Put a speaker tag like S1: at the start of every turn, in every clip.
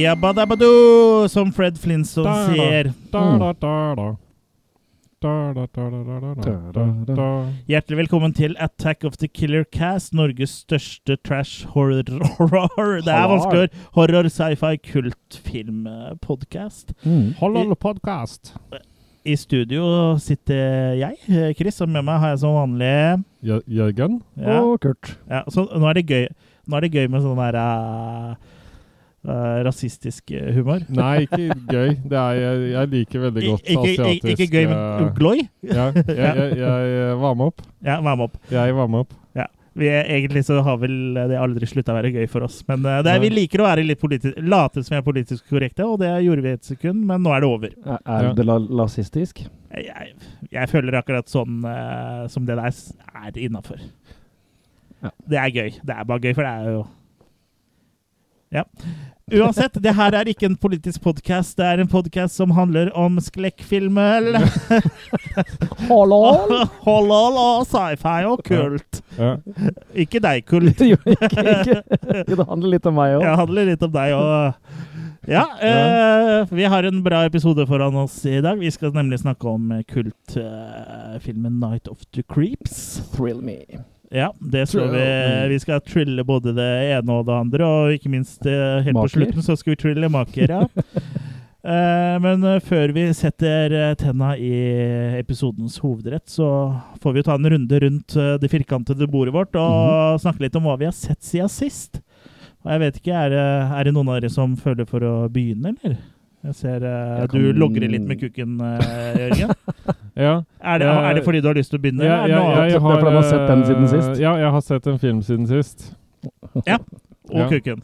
S1: Jabba-dabba-doo, som Fred Flintstone sier.
S2: Mm.
S1: Hjertelig velkommen til Attack of the Killer Cast, Norges største trash horror Det er vanskelig å horror, sci-fi, kultfilmpodkast.
S3: Mm.
S2: Holland podcast.
S1: I studio sitter jeg, Chris, og med meg har jeg som vanlig
S2: Jø- Jørgen?
S1: ja,
S3: Og Kurt.
S1: ja, Så nå er det gøy, nå er det gøy med sånn der eh, eh, rasistisk eh, humor.
S2: Nei, ikke gøy. Det er, jeg, jeg liker veldig
S1: I-
S2: godt
S1: ikke,
S2: asiatisk
S1: ikke, ikke gøy, men
S2: eh,
S1: gløy?
S2: Ja, jeg, jeg, jeg varmer opp.
S1: Ja, vær med opp.
S2: Jeg varmer opp.
S1: Vi er, egentlig så har vel eh, det aldri slutta å være gøy for oss. Men eh, det er, vi liker å være litt politi- late som vi er politisk korrekte, og det gjorde vi et sekund, men nå er det over.
S3: Er- Er
S2: Ja.
S3: det la lasistisk?
S1: Jeg, jeg føler akkurat sånn eh, som det der s- er innafor.
S3: Ja.
S1: Det er gøy. Det er bare gøy, for det er jo Ja. Uansett, det her er ikke en politisk podkast. Det er en podkast som handler om sklekkfilmer.
S3: Hallo!
S1: Holol og sci-fi og kult.
S2: Ja.
S1: Ikke deg, kult.
S3: Jo, ikke, ikke. Det handler litt om meg òg.
S1: Jeg handler litt om deg og Ja, eh, vi har en bra episode foran oss i dag. Vi skal nemlig snakke om eh, kultfilmen 'Night of the Creeps'.
S3: Thrill me.
S1: Ja, det skal vi. Vi skal trille både det ene og det andre, og ikke minst eh, helt på
S3: Maker.
S1: slutten så skal vi trille maker, ja. Eh, Men eh, før vi setter eh, tenna i episodens hovedrett, så får vi jo ta en runde rundt eh, det firkantede bordet vårt og
S2: Mhm.
S1: snakke litt om hva vi har sett siden sist. Og jeg vet ikke, er, det- er det noen av dere som føler for å begynne, eller? Jeg ser eh,
S3: Jeg
S1: du
S3: kan-
S1: logrer litt med kukken, eh, Jørgen.
S2: Ja.
S1: Er det, er det fordi du har lyst til å begynne? eller
S2: Ja,
S1: er det
S2: ja,
S1: noe
S2: jeg
S1: annet?
S3: Det er fordi man har sett den siden
S2: eh,
S3: sist.
S2: Ja, jeg har sett en film siden sist.
S1: Og
S2: ja.
S1: kukken.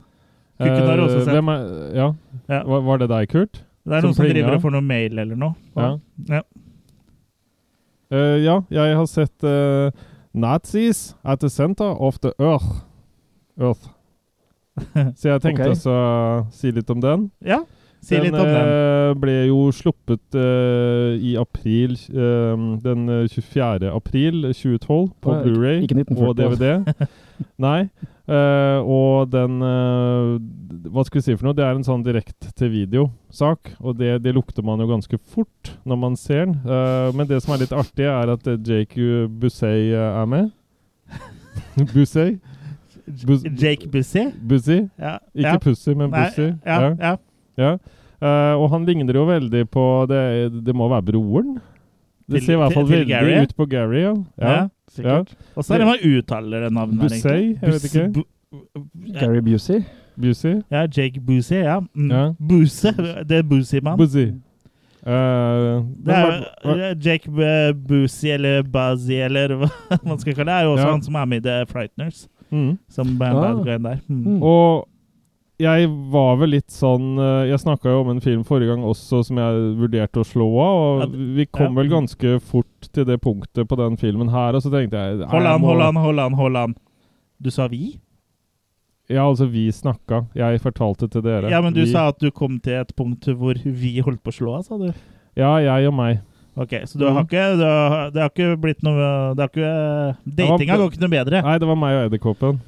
S1: Kukken har du også
S2: Eh,
S1: sett.
S2: Hvem er, ja.
S1: Ja.
S2: Var, var det deg, Kurt?
S1: Det er
S2: Som
S1: noen som
S2: plinga.
S1: driver og får noe mail eller noe.
S2: Ja.
S1: Ja.
S2: Eh, ja, jeg har sett eh, Nazis at the center of the earth. earth. Så jeg tenkte
S3: Ok.
S2: også å si litt om den.
S1: Ja, si litt om den.
S2: eh, ble jo sluppet eh, i april eh, Den eh, 24. april 2012 på
S3: Å, ikke-
S2: Blu-ray
S3: ikke 1940,
S2: og DVD. Nei. eh, og den eh, Hva skal vi si for noe? Det er en sånn direkt-til-video-sak. Og det, det lukter man jo ganske fort når man ser den. Eh, men det som er litt artig, er at eh, Jake Bussey eh, er med. Bussey? Bus-
S1: Jake Bussi?
S2: Bussey?
S1: Ja.
S2: eh, Ikke
S1: ja.
S2: Pussy, men
S1: Nei,
S2: Bussey.
S1: Ja,
S2: Ja.
S1: ja.
S2: Ja. Eh, og han ligner jo veldig på Det, det må være broren? Det
S1: Til-
S2: ser i hvert fall
S1: til- til
S2: veldig
S1: Gary?
S2: ut på Gary, ja.
S1: ja.
S2: ja.
S1: sikkert. Og så er det man uttaler det navnet her, egentlig.
S2: Bussey, jeg vet
S1: Bus-
S2: ikke.
S1: bu- ja,
S3: Gary Busey.
S2: Busey?
S1: Ja, Jake Bussi, ja. Mm.
S2: Ja.
S1: Buse, det er Bussi-mann.
S2: Busey. Eh,
S1: Det er
S2: men hva-
S1: jo
S2: hva-
S1: eh, Jake eh, Bussi, eller Buzzy, eller hva man skal kalle det. Det er jo også
S2: Ja.
S1: han som er med i The Frighteners,
S2: mm.
S1: som bad
S3: Ah.
S1: bad guyen der. Mm.
S3: Mm.
S2: Og jeg var vel litt sånn eh, Jeg snakka jo om en film forrige gang også som jeg vurderte å slå av,
S1: Ja,
S2: og vi kom
S1: ja.
S2: vel ganske fort til det punktet på den filmen her, og så tenkte jeg nei,
S1: Hold
S2: jeg
S1: an,
S2: må-
S1: hold an, hold an, hold an. Du sa vi?
S2: Ja, altså, vi snakka. Jeg fortalte til dere.
S1: Ja, men du
S2: vi,
S1: sa at du kom til et punkt hvor vi holdt på å slå av, sa du?
S2: Ja, jeg og meg.
S1: Ok, så du har
S2: Mhm.
S1: ikke du har, Det har ikke blitt noe Det har ikke Datinga går ikke noe bedre. Ah,
S2: Nei, det var meg og edderkoppen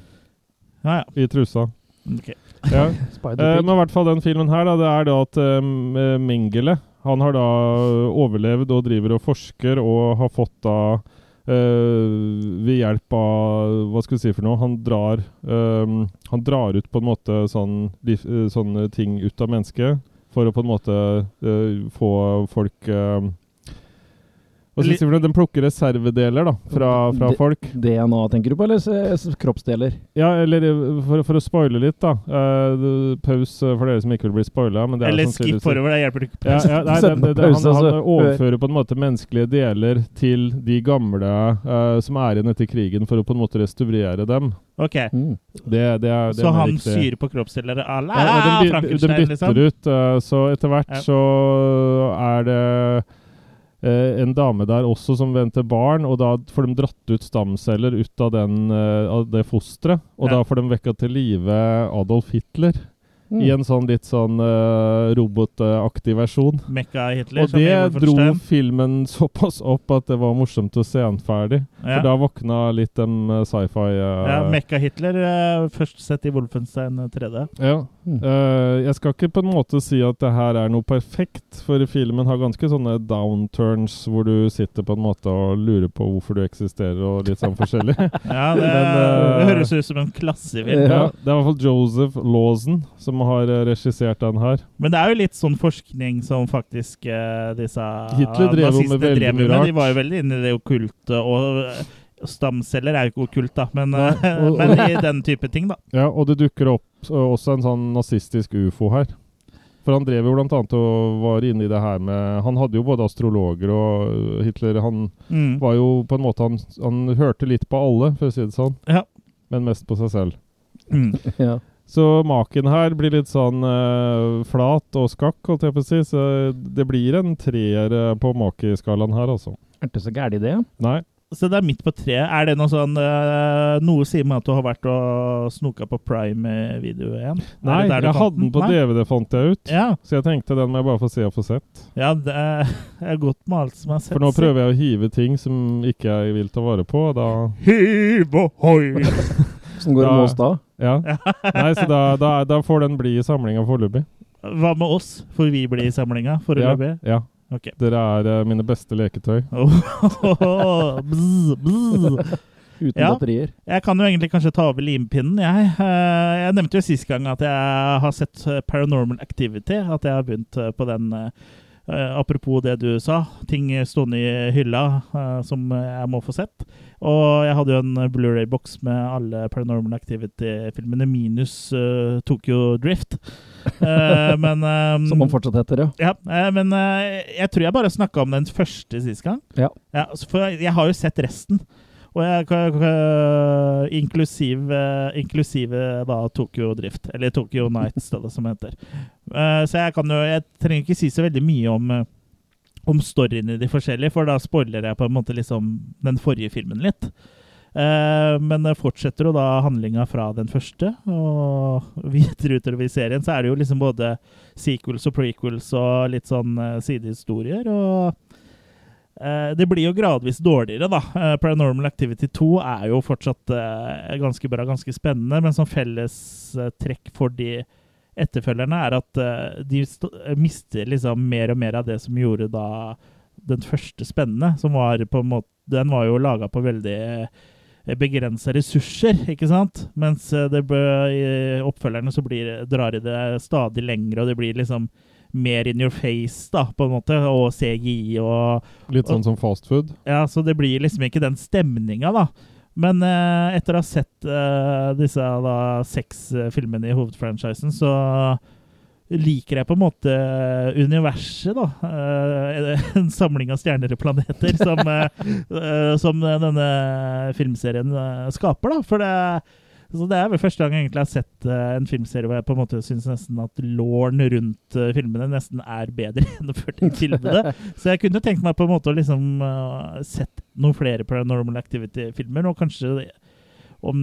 S1: Ja, ja.
S2: i trusa.
S1: Ok.
S2: Ja. Eh,
S3: Spider-Pig.
S2: men i hvert fall den filmen her, da, det er det at um, eh, Mengele Han har da eh, overlevd og driver og forsker og har fått da eh, ved hjelp av Hva skal vi si for noe? Han drar ehm, Han drar ut på en måte sånn, liv- eh, sånne ting ut av mennesket for å på en måte eh, få folk ehm, Hva skal vi si for noe? Den plukker reservedeler da, fra, fra
S3: Det-
S2: folk.
S3: DNA tenker du på, eller s- s- kroppsdeler?
S2: Ja, eller eh, for, for å spoile litt, da. eh, paus eh, for dere som ikke vil bli spoila. men det er sånn
S1: Eller
S2: sannsynligvis-
S1: skip forover, det hjelper ikke.
S2: Ja, ja, nei, det,
S3: Sett på
S2: det, det, han,
S3: pause,
S2: han
S3: altså.
S2: overfører på en måte menneskelige deler til de gamle eh, som er igjen etter krigen, for å på en måte restaurere dem.
S1: Ok,
S3: Mm.
S2: Det, det er, det
S1: Så
S2: er
S1: han
S2: riktig.
S1: syr på kroppsdeler à la
S2: Ja, og de, by- de
S1: Frankenstein,
S2: bytter
S1: liksom?
S2: ut, eh, så etter hvert
S1: Ja.
S2: så er det eh, en dame der også som venter barn, og da får de dratt ut stamceller ut av, den, eh, av det fosteret. Og
S1: Ja.
S2: da får de vekka til live Adolf Hitler.
S3: Mm.
S2: I en sånn litt sånn eh, robotaktig versjon.
S1: Mekka Hitler.
S2: Og
S1: som i
S2: det dro
S1: Wolfenstein.
S2: filmen såpass opp at det var morsomt å se den ferdig.
S1: ja.
S2: For da våkna litt den eh, sci-fi eh,
S1: ja, Mekka Hitler, eh, først sett i Wolfenstein eh, 3D.
S2: ja.
S3: Mm.
S2: Eh, jeg skal ikke på en måte si at det her er noe perfekt, for filmen har ganske sånne downturns hvor du sitter på en måte og lurer på hvorfor du eksisterer og litt sånn forskjellig.
S1: Ja, det,
S2: Men, eh,
S1: høres ut som en klassefilm.
S2: ja, det er i hvert fall Joseph Lawson som har eh, regissert den her.
S1: Men det er jo litt sånn forskning som faktisk eh, disse
S2: Hitler drev jo med
S1: nazistene
S2: veldig
S1: drev
S2: mye
S1: med.
S2: rart.
S1: De var jo veldig inne i det okkulte. Og eh, stamceller er jo ikke okkult, da, men,
S2: Nei,
S1: eh,
S2: og-
S1: men i den type ting, da.
S2: Ja, og det dukker opp eh, også en sånn nazistisk ufo her. For han drev jo blant annet og var inne i det her med Han hadde jo både astrologer og eh, Hitler Han
S1: Mm.
S2: var jo på en måte Han, han hørte litt på alle, for å si det sånn.
S1: Ja.
S2: Men mest på seg selv.
S1: Mm.
S3: Ja.
S2: Så maken her blir litt sånn eh, flat og skakk, holdt jeg på å si. Så det blir en treer eh, på makeskalaen her, altså.
S3: Er det så gæren idé?
S2: Nei.
S1: Så det er midt på treet. Er det noe sånn eh, Noe sier meg at du har vært og snoka på prime-video igjen? Er
S2: Nei,
S1: det der du
S2: jeg
S1: fant
S2: hadde den på
S1: Nei?
S2: DVD, fant jeg ut.
S1: Ja,
S2: Så jeg tenkte den må jeg bare få se og få sett.
S1: ja det er, jeg er godt med alt som er sett.
S2: For nå prøver jeg å hive ting som ikke jeg vil ta vare på, og da
S1: Hiv og hoi!
S3: Åssen går det
S2: Ja.
S3: med oss da?
S2: Ja. Nei, så da, da, da får den bli i samlinga foreløpig.
S1: Hva med oss? Får vi bli i samlinga
S2: Ja,
S1: foreløpig?
S2: ja.
S1: Ok.
S2: Dere er eh, mine beste leketøy.
S1: bzz, bzz.
S3: Uten
S1: Ja.
S3: batterier?
S1: Jeg kan jo egentlig kanskje ta over limpinnen, jeg. Eh, Jeg nevnte jo sist gang at jeg har sett eh, Paranormal Activity, at jeg har begynt eh, på den. eh, eh, apropos det du sa, ting stående i hylla eh, som jeg må få sett. Og jeg hadde jo en Blu-ray-boks med alle Paranormal Activity-filmene minus eh, Tokyo Drift. Eh, men eh,
S3: Som han fortsatt heter, ja.
S1: Ja, eh, men eh, jeg tror jeg bare snakka om den første sist gang.
S3: Ja.
S1: så for jeg, jeg har jo sett resten. Og jeg, k- k- inklusiv, eh, inklusive da Tokyo Drift, eller Tokyo Nights, da, det som heter. Eh, så jeg kan jo Jeg trenger ikke si så veldig mye om eh, om storyen i de forskjellige, for da spoiler jeg på en måte liksom den forrige filmen litt. Eh, men det fortsetter jo da handlinga fra den første, og videre utover i serien så er det jo liksom både sequels og prequels og litt sånn eh, sidehistorier. Og eh, det blir jo gradvis dårligere, da. Eh, Paranormal Activity 2 er jo fortsatt eh, ganske bra, ganske spennende, men som fellestrekk for de etterfølgerne er at eh, de st mister liksom mer og mer av det som gjorde da den første spennende, som var på en måte Den var jo laga på veldig begrensa eh, ressurser, ikke sant? Mens eh, det ble, i oppfølgerne så blir, drar i det stadig lengre, og det blir liksom mer in your face, da, på en måte, og CGI og
S2: Litt sånn som fast food.
S1: Ja, så det blir liksom ikke den stemninga, da. Men eh, etter å ha sett eh, disse da, seks eh, filmene i hovedfranchisen, så liker jeg på en måte universet, da. Eh, en samling av stjerner og planeter som, eh, eh, som denne filmserien eh, skaper, da. For det, så det er vel første gang jeg egentlig har sett eh, en filmserie hvor jeg på en måte syns nesten at låren rundt eh, filmene nesten er bedre enn for det tilbudet. Så jeg kunne tenkt meg på en måte å liksom eh, sett noen flere Paranormal Activity-filmer, og kanskje det- om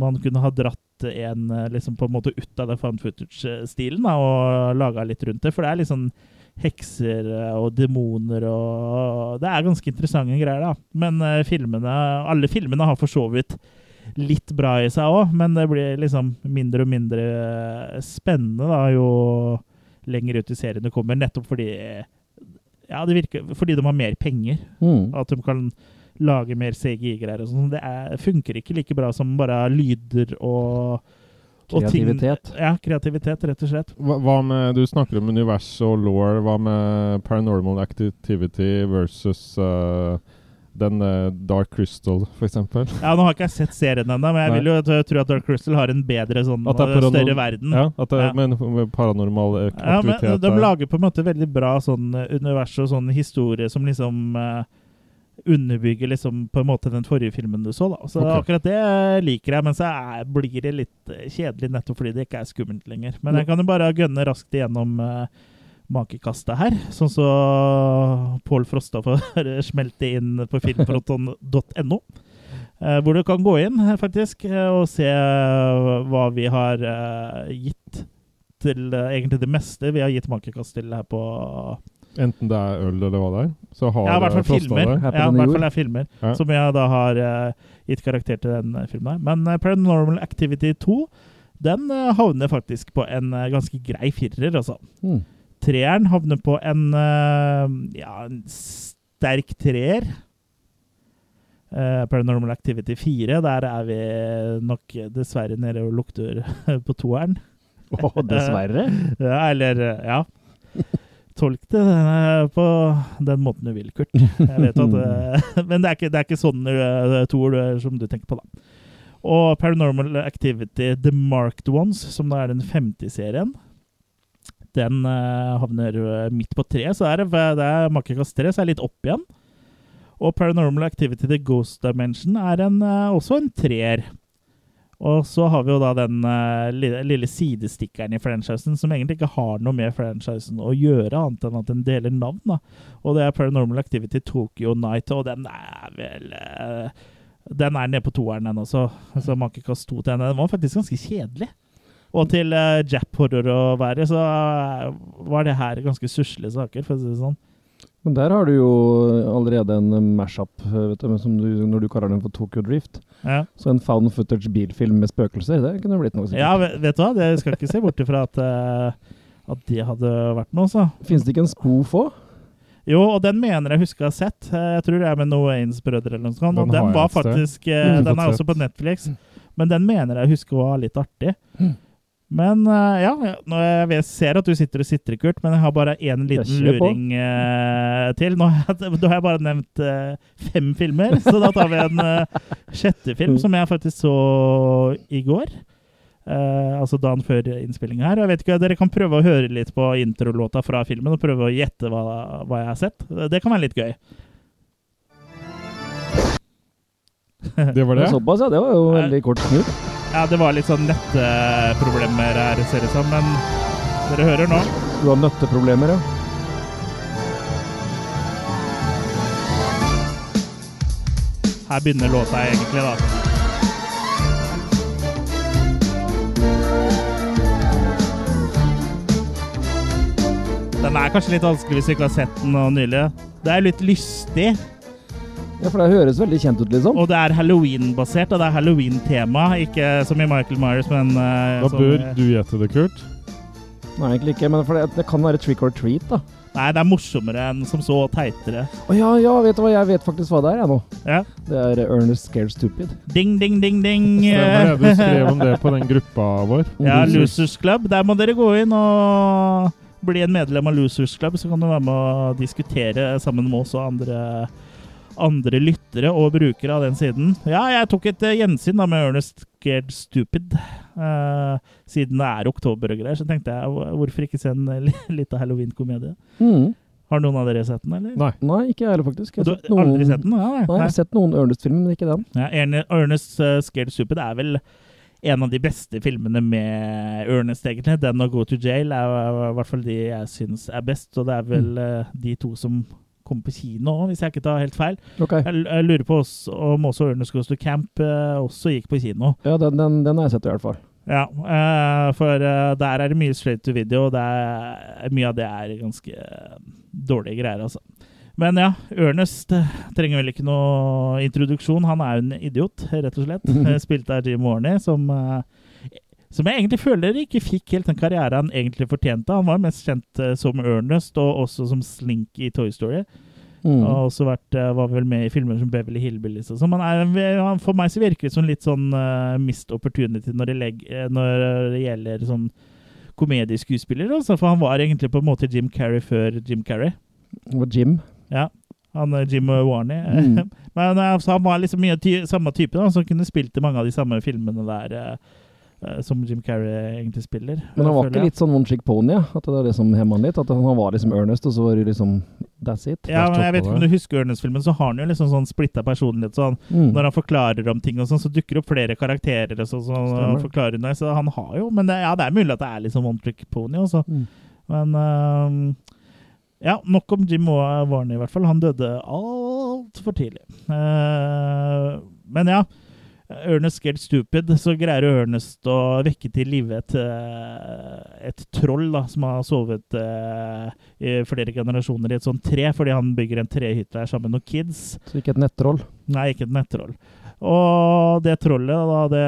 S1: man kunne ha dratt en eh, liksom på en måte ut av den found footage-stilen da, og laga litt rundt det. For det er litt sånn hekser eh, og demoner og Det er ganske interessante greier, da. Men eh, filmene Alle filmene har for så vidt litt bra i seg òg, men det blir liksom mindre og mindre eh, spennende da, jo lenger ut i serien du kommer, nettopp fordi ja, det virker fordi de har mer penger.
S3: Mm.
S1: At de kan lage mer CGI-greier og sånn. Det er, funker ikke like bra som bare lyder og og ting-
S3: Kreativitet.
S1: Ja, kreativitet, rett og slett.
S2: Hva, hva med Du snakker om univers og law. Hva med paranormal activity versus eh, den eh, Dark Crystal, for eksempel?
S1: Ja, Nå har ikke jeg sett serien ennå, men jeg
S2: Nei.
S1: vil jo t- tro at Dark Crystal har en bedre sånn
S2: At det er
S1: og
S2: paranorm-
S1: større verden.
S2: Ja, at det,
S1: Mm. Ja.
S2: men med paranormal ak-
S1: Ja, men
S2: aktivitet
S1: de
S2: der.
S1: lager på en måte veldig bra sånn eh, univers og sånn historie som liksom eh, underbygger liksom på en måte den forrige filmen du så, da. Så
S2: Ok.
S1: akkurat det liker jeg, men så er, blir det litt eh, kjedelig nettopp fordi det ikke er skummelt lenger. Men jeg kan jo bare gønne raskt igjennom eh, makekastet her, sånn så Pål Frosta får smelte inn på filmfronton.no. eh, Hvor du kan gå inn eh, faktisk eh, og se eh, hva vi har eh, gitt til eh, egentlig det meste vi har gitt makekast til her på
S2: Enten det er øl eller hva det er, så har
S1: Ja, i hvert
S2: det
S1: fall filmer.
S2: frostet det.
S1: Ja,
S3: Happen
S1: i
S3: in the
S1: hvert
S3: Jord.
S1: fall er filmer
S2: Ja.
S1: Som jeg da har eh, gitt karakter til den eh, filmen her. Men eh, Paranormal Activity 2 den eh, havner faktisk på en eh, ganske grei firer, altså.
S3: Mm.
S1: Treeren havner på en eh, ja, en sterk treer. Eh, Paranormal Activity 4, der er vi nok eh, dessverre nede og lukter på toeren.
S3: Å, dessverre.
S1: Ja, eller eh, Ja. Tolk det eh, på den måten du vil, Kurt. Jeg vet at, eh, men det er ikke, det er ikke sånn eh, toer du- som du tenker på, da. Og Paranormal Activity The Marked Ones, som da er den femte serien, den eh, havner eh, midt på treet, så er det, det er makekast tre, så er det litt opp igjen. Og Paranormal Activity The Ghost Dimension er en, eh, også en treer. Og så har vi jo da den eh, lille, lille sidestikkeren i franchisen som egentlig ikke har noe med franchisen å gjøre, annet enn at den deler navn. da. Og det er Paranormal Activity Tokyo Night, og den er vel eh, Den er nede på toeren, den også. Så makekast to til henne. Den var faktisk ganske kjedelig. Og til uh, Jap-horror å være, så eh, var det her ganske suslige saker, for å si det sånn.
S3: Men der har du jo allerede en mashup, vet du, som du, når du kaller den for Tokyo Drift.
S1: Ja.
S3: Så en found footage bilfilm med spøkelser, det kunne blitt noe
S1: ja,
S3: sikkert.
S1: vet vet du hva? Jeg skal ikke se bort ifra at, eh, at det hadde vært noe, så.
S3: Finnes det ikke en spoof òg?
S1: Jo, og den mener jeg husker jeg har sett. Eh, Jeg tror det er med Noains brødre eller noe sånt. Den,
S2: Den
S1: den
S2: har jeg
S1: var
S2: et sted.
S1: faktisk eh,
S2: Mm.
S1: Den er
S2: Fått
S1: også på Netflix,
S3: Mm.
S1: men den mener jeg husker var litt artig.
S2: Mm.
S1: Men eh, ja, ja, nå jeg vet- ser at du sitter og sitrer, Kurt, men jeg har bare én
S3: Jeg
S1: liten
S3: kjører på.
S1: luring eh, til. Nå, har jeg- da har jeg bare nevnt eh, fem filmer, så da tar vi en eh, sjette film
S3: Mm.
S1: som jeg faktisk så i går. Eh, altså dagen før innspilling her. Og jeg vet ikke, Dere kan prøve å høre litt på introlåta fra filmen og prøve å gjette hva, hva jeg har sett. Det kan være litt gøy.
S2: Det var det? sånn-
S3: Såpass, ja. Det var jo veldig kort snutt.
S1: Ja, Det var litt sånn nettproblemer her, ser det ut som, men dere hører nå.
S3: Du har nøtteproblemer, ja.
S1: Her begynner låta egentlig, da. Den er kanskje litt vanskelig hvis du ikke har sett den nå nylig. Det er litt lystig,
S3: Ja, For det høres veldig kjent ut, liksom.
S1: og det er halloween-basert. Og det er halloween-tema, ikke som i Michael Myers, men eh,
S2: Da
S1: som,
S2: bør
S1: eh,
S2: du gjette det, Kurt.
S3: Nei, egentlig ikke, men for det, det kan være trick or treat, da.
S1: Nei, det er morsommere enn som så, og teitere.
S3: Å ja, ja, vet du hva, jeg vet faktisk hva det er, jeg nå.
S1: Ja.
S3: Det er eh, Ernest Scared Stupid.
S1: Ding, ding, ding, ding.
S2: Stemmer det. Du skrev om det på den gruppa vår.
S1: Ja,
S3: Losers.
S1: Losers Club. Der må dere gå inn og bli en medlem av Losers Club, så kan du være med å diskutere sammen med oss og andre, andre lyttere og brukere av den siden. Ja, jeg tok et eh, gjensyn da med Ernest Scared Stupid. eh, siden det er oktober og greier, så tenkte jeg "Hvor- hvorfor ikke se en li- liten halloween-komedie?
S3: Mm.
S1: Har noen av dere sett den, eller?
S2: Nei.
S3: Nei, ikke jeg heller, faktisk. Jeg
S1: Du
S3: har
S1: har
S3: sett noen...
S1: aldri sett den? Ja,
S3: Nei, jeg har sett noen Ernest-filmer, men ikke den.
S1: Ja, Erne- Ernest eh, Scared Stupid er vel en av de beste filmene med Ernest, egentlig. Den og Go to Jail er eh, i hvert fall de jeg syns er best, og det er vel eh, de to som kommer på kino òg, hvis jeg ikke tar helt feil.
S3: Ok.
S1: Jeg, l- jeg lurer på også, om også Ernest Goes to Camp eh, også gikk på kino.
S3: Ja, den, den, den har jeg sett i hvert fall.
S1: Ja, eh, for eh, der er det mye straight to video, og det er, mye av det er ganske eh, dårlige greier, altså. Men ja, Ernest eh, trenger vel ikke noe introduksjon. Han er jo en idiot, rett og slett. Eh, Spilt av Jim Warney, som, eh, som jeg egentlig føler ikke fikk helt den karrieren han egentlig fortjente. Han var mest kjent eh, som Ernest, og også som Slink i Toy Story.
S3: Mm.
S1: Og har også vært, eh, var vel med i filmer som Beverly Hillbillies og sånn. Men er, en ve- han- for meg så virker det som litt sånn uh, mist opportunity når det, legg, eh, når det gjelder sånn komedieskuespiller. Altså, for han var egentlig på en måte Jim Carrey før Jim Carrey.
S3: Og Jim.
S1: Han eh, Jim Warney.
S3: Mm.
S1: Men eh, så han var liksom mye ty samme type, da, som kunne spilt i mange av de samme filmene der eh, eh, som Jim Carrey egentlig spiller.
S3: Men han var
S1: føler
S3: ikke
S1: jeg.
S3: litt sånn one trick pony, ja. At det var det som hemma han litt. At han var liksom Ernest, og så var det liksom that's it.
S1: ja, men jeg vet
S2: på
S1: ikke om du husker Ørnes-filmen, så har han jo liksom sånn splitta personlighet. Så han,
S3: Mm.
S1: Når han forklarer om ting, og sånn, så dukker det opp flere karakterer. og sånn, så han
S3: Stemmer.
S1: forklarer noe, så han har jo, Men det, ja, det er mulig at det er liksom one trick pony. Også.
S3: Mm.
S1: Men øhm, ja, nok om Jim Wa- Varney, i hvert fall. Han døde altfor tidlig. Eh, men ja. Ernest Get Stupid, så greier jo Ernest å vekke til live et, eh, et troll da, som har sovet eh, i flere generasjoner i et sånt tre, fordi han bygger en trehytte her sammen med noen kids.
S3: Så ikke et nettroll.
S1: Nei, ikke et nettroll. Og det trollet da, det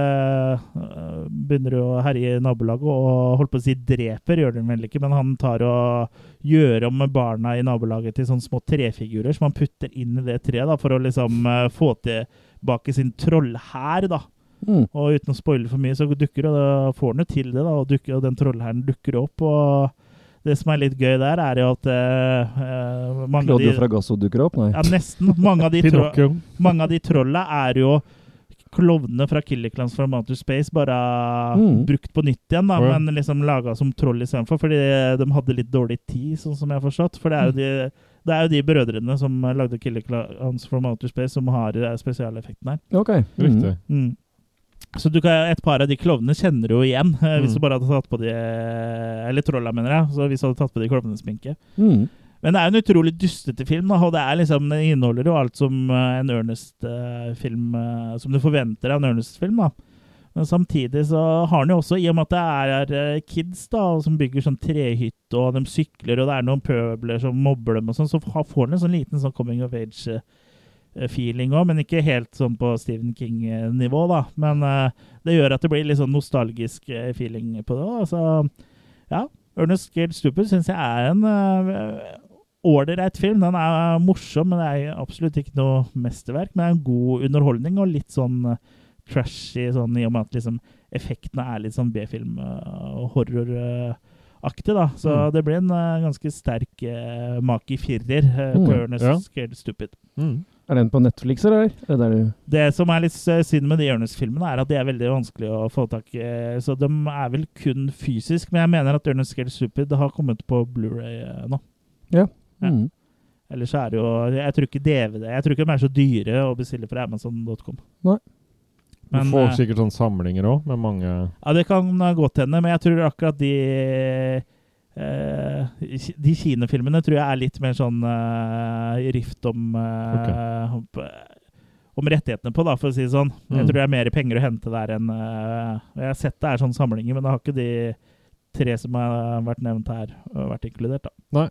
S1: øh, begynner jo å herje i nabolaget og holdt på å si dreper, gjør det vel ikke, men han tar og gjør om barna i nabolaget til sånne små trefigurer som han putter inn i det treet da, for å liksom øh, få tilbake sin trollhær. da.
S3: Mm.
S1: Og uten å spoile for mye, så dukker jo da får han jo til det, da, og, dukker, og den trollhæren dukker opp. og det som er litt gøy der, er jo at øh, øh, mange av de
S3: Claudio Fragasso dukker opp, nei.
S1: ja, nesten. Mange av de tro-
S2: Pinocchio.
S1: mange av de trolla er jo klovnene fra Killer Klans fra Mount to Space, bare
S3: Mm.
S1: brukt på nytt igjen, da,
S2: Å ja.
S1: men liksom laga som troll istedenfor. Fordi de hadde litt dårlig tid, sånn som jeg har forstått. For
S2: Mm.
S1: det er jo de, det er jo de brødrene som lagde Killer Klans fra Mount to Space, som har eh, spesialeffekten her.
S3: Ok. Mm.
S2: Riktig.
S1: Mm. Så du kan, et par av de klovnene kjenner du jo igjen, eh, hvis
S2: Mm.
S1: du bare hadde tatt på de eh, Eller trolla, mener jeg. Så hvis du hadde tatt på de klovnesminke.
S3: Mm.
S1: Men det er jo en utrolig dustete film, da, og det er liksom, den inneholder jo alt som eh, en Ernest-film eh, Som du forventer av en Ernest-film. da. Men samtidig så har den jo også, i og med at det er eh, kids da, som bygger sånn trehytte, og de sykler, og det er noen pøbler som mobber dem, og sånn, så ha- får den en sånn liten sånn coming of age-feeling òg, eh, men ikke helt sånn på Stephen King-nivå, da. Men eh, det gjør at det blir litt sånn nostalgisk eh, feeling på det. da, så... Ernest Gale Stupid syns jeg er en eh, ålreit film. Den er morsom, men det er absolutt ikke noe mesterverk. Men det er en god underholdning og litt sånn eh, trashy, sånn, i og med at liksom, effektene er litt sånn B-film eh, og horroraktig. da. Så
S2: Mm.
S1: det blir en eh, ganske sterk uh, maki firer eh, på
S3: Mm,
S1: Ernest
S2: ja.
S1: Gale Stupid.
S2: Mm.
S3: Er den på Netflix, eller? Er det der du
S1: Det som er litt eh, synd med de Ørnes-filmene, er at de er veldig vanskelig å få tak i. eh, Så de er vel kun fysisk, men jeg mener at Ørnes Gale Stupid har kommet på Blu-ray eh, nå. Ja.
S3: mm.
S1: Ellers er det jo Jeg tror ikke DVD Jeg tror ikke de er så dyre å bestille fra Amazon.com.
S3: Nei.
S2: Du
S1: Men,
S2: får
S1: eh,
S2: sikkert sånne samlinger òg, med mange
S1: ja, det kan eh, godt hende, men jeg tror akkurat de eh, ki- De kinofilmene tror jeg er litt mer sånn eh, rift om eh, Om rettighetene på, da, for å si det sånn. Jeg
S2: Mm.
S1: tror det er mer penger å hente der enn eh, og Jeg har sett det er sånne samlinger, men det har ikke de tre som har vært nevnt her, eh, vært inkludert, da.
S2: Nei.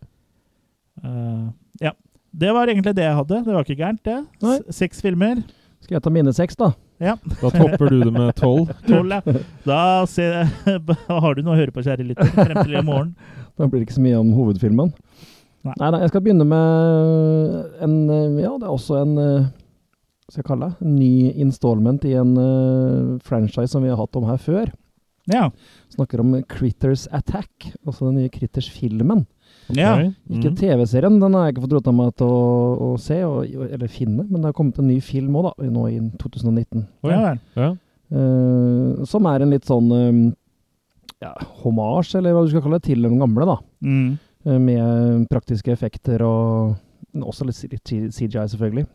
S1: Eh, ja. Det var egentlig det jeg hadde. Det var ikke gærent, det.
S3: Nei.
S1: S- Seks filmer.
S3: Skal jeg ta mine seks, da?
S2: Da topper du det med tolv.
S1: Tolv, ja. Da se, har du noe å høre på, kjære lytter, frem til i morgen.
S3: Da blir det ikke så mye om hovedfilmen.
S1: Nei.
S3: Nei, nei, jeg skal begynne med en eh, Ja, det er også en eh, Hva skal jeg kalle det? En ny installment i en eh, franchise som vi har hatt om her før.
S1: Ja.
S3: Snakker om Critters Attack, altså den nye Critters-filmen.
S1: ja.
S2: Ok.
S3: Ikke
S2: Mm.
S3: TV-serien, den har jeg ikke fått rota meg til å, å se, og, eller finne, men det har kommet en ny film òg, da, nå i 2019.
S2: Oi.
S1: ja vel.
S2: Ja.
S3: eh, som er en litt sånn eh, ja, hommage, eller hva du skal kalle det, til den gamle, da.
S1: Mm.
S3: Eh, med praktiske effekter og men også litt C- C- CGI, selvfølgelig.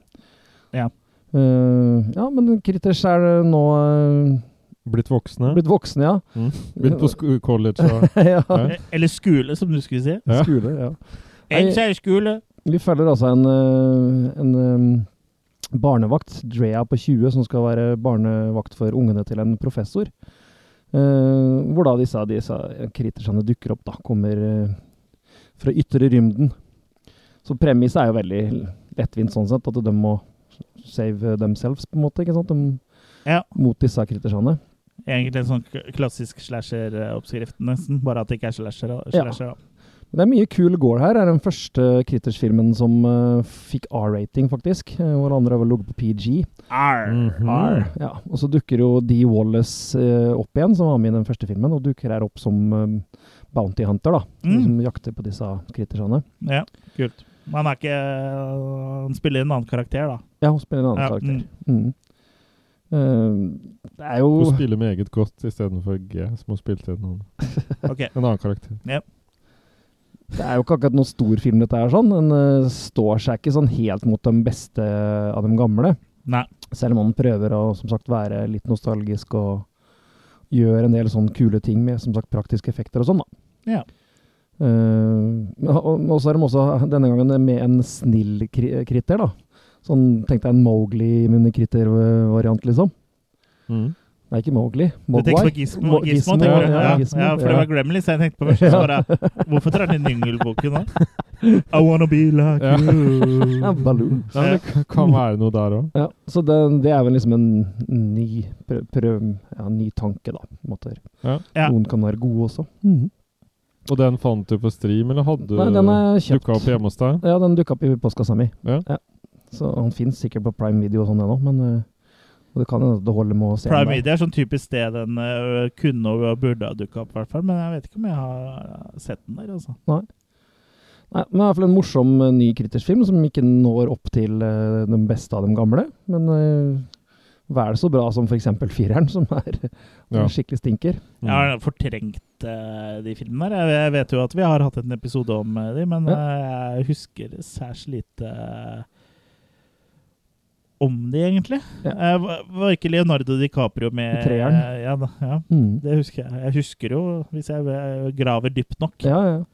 S1: Ja.
S3: Eh, ja, men Kritters er nå eh,
S2: Blitt voksne.
S3: blitt voksne, ja.
S2: Mm. Begynt på sk college og
S3: ja.
S2: Ja.
S1: Eh, Eller skole, som du skulle si.
S2: Ja.
S3: Skole, ja.
S1: En kjærskole.
S3: Vi følger altså en, eh, en eh, barnevakt, Drea på 20, som skal være barnevakt for ungene til en professor. Eh, hvor da disse, disse kritisene dukker opp, da, kommer eh, fra ytre rymden. Så premisset er jo veldig lettvint sånn sett, at de må save themselves, på en måte. ikke sant? De,
S1: Ja.
S3: Mot disse kritisene.
S1: Egentlig en sånn k- klassisk slasher-oppskrift, nesten. Bare at det ikke er slasher. da.
S3: Ja.
S1: slasher da.
S3: Men Det er mye kul gore her. Det er den første kritisfilmen som eh, fikk R-rating, faktisk. eh, Hvor andre har vel ligget på PG.
S1: Arr.
S2: Mhm.
S1: Arr.
S3: Ja, og så dukker jo Dee Wallace eh, opp igjen, som var med i den første filmen, og dukker her opp som eh, bounty hunter, da.
S1: Mm.
S3: Som jakter på disse kritisjene.
S1: Ja, kult. Men han er ikke øh, Han spiller en annen karakter, da.
S3: Ja, hun spiller en annen
S1: Ja,
S3: karakter. Mm. Eh, det er jo
S1: Oh.
S2: Hun spiller meget godt istedenfor G, som hun spilte i en,
S1: Ok.
S2: en annen karakter.
S3: Det er jo ikke akkurat noen stor film, dette her. sånn. Den eh, står seg ikke sånn helt mot de beste av de gamle.
S1: Nei.
S3: Selv om man prøver å som sagt, være litt nostalgisk og gjør en del sånne kule ting med som sagt, praktiske effekter og sånn. da.
S1: Ja.
S3: Eh, og, og så er de også denne gangen med en snill kri kritter. da. Sånn, Tenk deg en Mowgli-kritter-variant, liksom.
S2: Mm.
S3: Nei, ikke Mowgli.
S1: Du tenker på
S3: Mogwai.
S1: Gizmo?
S3: Mo-
S1: Gizmo,
S3: Gizmo,
S1: tenker du?
S3: ja,
S1: Ja,
S3: Gizmo,
S1: ja, for det
S3: ja.
S1: var Gremlins jeg tenkte på først. Så var det, hvorfor drar den inn Jungelboken nå? I wanna be like
S2: Ja.
S1: you.
S3: Ja, Baloo.
S2: Nei, men det kan- kan være noe der òg.
S3: Ja, så det, det er vel liksom en ny, prøv, prøv, ja, ny tanke, da. På en måte.
S2: Ja.
S1: Ja. Mhm.
S3: Noen kan være gode også.
S2: Og den fant du på stream, eller hadde
S3: Nei, den er
S2: du
S3: kjøpt.
S2: dukka opp hjemme hos deg?
S3: Ja, den dukka opp i postkassa mi.
S2: Ja.
S3: Så han fins sikkert på prime video og sånn ennå, men eh, og det kan hende at det holder med å se
S1: Prime
S3: den der.
S1: Media er sånn typisk sted den ø, kunne og burde ha dukka opp, i hvert fall. Men jeg vet ikke om jeg har sett den der, altså.
S3: Nei, men det er i hvert fall en morsom eh, ny kritisk film som ikke når opp til eh, den beste av de gamle. Men eh, vel så bra som f.eks. fireren, som er
S2: Ja.
S3: skikkelig stinker.
S2: Mm.
S1: Jeg har fortrengt ø, de filmene der. Jeg- Jeg vet jo at vi har hatt en episode om ø, de, men
S3: Ja.
S1: ø, jeg husker særs lite ø, om de, egentlig.
S3: Ja.
S1: Eh, var- Var ikke Leonardo DiCaprio med
S3: I treeren.
S1: eh, Ja, da, ja.
S3: Mm.
S1: Det husker jeg. Jeg husker jo, hvis jeg eh, graver dypt nok.
S3: Ja, ja.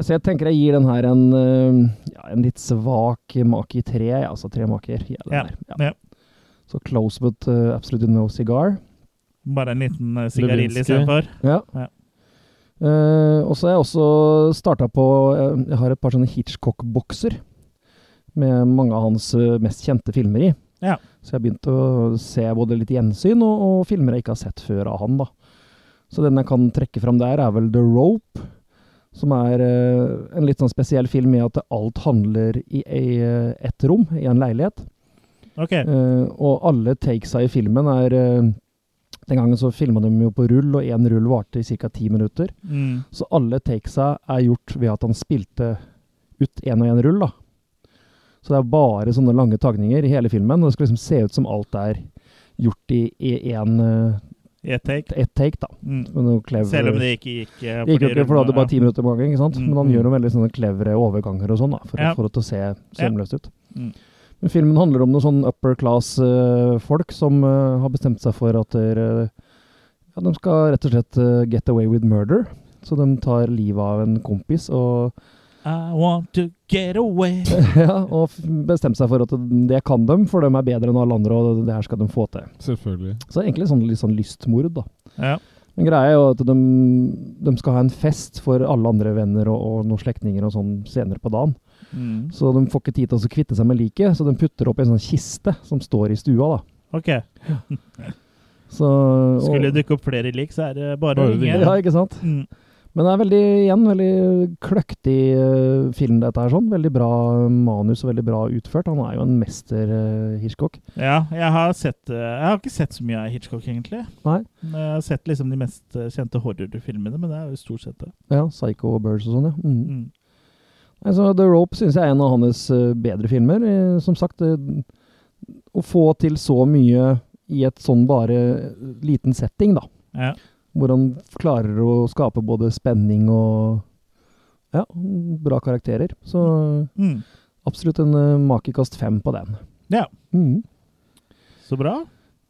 S3: Så jeg tenker jeg gir den her en, eh, ja, en litt svak make i tre, ja, altså tre maker. Ja, den
S1: Ja,
S3: her,
S1: ja.
S3: Så close but eh, absolutely no cigar.
S1: Bare en liten eh, sigarill
S2: Lewinsky.
S1: istedenfor.
S3: Ja.
S1: Ja.
S3: Eh, og så har jeg også starta på eh, Jeg har et par sånne Hitchcock-bokser med mange av hans eh, mest kjente filmer i.
S1: Ja.
S3: Så jeg har begynt å se både litt gjensyn og, og filmer jeg ikke har sett før av han. da. Så den jeg kan trekke fram der, er vel The Rope. Som er eh, en litt sånn spesiell film i at alt handler i, i eh, ett rom, i en leilighet.
S1: Ok.
S3: Eh, og alle takesa i filmen er eh, Den gangen så filma de jo på rull, og én rull varte i ca. ti minutter.
S1: Mm.
S3: Så alle takesa er gjort ved at han spilte ut én og én rull, da. Så det er bare sånne lange tagninger i hele filmen. og Det skal liksom se ut som alt er gjort i én
S1: I ett take.
S3: ett take, da.
S1: Mm.
S3: Med noe clever,
S1: Selv om det ikke gikk eh,
S3: det gikk jo
S1: de
S3: ikke, for da
S1: rundene,
S3: hadde du bare ti minutter på gangen. ikke sant?
S1: Mm,
S3: Men han
S2: mm.
S3: gjør noen veldig sånne clevere overganger og sånn, da, for,
S1: Ja.
S3: å- for det til å se sømløst ut.
S1: Mm.
S3: Men filmen handler om noen sånn upper class-folk som eh, har bestemt seg for at dere- ja, de skal rett og slett eh, get away with murder. Så de tar livet av en kompis og,
S1: ja. I want to get away.
S3: ja, og f- bestemte seg for at det kan dem, for de er bedre enn alle andre, og det her skal de få til.
S2: Selvfølgelig.
S3: Så egentlig sånn, litt sånn lystmord, da.
S1: Ja.
S3: Men greia er jo at de, de skal ha en fest for alle andre venner og, og noen slektninger og sånn senere på dagen.
S1: Mm.
S3: Så de får ikke tid til å kvitte seg med liket, så de putter opp i en sånn kiste som står i stua. da.
S1: Ok.
S3: Så, og,
S1: Skulle det dukke opp flere lik, så er det bare å
S2: Bare
S1: ringe.
S2: ringe.
S3: Ja, ikke sant?
S1: Mm.
S3: Men det er veldig, igjen, veldig kløktig eh, film, dette her. sånn. Veldig bra manus og veldig bra utført. Han er jo en mester, eh, Hitchcock.
S1: ja jeg, har sett, eh, jeg har ikke sett så mye av Hitchcock, egentlig.
S3: Nei.
S1: Men Jeg har sett liksom de mest eh, kjente horrorfilmene, men det er jo stort sett det.
S3: Ja, Psycho og Birds og sånn, ja. Mm.
S1: Mm.
S3: Nei, så Altså, The Rope syns jeg er en av hans eh, bedre filmer. Eh, Som sagt, eh, å få til så mye i et sånn bare liten setting, da.
S1: Ja.
S3: Hvor han klarer å skape både spenning og ja, bra karakterer. Så eh,
S1: Mm.
S3: absolutt en eh, makekast fem på den.
S1: Ja.
S3: Mhm. Eh,
S1: Så bra.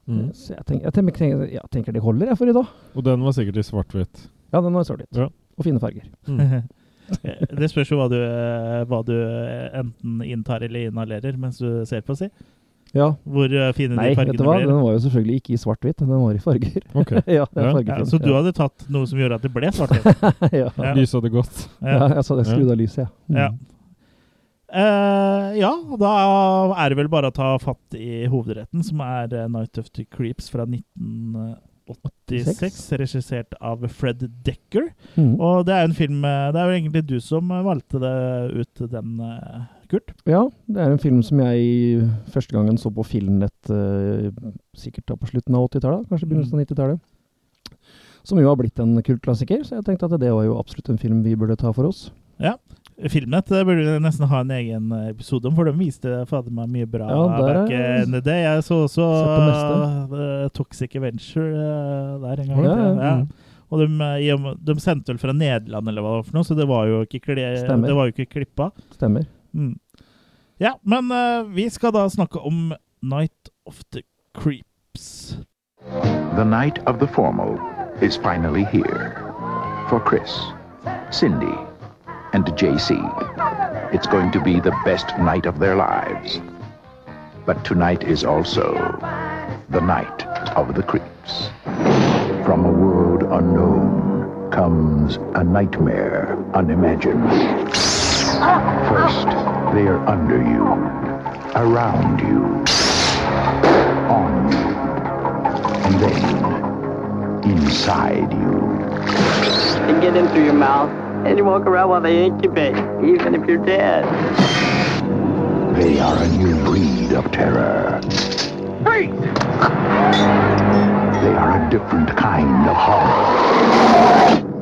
S2: Mm.
S3: Så jeg tenker, jeg tenker, tenker, ja, tenker det holder jeg for i dag.
S2: Og den var sikkert i svart-hvitt.
S3: Ja, den var sørlig.
S2: Ja.
S3: Og fine farger.
S2: Mm.
S1: Det spørs jo hva du, eh, hva du eh, enten inntar eller inhalerer mens du ser på, si.
S3: Ja.
S1: Hvor eh, fine
S3: Nei,
S1: de
S3: vet
S1: fargene
S3: du hva?
S1: blir.
S3: Den var jo selvfølgelig ikke i svart-hvitt, den var i farger.
S2: Ok.
S3: ja,
S2: Ja.
S3: det er
S1: Ja,
S3: fargefilm.
S1: så du
S3: ja.
S1: hadde tatt noe som gjorde at det ble svart-hvitt?
S3: ja.
S1: Ja.
S2: Lyset hadde gått.
S3: Ja,
S1: Ja.
S3: jeg sa det. Skrudd av lyset, ja. Mm.
S1: Ja. Eh, ja, da er det vel bare å ta fatt i hovedretten, som er eh, 'Night of the Creeps' fra 1986, regissert av Fred Decker.
S3: Mm.
S1: Og det er jo en film eh, Det er jo egentlig du som eh, valgte det ut, den, eh, Kurt.
S3: ja, det er en film som jeg første gangen så på Filmnett eh, sikkert da på slutten av 80-tallet, kanskje
S1: Mm.
S3: begynnelsen av 90-tallet. Som jo har blitt en kultklassiker, så jeg tenkte at det var jo absolutt en film vi burde ta for oss.
S1: Filmnett eh, burde vi nesten ha en egen eh, episode om, for de viste fader meg mye bra
S3: Ja, der
S1: back
S3: er-
S1: in the day. Jeg så også
S3: Sett
S1: eh, Toxic Adventure eh, der en gang.
S3: Ja, ja,
S1: Ja.
S3: mm.
S1: Og de, eh, i og med- de sendte vel fra Nederland, eller hva det var, for noe, så det var jo ikke, kle-
S3: Stemmer.
S1: det var jo ikke klippa.
S3: Stemmer.
S1: Mm. Ja, men eh, vi skal da snakke om Night of the Creeps.
S4: The night of the formal is finally here for Chris, Cindy, and JC. It's going to be the best night of their lives. But tonight is also the night of the creeps. From a world unknown comes a nightmare unimagined. First, they are under you, around you, on you, and then inside you.
S5: They get in through your mouth and you walk around while they incubate, even if you're dead.
S4: They are a new breed of terror. They are a different kind of horror.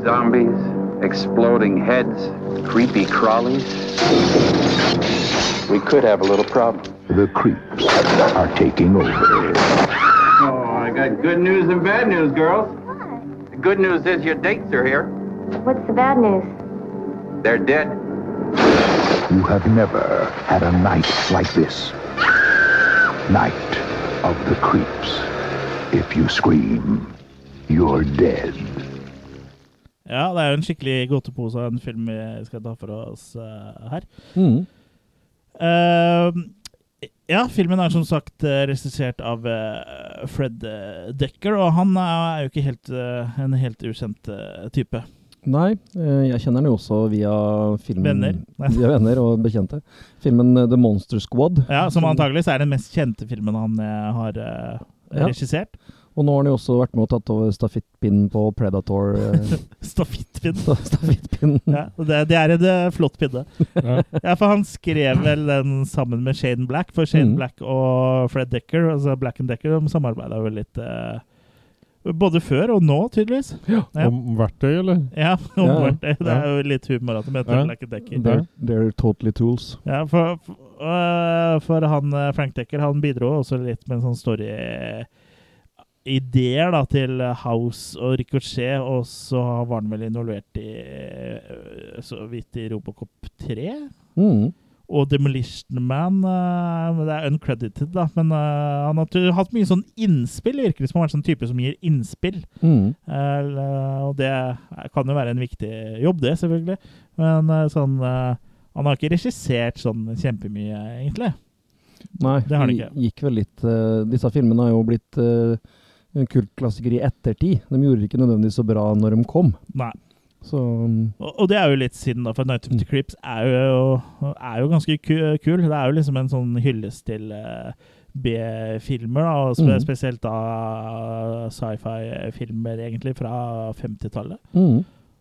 S6: Zombies, exploding heads, creepy crawlies. We could have a little problem.
S4: The creeps are taking over.
S6: Oh, I got good news and bad news, girls. The good news is your dates are here.
S7: What's the bad news?
S6: They're dead.
S4: You have never had a night like this. Night of the creeps. If you scream, you're dead.
S1: Ja, det er jo en skikkelig godtepose av en film vi skal ta for oss eh, her.
S3: Mm.
S1: Eh, ja, filmen er som sagt eh, regissert av eh, Fred eh, Decker, og han er jo ikke helt, eh, en helt ukjent eh, type.
S3: Nei, eh, jeg kjenner den jo også via filmen
S1: Venner. Nei.
S3: Via venner og bekjente. Filmen eh, The Monster Squad.
S1: Ja, Som antageligvis er den mest kjente filmen han eh, har eh,
S3: Ja.
S1: regissert.
S3: Og nå har han jo også vært med og tatt over stafettpinnen på Predator. eh,
S1: Stafittpinn.
S3: sta- stafettpinnen.
S1: Ja, og det, det er en eh, flott pinne.
S2: Ja.
S1: Ja, for han skrev vel den sammen med Shane Black, for Shane
S3: Mhm.
S1: Black og Fred Decker, altså Black and Decker, de samarbeida vel litt eh, Både før og nå, tydeligvis. Ja.
S2: Om verktøy, eller?
S1: Ja,
S3: ja.
S1: omvendt. Det er jo litt humor at de heter
S2: Ja.
S1: Black and Decker.
S3: They're, they're totally tools.
S1: Ja, for, for, øh, for han øh, Frank Decker han bidro også litt med en sånn story ideer da, til House og Ricochet, og så var han vel involvert i øh, så vidt i Robocop 3
S3: Mm.
S1: og Demolition Man. øh, men det er uncredited, da, men øh, han har tu- hatt mye sånn innspill, virker det som. Han har vært sånn type som gir innspill.
S3: Mm.
S1: Eh, og det er- kan jo være en viktig jobb, det, selvfølgelig. Men eh, sånn eh, Han har ikke regissert sånn kjempemye, egentlig.
S3: Nei,
S1: Det har det
S3: de
S1: ikke.
S3: gikk vel litt eh, Disse filmene har jo blitt eh, en kultklassiker i ettertid. De gjorde det ikke nødvendigvis så bra når de kom.
S1: Nei.
S3: Så mm,
S1: Og, og det er jo litt synd, da, for Night of the Crips er jo, er jo ganske ku- kul. Det er jo liksom en sånn hyllest til eh, B-filmer, da, og spe
S3: Mhm.
S1: spesielt da sci-fi-filmer, egentlig, fra 50-tallet.
S3: mm,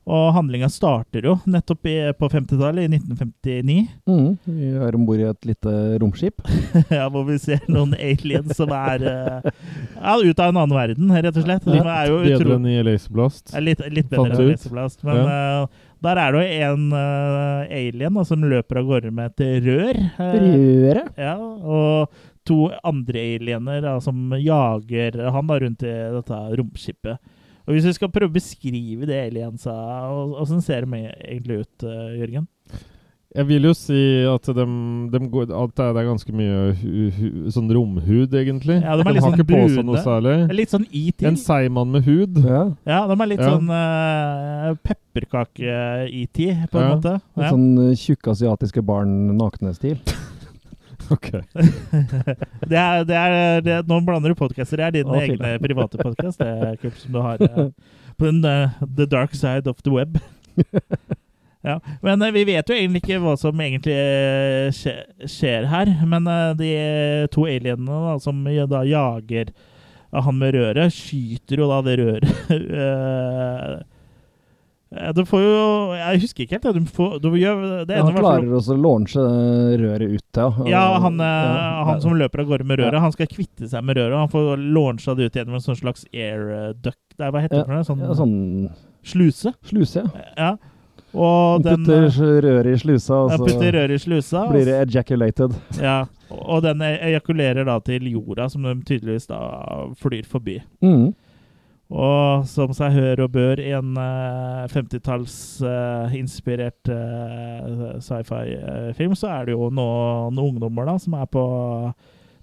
S1: Og handlinga starter jo nettopp i, på 50-tallet, i 1959.
S3: mm. Vi er om bord i et lite romskip.
S1: Ja, hvor vi ser noen aliens som er eh, ja, ut av en annen verden, rett og slett. De er jo
S2: Bedre
S1: utro...
S2: enn i Laserblast.
S1: er Litt, litt bedre
S2: Fant
S1: enn
S2: du ut?
S1: Leseblast, men eh, der er det jo en eh, alien da, som løper av gårde med et rør. eh,
S3: Røret.
S1: ja, og to andre aliener da, som jager han da rundt i dette romskipet. Og Hvis vi skal prøve å beskrive det aliensa, og- åssen ser de egentlig ut, eh, Jørgen?
S2: Jeg vil jo si at, dem- dem går, at det er ganske mye hu, hu, sånn romhud, egentlig.
S1: Ja, de er
S2: de
S1: litt
S2: har
S1: sånn
S2: ikke på seg
S1: brune.
S2: noe særlig.
S1: Litt sånn ET.
S2: En seigmann med hud.
S3: Ja.
S1: Ja, de er litt
S2: Ja.
S1: sånn uh, pepperkake-ET, på en
S2: Ja.
S1: måte.
S3: Litt
S1: Ja.
S3: sånn eh, tjukke asiatiske barn nakne-stil.
S2: Ok.
S1: Det er, det er, det, nå blander du podcaster. Det er dine
S3: Å, fy
S1: egne private podkast. Det er kult som du har eh, på den, eh, The Dark Side of the Web. Ja, Men eh, vi vet jo egentlig ikke hva som egentlig eh, skje, skjer her. Men eh, de to alienene da, som jo da jager eh, han med røret, skyter jo da det røret Eh, Du får jo Jeg husker ikke helt. ja, Du får, du gjør, det
S3: Ja,
S1: ender i
S3: han
S1: hvert fall
S3: klarer også å launche eh, røret ut, ja.
S1: ja, han, eh,
S3: Ja.
S1: han som løper av gårde med røret,
S3: Ja.
S1: han skal kvitte seg med røret. og Han får launcha det ut gjennom en sånn slags air eh, duct. Det er, hva heter det for noe? Sånn,
S3: ja, sånn
S1: sluse?
S3: sluse, ja.
S1: Ja. Og
S3: Han
S1: den
S3: putter
S1: putter,
S3: røret i slusa, og så
S1: putter røret i slusa.
S3: blir det ejaculated.
S1: Ja, og den e-, ejakulerer da til jorda, som de tydeligvis da flyr forbi.
S3: Mm.
S1: Og som seg hør og bør i en eh, 50-tallsinspirert eh, sci-fi-film, så er det jo noen ungdommer da som er på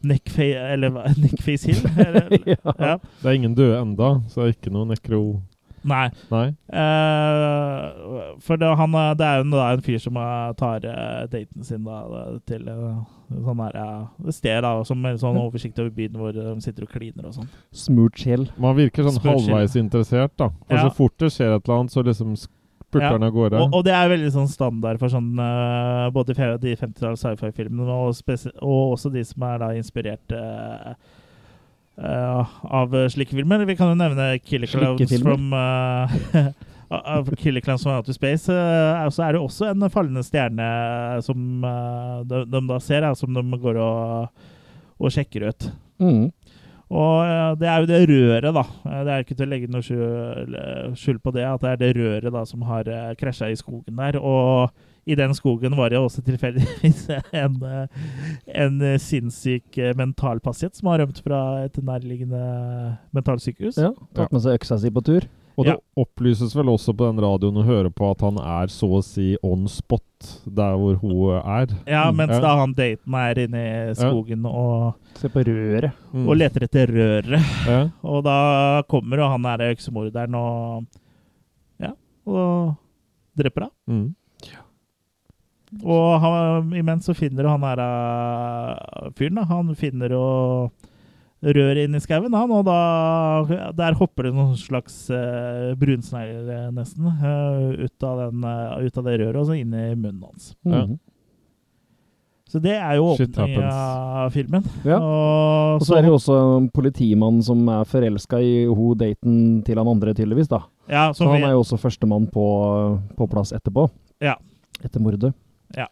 S1: Neckface Eller hva- Neckface Hill? Eller,
S3: Ja.
S1: ja.
S2: Det er ingen døde enda, så det er ikke noe nekro...
S1: Nei.
S2: Nei?
S1: Eh, for det, han, eh, det er jo en, da, en fyr som eh, tar eh, daten sin da, eh, til eh, sånn her, eh, et sted da, som er sånn oversikt over byen hvor de sitter og kliner og sånn.
S3: Smoochhill.
S2: Man virker sånn
S1: Spør skyld.
S2: halvveis interessert, da. For
S1: Ja.
S2: så fort det skjer et eller annet, så liksom spurter
S1: Ja.
S2: han av gårde.
S1: Og, og det er veldig sånn standard for sånn eh, både fe- de 50-talls sci-fi-filmene og, spes- og også de som er da inspirert eh, eh, av slike filmer. Vi kan jo nevne Killer Clowns
S3: Slikkefilmer.
S1: from eh, av Killer Clowns from Outer Space. eh, er- så er det også en fallende stjerne som eh, de, de da ser, eh, som de går og, og sjekker ut.
S3: Mm.
S1: Og eh, det er jo det røret, da. Eh, Det er ikke til å legge noe skjul, eh, skjul på det, at det er det røret da som har krasja i skogen der. Og i den skogen var det jo også tilfeldigvis en, eh, en eh, sinnssyk eh, mentalpasient som har rømt fra et nærliggende mentalsykehus.
S3: Ja. Tatt med seg øksa si på tur.
S2: Og det
S1: Ja.
S2: opplyses vel også på den radioen å høre på at han er så å si on spot der hvor hun er.
S1: Ja,
S2: Mm.
S1: mens
S2: Ja.
S1: da han daten er inne i skogen og,
S3: Se på røret.
S2: Mm.
S1: og leter etter røret.
S2: Ja.
S1: Og da kommer jo han der øksemorderen og Ja, og dreper henne.
S2: Mm.
S1: Og han, imens så finner han her eh, fyren, da. Han finner og rører inn i skauen, han. Og da Der hopper det noen slags uh, brunsnegler, eh, nesten, eh, ut, av den, eh, ut av det røret og så inn i munnen hans.
S2: Ja.
S3: Mm.
S1: Så det er jo
S2: Shit
S1: åpningen
S2: happens.
S1: av filmen.
S3: Ja.
S1: Og
S3: Og så er det jo også en politimann som er forelska i ho daten til han andre, tydeligvis. da.
S1: ja,
S3: Så
S1: som
S3: han er
S1: vi,
S3: jo også førstemann på, på plass etterpå.
S1: Ja.
S3: Etter mordet.
S1: Ja.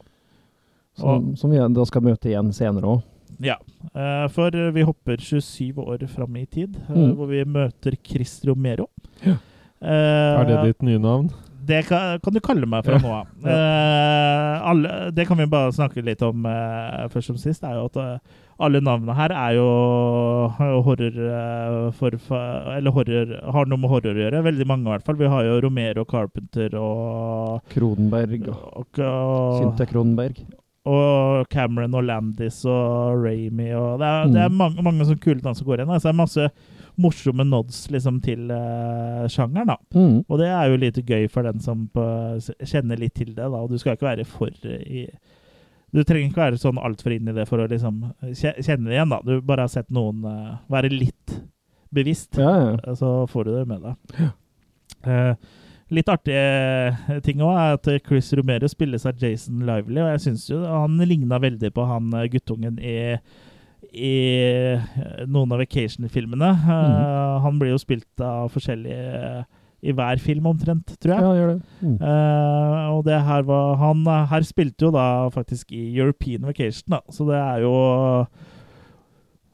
S3: Som, som vi da skal møte igjen senere òg.
S1: ja. Eh, for vi hopper 27 år fram i tid, eh,
S3: Mm.
S1: hvor vi møter Chris Romero.
S3: Ja.
S1: Eh,
S2: Er det ditt nye navn?
S1: Det kan, kan du kalle meg fra
S2: Ja.
S1: nå av. Eh, alle- det kan vi bare snakke litt om eh, først som sist. er jo at eh, Alle navnene her er jo horror, eh, for, for- eller horror har noe med horror å gjøre. Veldig mange, i hvert fall. Vi har jo Romero, Carpenter og
S3: Kronenberg.
S1: og, og,
S3: Cynthia Kronenberg.
S1: og Cameron og Landis og Ramy og Det er, det er
S3: Mm.
S1: mange, mange sånne kule navn som går igjen. Altså, det er masse morsomme nods liksom, til eh, sjangeren. da.
S3: Mm.
S1: Og det er jo litt gøy for den som på, kjenner litt til det, da. Og du skal ikke være for i Du trenger ikke være sånn altfor inn i det for å liksom kje- kjenne det igjen, da. Du bare har sett noen eh, være litt bevisst,
S3: Ja, ja.
S1: eh, så får du det med deg. Eh, litt artige eh, ting òg er at Chris Romero spilles av Jason Lively, og jeg syns jo han ligna veldig på han eh, guttungen i i eh, noen av Vacation-filmene. Eh,
S3: Mhm.
S1: Han blir jo spilt av forskjellige eh, i hver film omtrent, tror jeg.
S3: ja, gjør det. Mm.
S1: Eh, og det her var Han eh, her spilte jo da faktisk i European Vacation, da, så det er jo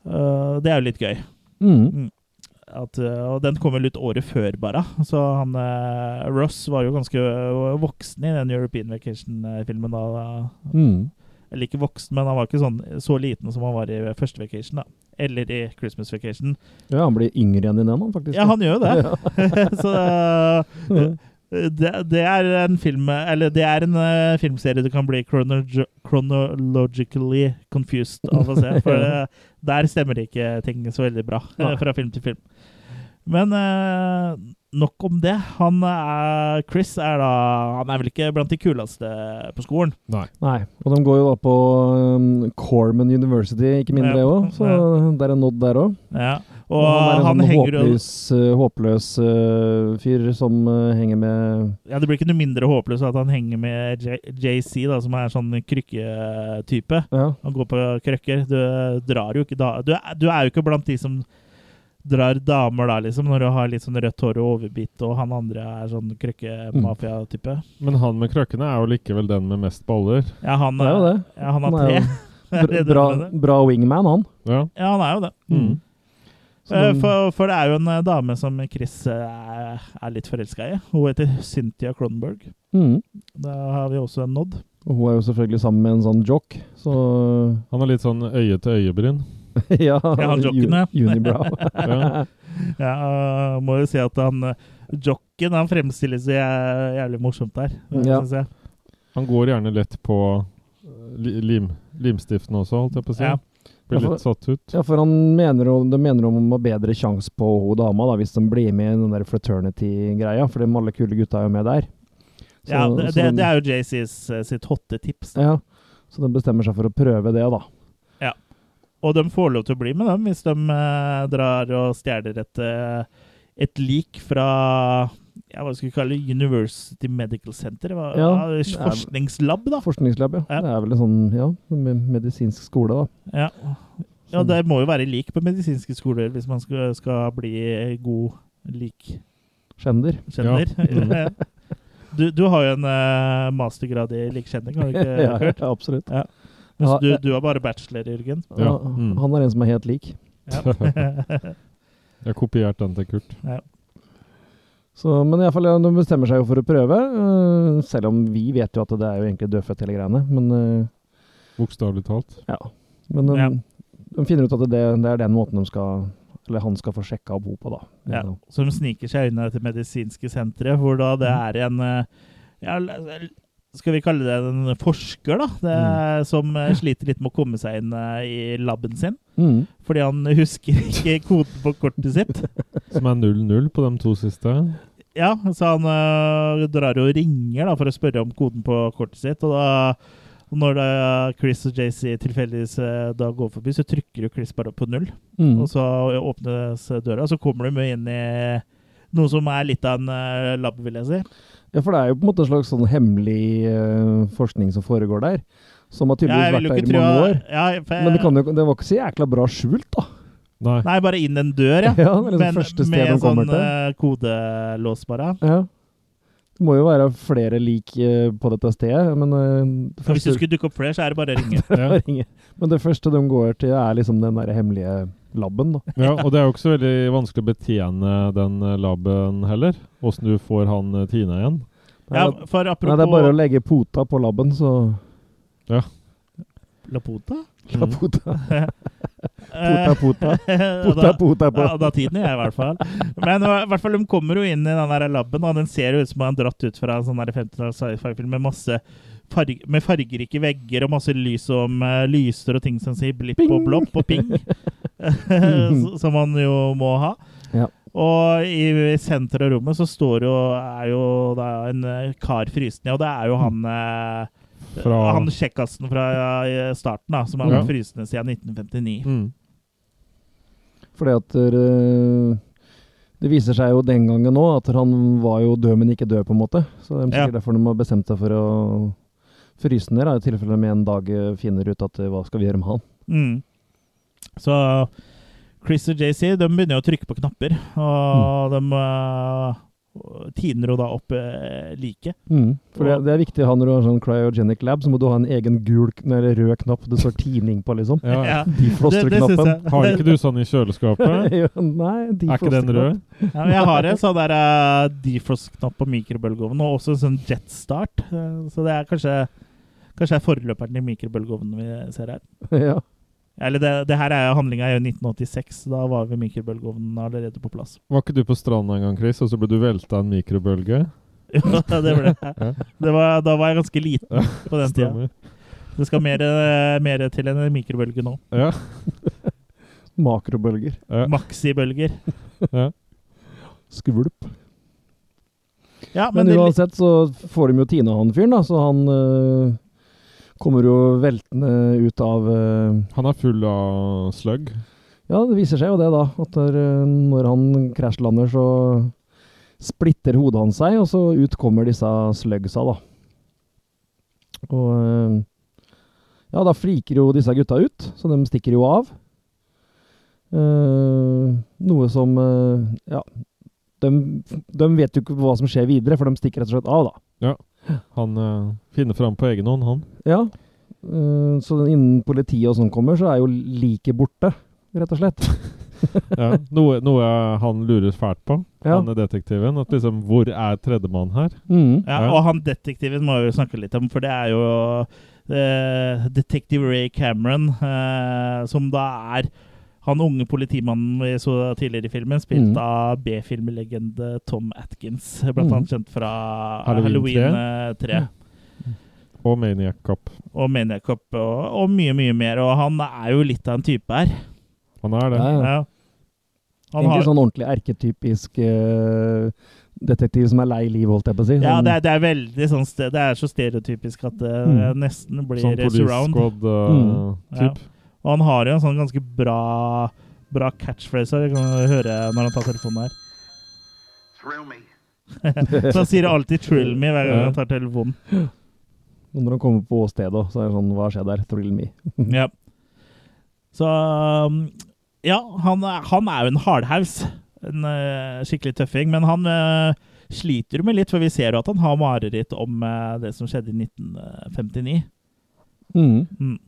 S1: eh, Det er jo litt gøy.
S3: Mm.
S1: At, eh, og den kom vel ut året før, bare. Så han eh, Ross var jo ganske eh, voksen i den European Vacation-filmen da.
S3: Mm.
S1: Eller ikke voksen, men han var ikke sånn, så liten som han var i første Vacation, da. Eller i Christmas Vacation.
S3: ja, han blir yngre enn din ennå, faktisk.
S1: Ja, han gjør jo det. så
S3: Ja.
S1: det, det er en film Eller det er en eh, filmserie du kan bli chronolog chronologically confused av å se. For eh, der stemmer det ikke ting så veldig bra eh,
S3: Nei.
S1: fra film til film. Men eh, nok om det. Han er, Chris er da Han er vel ikke blant de kuleste på skolen.
S2: Nei.
S3: Nei. Og de går jo da på um, Corman University, ikke mindre det
S1: Ja.
S3: òg, så der er nådd der òg.
S1: Ja. Og,
S3: Og han er en
S1: han,
S3: sånn
S1: henger jo
S3: håpløs, eh, håpløs eh, fyr som eh, henger med
S1: ja, Det blir ikke noe mindre håpløst at han henger med J- JC, da, som er sånn krykketype.
S3: Ja.
S1: å gå på krøkker. Du eh, drar jo ikke da du, er- du er jo ikke blant de som drar damer da, liksom, når du har litt sånn rødt hår og overbitt, og han andre er sånn
S3: Mm.
S1: krøkkemafia-type.
S2: Men han med krøkkene er jo likevel den med mest baller.
S1: Ja, han eh,
S3: Det er jo det.
S1: Ja, han har
S3: Han er
S1: tre.
S3: jo
S1: Er det det du
S3: Bra, bra,
S1: mener?
S3: bra wingman, han.
S2: Ja.
S1: Ja, han er jo det.
S2: Mm.
S3: Så den-
S1: Eh, For, for det er jo en eh, dame som Chris eh, er, er litt forelska i. Hun heter Cynthia Cronberg.
S3: Mm.
S1: Da har vi også en nod.
S3: Og hun er jo selvfølgelig sammen med en sånn jock, så
S2: Han har litt sånn øye-til-øye-bryn.
S3: Ja,
S1: Ja, han jocken, ja.
S3: ju- Unibrow.
S2: Ja.
S1: Ja, eh, må jo si at han eh, jocken han fremstilles jo jæ- jævlig morsomt der,
S3: Ja.
S1: syns jeg.
S2: Han går gjerne lett på eh, li lim limstiften også, holdt jeg på å si.
S1: Ja.
S2: ble
S3: Ja, for-
S2: litt satt ut.
S3: Ja, for han mener, jo- de mener om har bedre sjanse på hun dama da, hvis de blir med i den der fraternity-greia, for de alle kule gutta er jo med der. Så-
S1: Ja, det,
S3: så
S1: det,
S3: de-
S1: det er jo JCs eh, sitt hotte tips. da.
S3: Ja, så de bestemmer seg for å prøve det, da.
S1: Og de får lov til å bli med dem hvis de eh, drar og stjeler et, eh, et lik fra ja, hva skal vi kalle det, University Medical Center? Hva,
S3: Ja.
S1: ja, forskningslab, da.
S3: Forskningslab, ja.
S1: Ja.
S3: Det er vel en sånn, ja, med- medisinsk skole, da.
S1: Ja. ja, det må jo være lik på medisinske skoler hvis man skal, skal bli god lik-kjenner.
S3: Skjender.
S2: Ja.
S1: Du, du har jo en eh, mastergrad i likkjenning, har du ikke
S3: ja,
S1: hørt?
S3: ja, absolutt.
S1: Mens
S3: ja,
S1: du,
S3: ja.
S1: du har bare bachelor, Jørgen.
S2: Ja,
S3: Han-
S2: mm.
S3: Han er en som er helt lik.
S1: Ja.
S2: Jeg har kopiert den til Kurt.
S3: Så, men i alle fall, ja, de bestemmer seg jo for å prøve, øh, selv om vi vet jo at det er jo egentlig dødfødt hele greiene. Men øh,
S2: Bokstavelig talt.
S3: Ja. Men de,
S1: Ja.
S3: de finner ut at det, det er den måten de skal Eller han skal få sjekka opp henne på, da.
S1: Ja,
S3: Så-
S1: som sniker seg unna dette medisinske senteret, hvor da det er en eh, ja, l- l- Skal vi kalle det en forsker, da? Det, Som eh, sliter litt med å komme seg inn eh, i laben sin.
S3: Mm.
S1: Fordi han husker ikke koden på kortet sitt.
S2: Som er 0-0 på de to siste.
S1: Ja, Så han eh, drar og ringer da for å spørre om koden på kortet sitt. Og da når da Chris og JC tilfeldigvis eh, da går forbi, så trykker jo Chris bare på null.
S3: Mm.
S1: Og så åpnes døra, og så kommer de inn i noe som er litt av en eh, lab, vil jeg si.
S3: Ja, for det er jo på en måte en slags sånn hemmelig øh, forskning som foregår der. Som har tydeligvis
S1: jeg vil
S3: vært
S1: jo
S3: der
S1: ikke
S3: i
S1: tro
S3: mange år.
S1: ja, for jeg,
S3: Men det, kan jo, det var ikke så jækla bra skjult, da.
S2: Nei.
S1: Nei, bare inn en dør, ja.
S3: Ja, det er liksom første sted
S1: med
S3: de kommer
S1: sånn
S3: til.
S1: eh, kodelås, bare.
S3: Ja. Det må jo være flere lik øh, på dette stedet, men øh, det
S1: Så Hvis det
S3: første,
S1: skulle dukke opp flere, så er det bare å ringe.
S2: Ja.
S3: men det første de går til, er liksom den der hemmelige laben, da.
S2: Ja, og det er jo ikke så veldig vanskelig å betjene den eh, laben heller. Åssen du får han eh, Tina igjen.
S3: Det er,
S1: Ja, for
S3: nei, det er bare
S1: apropos
S3: å legge pota på laben, så
S1: Lapota
S3: La pota,
S1: Mm. Eh,
S3: pota, pota.
S1: da-
S3: Pota, pota, på.
S1: Ja, da tiden jeg, i hvert fall. Men eh, i hvert fall, de kommer jo inn i den der laben, og den ser jo ut som den er dratt ut fra en sånn 50-talls sci-fi-film med masse farg med fargerike vegger og masse lys som eh, lyser og ting som sier blipp og blopp og ping, S- som man jo må ha.
S3: Ja.
S1: Og i senteret av rommet så står jo, er jo det er en eh, kar fryst ned, og det er jo han eh,
S2: Fra-
S1: Han kjekkasen fra eh, starten, da, som har
S2: Ja.
S1: vært frysende siden 1959.
S2: Mm.
S3: Fordi at eh, det viser seg jo den gangen nå at han var jo død, men ikke død, på en måte. Så det er sikkert derfor de har bestemt seg for å fryse den ned, da, i tilfelle de en dag eh, finner ut at eh, hva skal vi gjøre med han.
S1: Mm. Så Chris og JC de begynner jo å trykke på knapper, og
S2: Mm.
S1: de eh, tiner jo da opp uh, liket.
S3: For det, det er viktig å ha når du har sånn cryogenic lab, så må du ha en egen gul kn- eller rød knapp det står tining på, liksom.
S2: Ja. ja.
S1: Ja, det- det synes
S3: Defroster-knappen.
S1: jeg.
S2: Har ikke du sånn i kjøleskapet?
S3: Jo, Nei,
S2: Er ikke den rød?
S1: Ja, jeg har en sånn der eh, defrost-knapp på mikrobølgeovnen, og også en sånn jetstart. eh, så det er kanskje Kanskje det er forløperen til mikrobølgeovnen vi ser her.
S3: ja.
S1: Eller det, det her er jo handlinga i 1986. Da var vi mikrobølgeovnen allerede på plass.
S2: Var ikke du på stranda en gang, Chris, og så ble du velta av en mikrobølge?
S1: Ja, det ble det. det var, da var jeg ganske liten på den tida.
S2: Stemmer.
S1: Det skal mer, eh, mer til enn en mikrobølge nå.
S2: Ja.
S3: Makrobølger.
S2: ja.
S1: Maxibølger.
S3: Skvulp.
S1: Ja, men,
S3: Men
S1: det,
S3: uansett så får de jo Tina han fyren, da, så han øh, kommer jo veltende ut av øh,
S2: Han er full av slugg.
S3: Ja, det viser seg jo det, da. At der, øh, når han krasjlander, så splitter hodet hans seg, og så ut kommer disse slugsa, da. Og øh, Ja, da fliker jo disse gutta ut, så de stikker jo av. Eh, noe som øh, Ja. De, de vet jo ikke hva som skjer videre, for de stikker rett og slett av, da.
S2: Han eh, finner fram på egen hånd, han.
S3: Ja. eh, så den- innen politiet og sånn kommer, så er jo liket borte, rett og slett.
S2: Ja. Noe, noe han lurer fælt på,
S3: Ja.
S2: han er detektiven. At liksom, hvor er tredjemann her?
S3: Mm.
S1: ja, og han detektiven må vi jo snakke litt om, for det er jo eh, detektiv Ray Cameron, eh, som da er han unge politimannen vi så tidligere i filmen, spilt
S3: Mm.
S1: av B-filmlegende Tom Atkins, blant
S3: Mm.
S1: annet kjent fra
S2: Halloween
S1: Halloween 3.
S2: Og Maniac Cop.
S1: og Maniac Cop og, og mye, mye mer. Og han er jo litt av en type her.
S2: Han er det.
S3: Ja, ja.
S1: Ja. Han
S3: Egentlig
S1: har,
S3: sånn ordentlig erketypisk eh, detektiv som er lei liv, holdt jeg på å si.
S1: ja,
S3: Sånn-
S1: det er, det er veldig sånn ste- Det er så stereotypisk at det
S3: Mm.
S1: nesten blir
S2: Sånn Police eh,
S1: surround.
S3: Mm.
S2: Squad-type.
S1: Og han har jo en sånn ganske bra Bra catchphrase her. Vi kan høre når han tar telefonen her.
S6: Thrill me.
S1: Så han sier alltid 'trill me' hver gang
S2: Ja.
S1: han tar telefonen.
S3: Og Når han kommer på åstedet, så er det sånn Hva skjer der? Thrill me.
S1: Ja. Så um, Ja, han, er- han er jo en hardhaus. En eh, skikkelig tøffing. Men han eh, sliter jo med litt, for vi ser jo at han har mareritt om eh, det som skjedde i eh, 1959.
S3: Mm.
S1: Mm.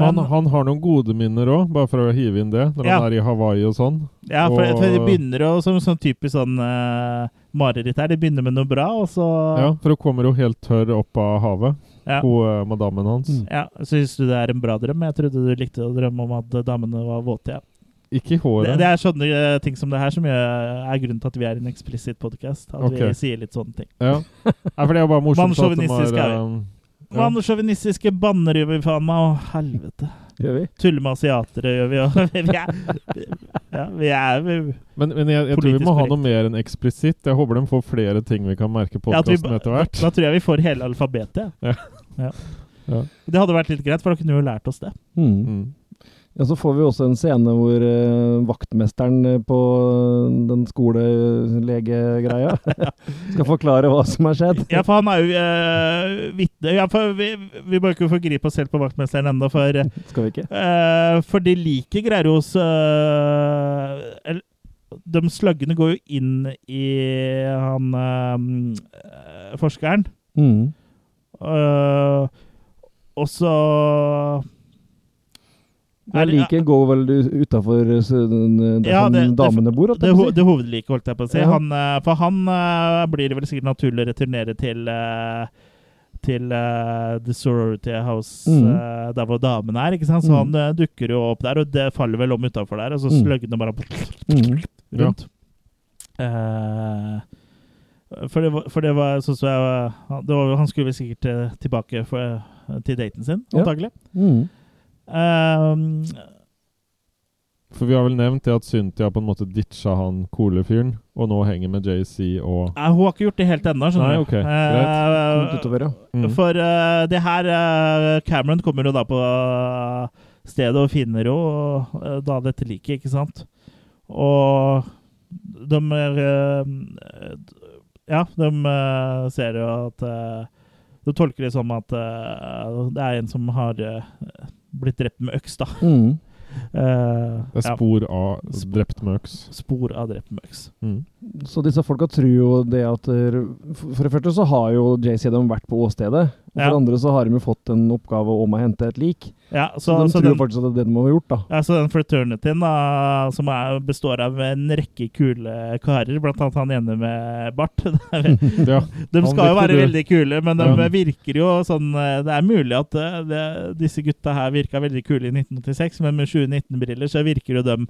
S2: han, han har noen gode minner òg, bare for å hive inn det, når
S1: Ja.
S2: han er i Hawaii og sånn.
S1: Ja, for,
S2: Og-
S1: for det begynner jo som sånn typisk sånn eh, mareritt her. Det begynner med noe bra, og så
S2: Ja, For hun kommer jo helt tørr opp av havet,
S1: Ja.
S2: hun eh, madammen hans.
S3: Mm.
S1: Ja, Syns du det er en bra drøm? Jeg trodde du likte å drømme om at damene var våte. Ja.
S2: Ikke i
S1: Det,
S2: håret.
S1: det er sånne eh, ting som det her som gjør, er grunnen til at vi er en eksplisitt podkast. At
S2: Ok.
S1: vi sier litt sånne ting.
S2: Ja. Nei, for det er jo bare morsomt at de
S1: Mannssjåvinistisk
S2: har
S1: er vi.
S2: eh, Ja.
S1: Mann sjåvinistiske banneryver, faen meg. Å, helvete.
S3: Gjør vi?
S1: Tuller med asiatere, gjør vi òg. Vi er, ja, vi er vi,
S2: Men, men jeg, jeg tror vi
S1: Politisk
S2: må ha
S1: korrekt.
S2: noe mer enn eksplisitt. Jeg håper de får flere ting vi kan merke
S1: ja, at vi
S2: podkasten etter hvert.
S1: Da tror jeg vi får hele alfabetet.
S2: Ja.
S1: Ja.
S2: Ja.
S1: Det hadde vært litt greit, for da kunne vi jo lært oss det.
S3: Mm.
S2: Mm.
S3: Ja, så får vi også en scene hvor eh, vaktmesteren eh, på den skolelegegreia skal forklare hva som har skjedd.
S1: Ja, for han er jo eh, vitne ja, for vi, vi bør ikke forgripe oss selv på vaktmesteren ennå, for,
S3: Skal vi ikke?
S1: eh, for de liker greier hos eh, el- De slaggene går jo inn i han eh, eh, forskeren.
S3: Mm.
S1: Eh, og så
S3: Jeg liker går vel eh, utafor der
S1: Ja,
S3: som
S1: det- det-
S3: damene bor? holdt
S1: Det,
S3: jeg på å
S1: ho
S3: si.
S1: det hovedlike, holdt jeg på å si.
S3: Ja.
S1: Han, eh, for han eh, blir det vel sikkert naturlig å returnere til eh, til eh, The Sorority House,
S3: Mhm.
S1: eh, der hvor damene er. ikke sant? Så
S3: Mhm.
S1: han eh, dukker jo opp der, og det faller vel om utafor der. Og så
S3: Mhm.
S1: sløgner det bare
S3: Mm.
S1: rundt. Eh, for det var, for det var sånn som jeg var- det var, Han skulle vel sikkert eh, tilbake for, eh, til daten sin,
S3: Ja.
S1: antagelig.
S3: Mm.
S1: Eh,
S2: For vi har vel nevnt det at Cynthia på en måte ditcha han coole-fyren, og nå henger med JC og
S1: Nei, hun har ikke gjort det helt ennå, skjønner
S2: Nei,
S1: du.
S2: ok,
S1: Eh,
S3: Litt utover, ja.
S2: mm.
S1: For eh, det her eh, Cameron kommer jo da på eh, stedet og finner jo eh, da dette liket, ikke sant? Og de er, eh, Ja, de eh, ser jo at eh, De tolker det som at eh, det er en som har eh, blitt drept med øks, da.
S3: Mm.
S1: Eh,
S2: Det er
S1: ja,
S2: spor av
S1: Sp-
S2: drept med øks.
S1: spor av drept med øks.
S2: Mm.
S3: Så disse folka tror jo det at eh, For for det første så har jo JC dem vært på åstedet. Og for
S1: Ja.
S3: det andre så har de jo fått en oppgave om å hente et lik.
S1: Ja,
S3: Så,
S1: så,
S3: de
S1: så
S3: tror
S1: den
S3: jo faktisk at det er det de har gjort, da.
S1: Ja, så Altså, den fraternityen da, som er, består av en rekke kule karer, blant annet han ene med bart. de
S2: Ja.
S1: skal jo
S2: likte
S1: være
S2: du.
S1: veldig kule, men de
S2: Ja.
S1: virker jo sånn eh, Det er mulig at eh, det, disse gutta her virka veldig kule i 1986, men med 2019-briller så virker jo dem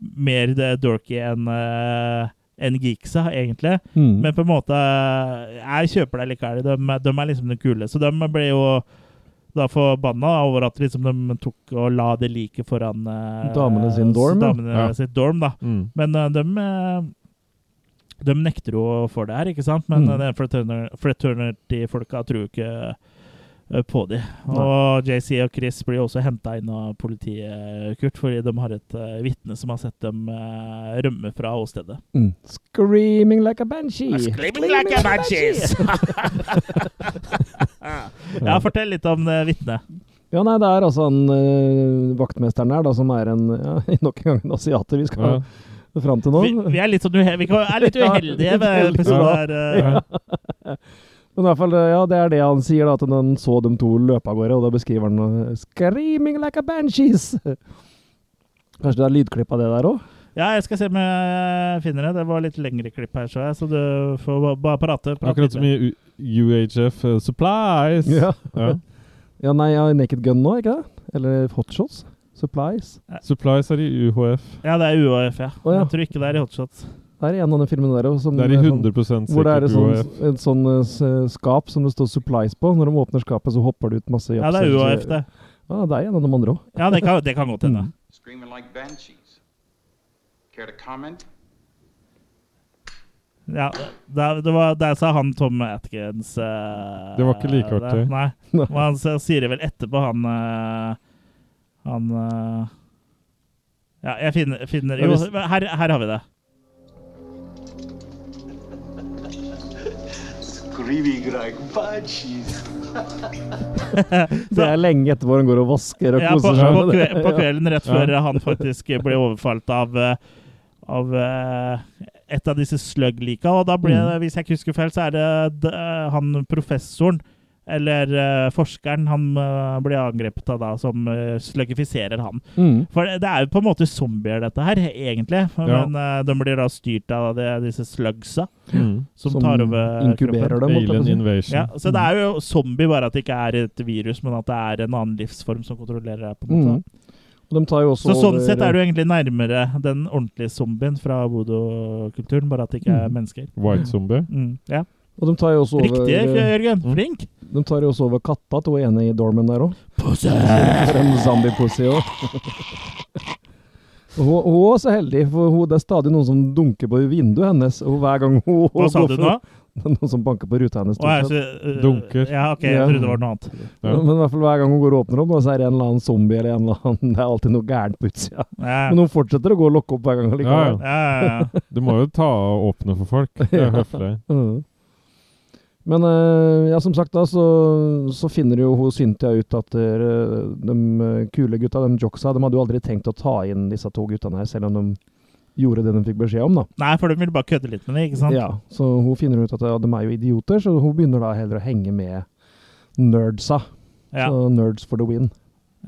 S1: mer eh, dorky enn eh, enn geeksa, egentlig. Men på en måte Jeg kjøper deg likevel. De, de er liksom de kule. Så de ble jo da forbanna over at liksom de tok og la det liket foran eh,
S3: Damene sin dorm, ja.
S1: damene
S2: Ja.
S1: sitt dorm, da.
S2: Mm.
S1: Men eh, de eh, de nekter jo for det her, ikke sant? Men
S3: Mm.
S1: mm. fraternity-folka tror jo ikke eh, på de. Og JC og Chris blir jo også henta inn av politiet, Kurt, fordi de har et eh, vitne som har sett dem eh, rømme fra åstedet.
S3: Mm. Screaming like a banshee.
S1: Ja, fortell litt om eh, det vitnet.
S3: Ja, nei, det er altså han eh, vaktmesteren her, da, som er en ja, Nok en gang en asiater vi skal
S2: Ja.
S3: fram til nå.
S1: Vi, vi er litt, sånn uhe vi kan- er litt uheldige med episoden her. eh.
S3: Men i hvert fall, eh, ja, det er det han sier, da, at han så de to løpe av gårde, og da beskriver han eh, 'Screaming like a banshees'. Kanskje det er lydklipp av det der òg?
S1: Ja, jeg skal se om jeg finner det. Det var litt lengre klipp her, så jeg, så du får ba- bare prate. prate
S2: Akkurat som
S1: videre.
S2: i U UHF eh, Supplies! Ja.
S3: Ja, nei, ja, Naked Gun nå, ikke det? Eller Hotshots? Supplies?
S2: Supplies er i UHF.
S1: Ja, det er UAF, ja.
S3: Å, ja.
S1: Jeg tror ikke det er i hotshots.
S3: Det er en av de filmene der også, som
S2: Det er i
S3: sånn-
S2: 100
S3: Hvor det
S2: sikkert
S3: er et sånn,
S2: UHF.
S3: et sånn eh, s- skap som det står 'supplies' på. Når de åpner skapet, så hopper det ut masse
S1: Ja, det er UAF, det.
S3: Ja, det er en av de andre òg.
S1: Ja, det kan, det kan godt hende.
S6: Screaming like banshees. Care to comment?
S1: Ja, det, det var, der sa han Tom Atkins eh,
S2: Det var ikke like artig.
S1: det. Nei. Men han s- sier det vel etterpå, han eh, Han eh, Ja, jeg finner, finner Jo, her, her har vi det.
S7: Screaming like banshees.
S3: Det er lenge etterpå han går og vasker og
S1: Ja, på,
S3: koser seg.
S1: på,
S3: med
S1: kve,
S3: det.
S1: på kvelden rett før han faktisk ble overfalt av eh, av eh, et av disse slug-lika. Og da ble det, hvis jeg ikke husker feil, så er det d- eh, han professoren, eller eh, forskeren, han eh, ble angrepet av da, som eh, slugifiserer han.
S3: Ja. Mm.
S1: For det er jo på en måte zombier, dette her, egentlig.
S2: Ja.
S1: Men eh, de blir da styrt av de, disse slugsa
S2: Mm.
S1: som, tar over
S3: inkuberer
S1: kroppen.
S3: dem. Mm. holdt jeg på å
S2: Alien
S3: si.
S2: Invasion.
S1: Ja, så det er jo zombie, bare at det ikke er et virus, men at det er en annen livsform som kontrollerer deg. på en måte.
S3: Mm. Og de tar jo også
S1: Så sånn
S3: over- eh,
S1: sett er du egentlig nærmere den ordentlige zombien fra voodoo-kulturen, bare at det ikke er
S3: Mm.
S1: mennesker.
S2: White Zombie.
S1: Mm, ja.
S3: Og de tar jo også over, eh,
S1: Riktig, Jørgen.
S2: Mm.
S1: Flink.
S3: de tar jo også over katta til hun ene i dormen der òg. For en zombie-pussy òg. Hun, hun er også heldig, for hun, det er stadig noen som dunker på vinduet hennes. Og hver gang hun
S1: Hva sa du nå?
S3: Det er Noen som banker på ruta hennes.
S1: Å, jeg
S3: stort sett.
S1: sy- øh,
S2: Dunker.
S1: Ja, OK, jeg
S3: Ja.
S1: trodde det var noe annet.
S2: Ja.
S3: Men i hvert fall hver gang hun går og åpner opp, da, så er det en eller annen zombie eller en eller annen Det er alltid noe gærent på utsida.
S1: Ja,
S3: Men hun fortsetter å gå og lokke opp hver gang
S2: Ja,
S3: likevel.
S1: ja, ja. ja.
S2: Du må jo ta og åpne for folk. Det er høflig.
S3: Mhm. Men eh, ja, som sagt, da så, så finner jo hun Cynthia ut at eh, de eh, kule gutta, de jocksa, de hadde jo aldri tenkt å ta inn disse to guttene her, selv om de gjorde det de fikk beskjed om, da.
S1: Nei, for de ville bare kødde litt med det, ikke sant?
S3: Ja, så hun finner ut at ja, de er jo idioter, så hun begynner da heller å henge med nerdsa.
S1: Ja.
S3: Så nerds for the win.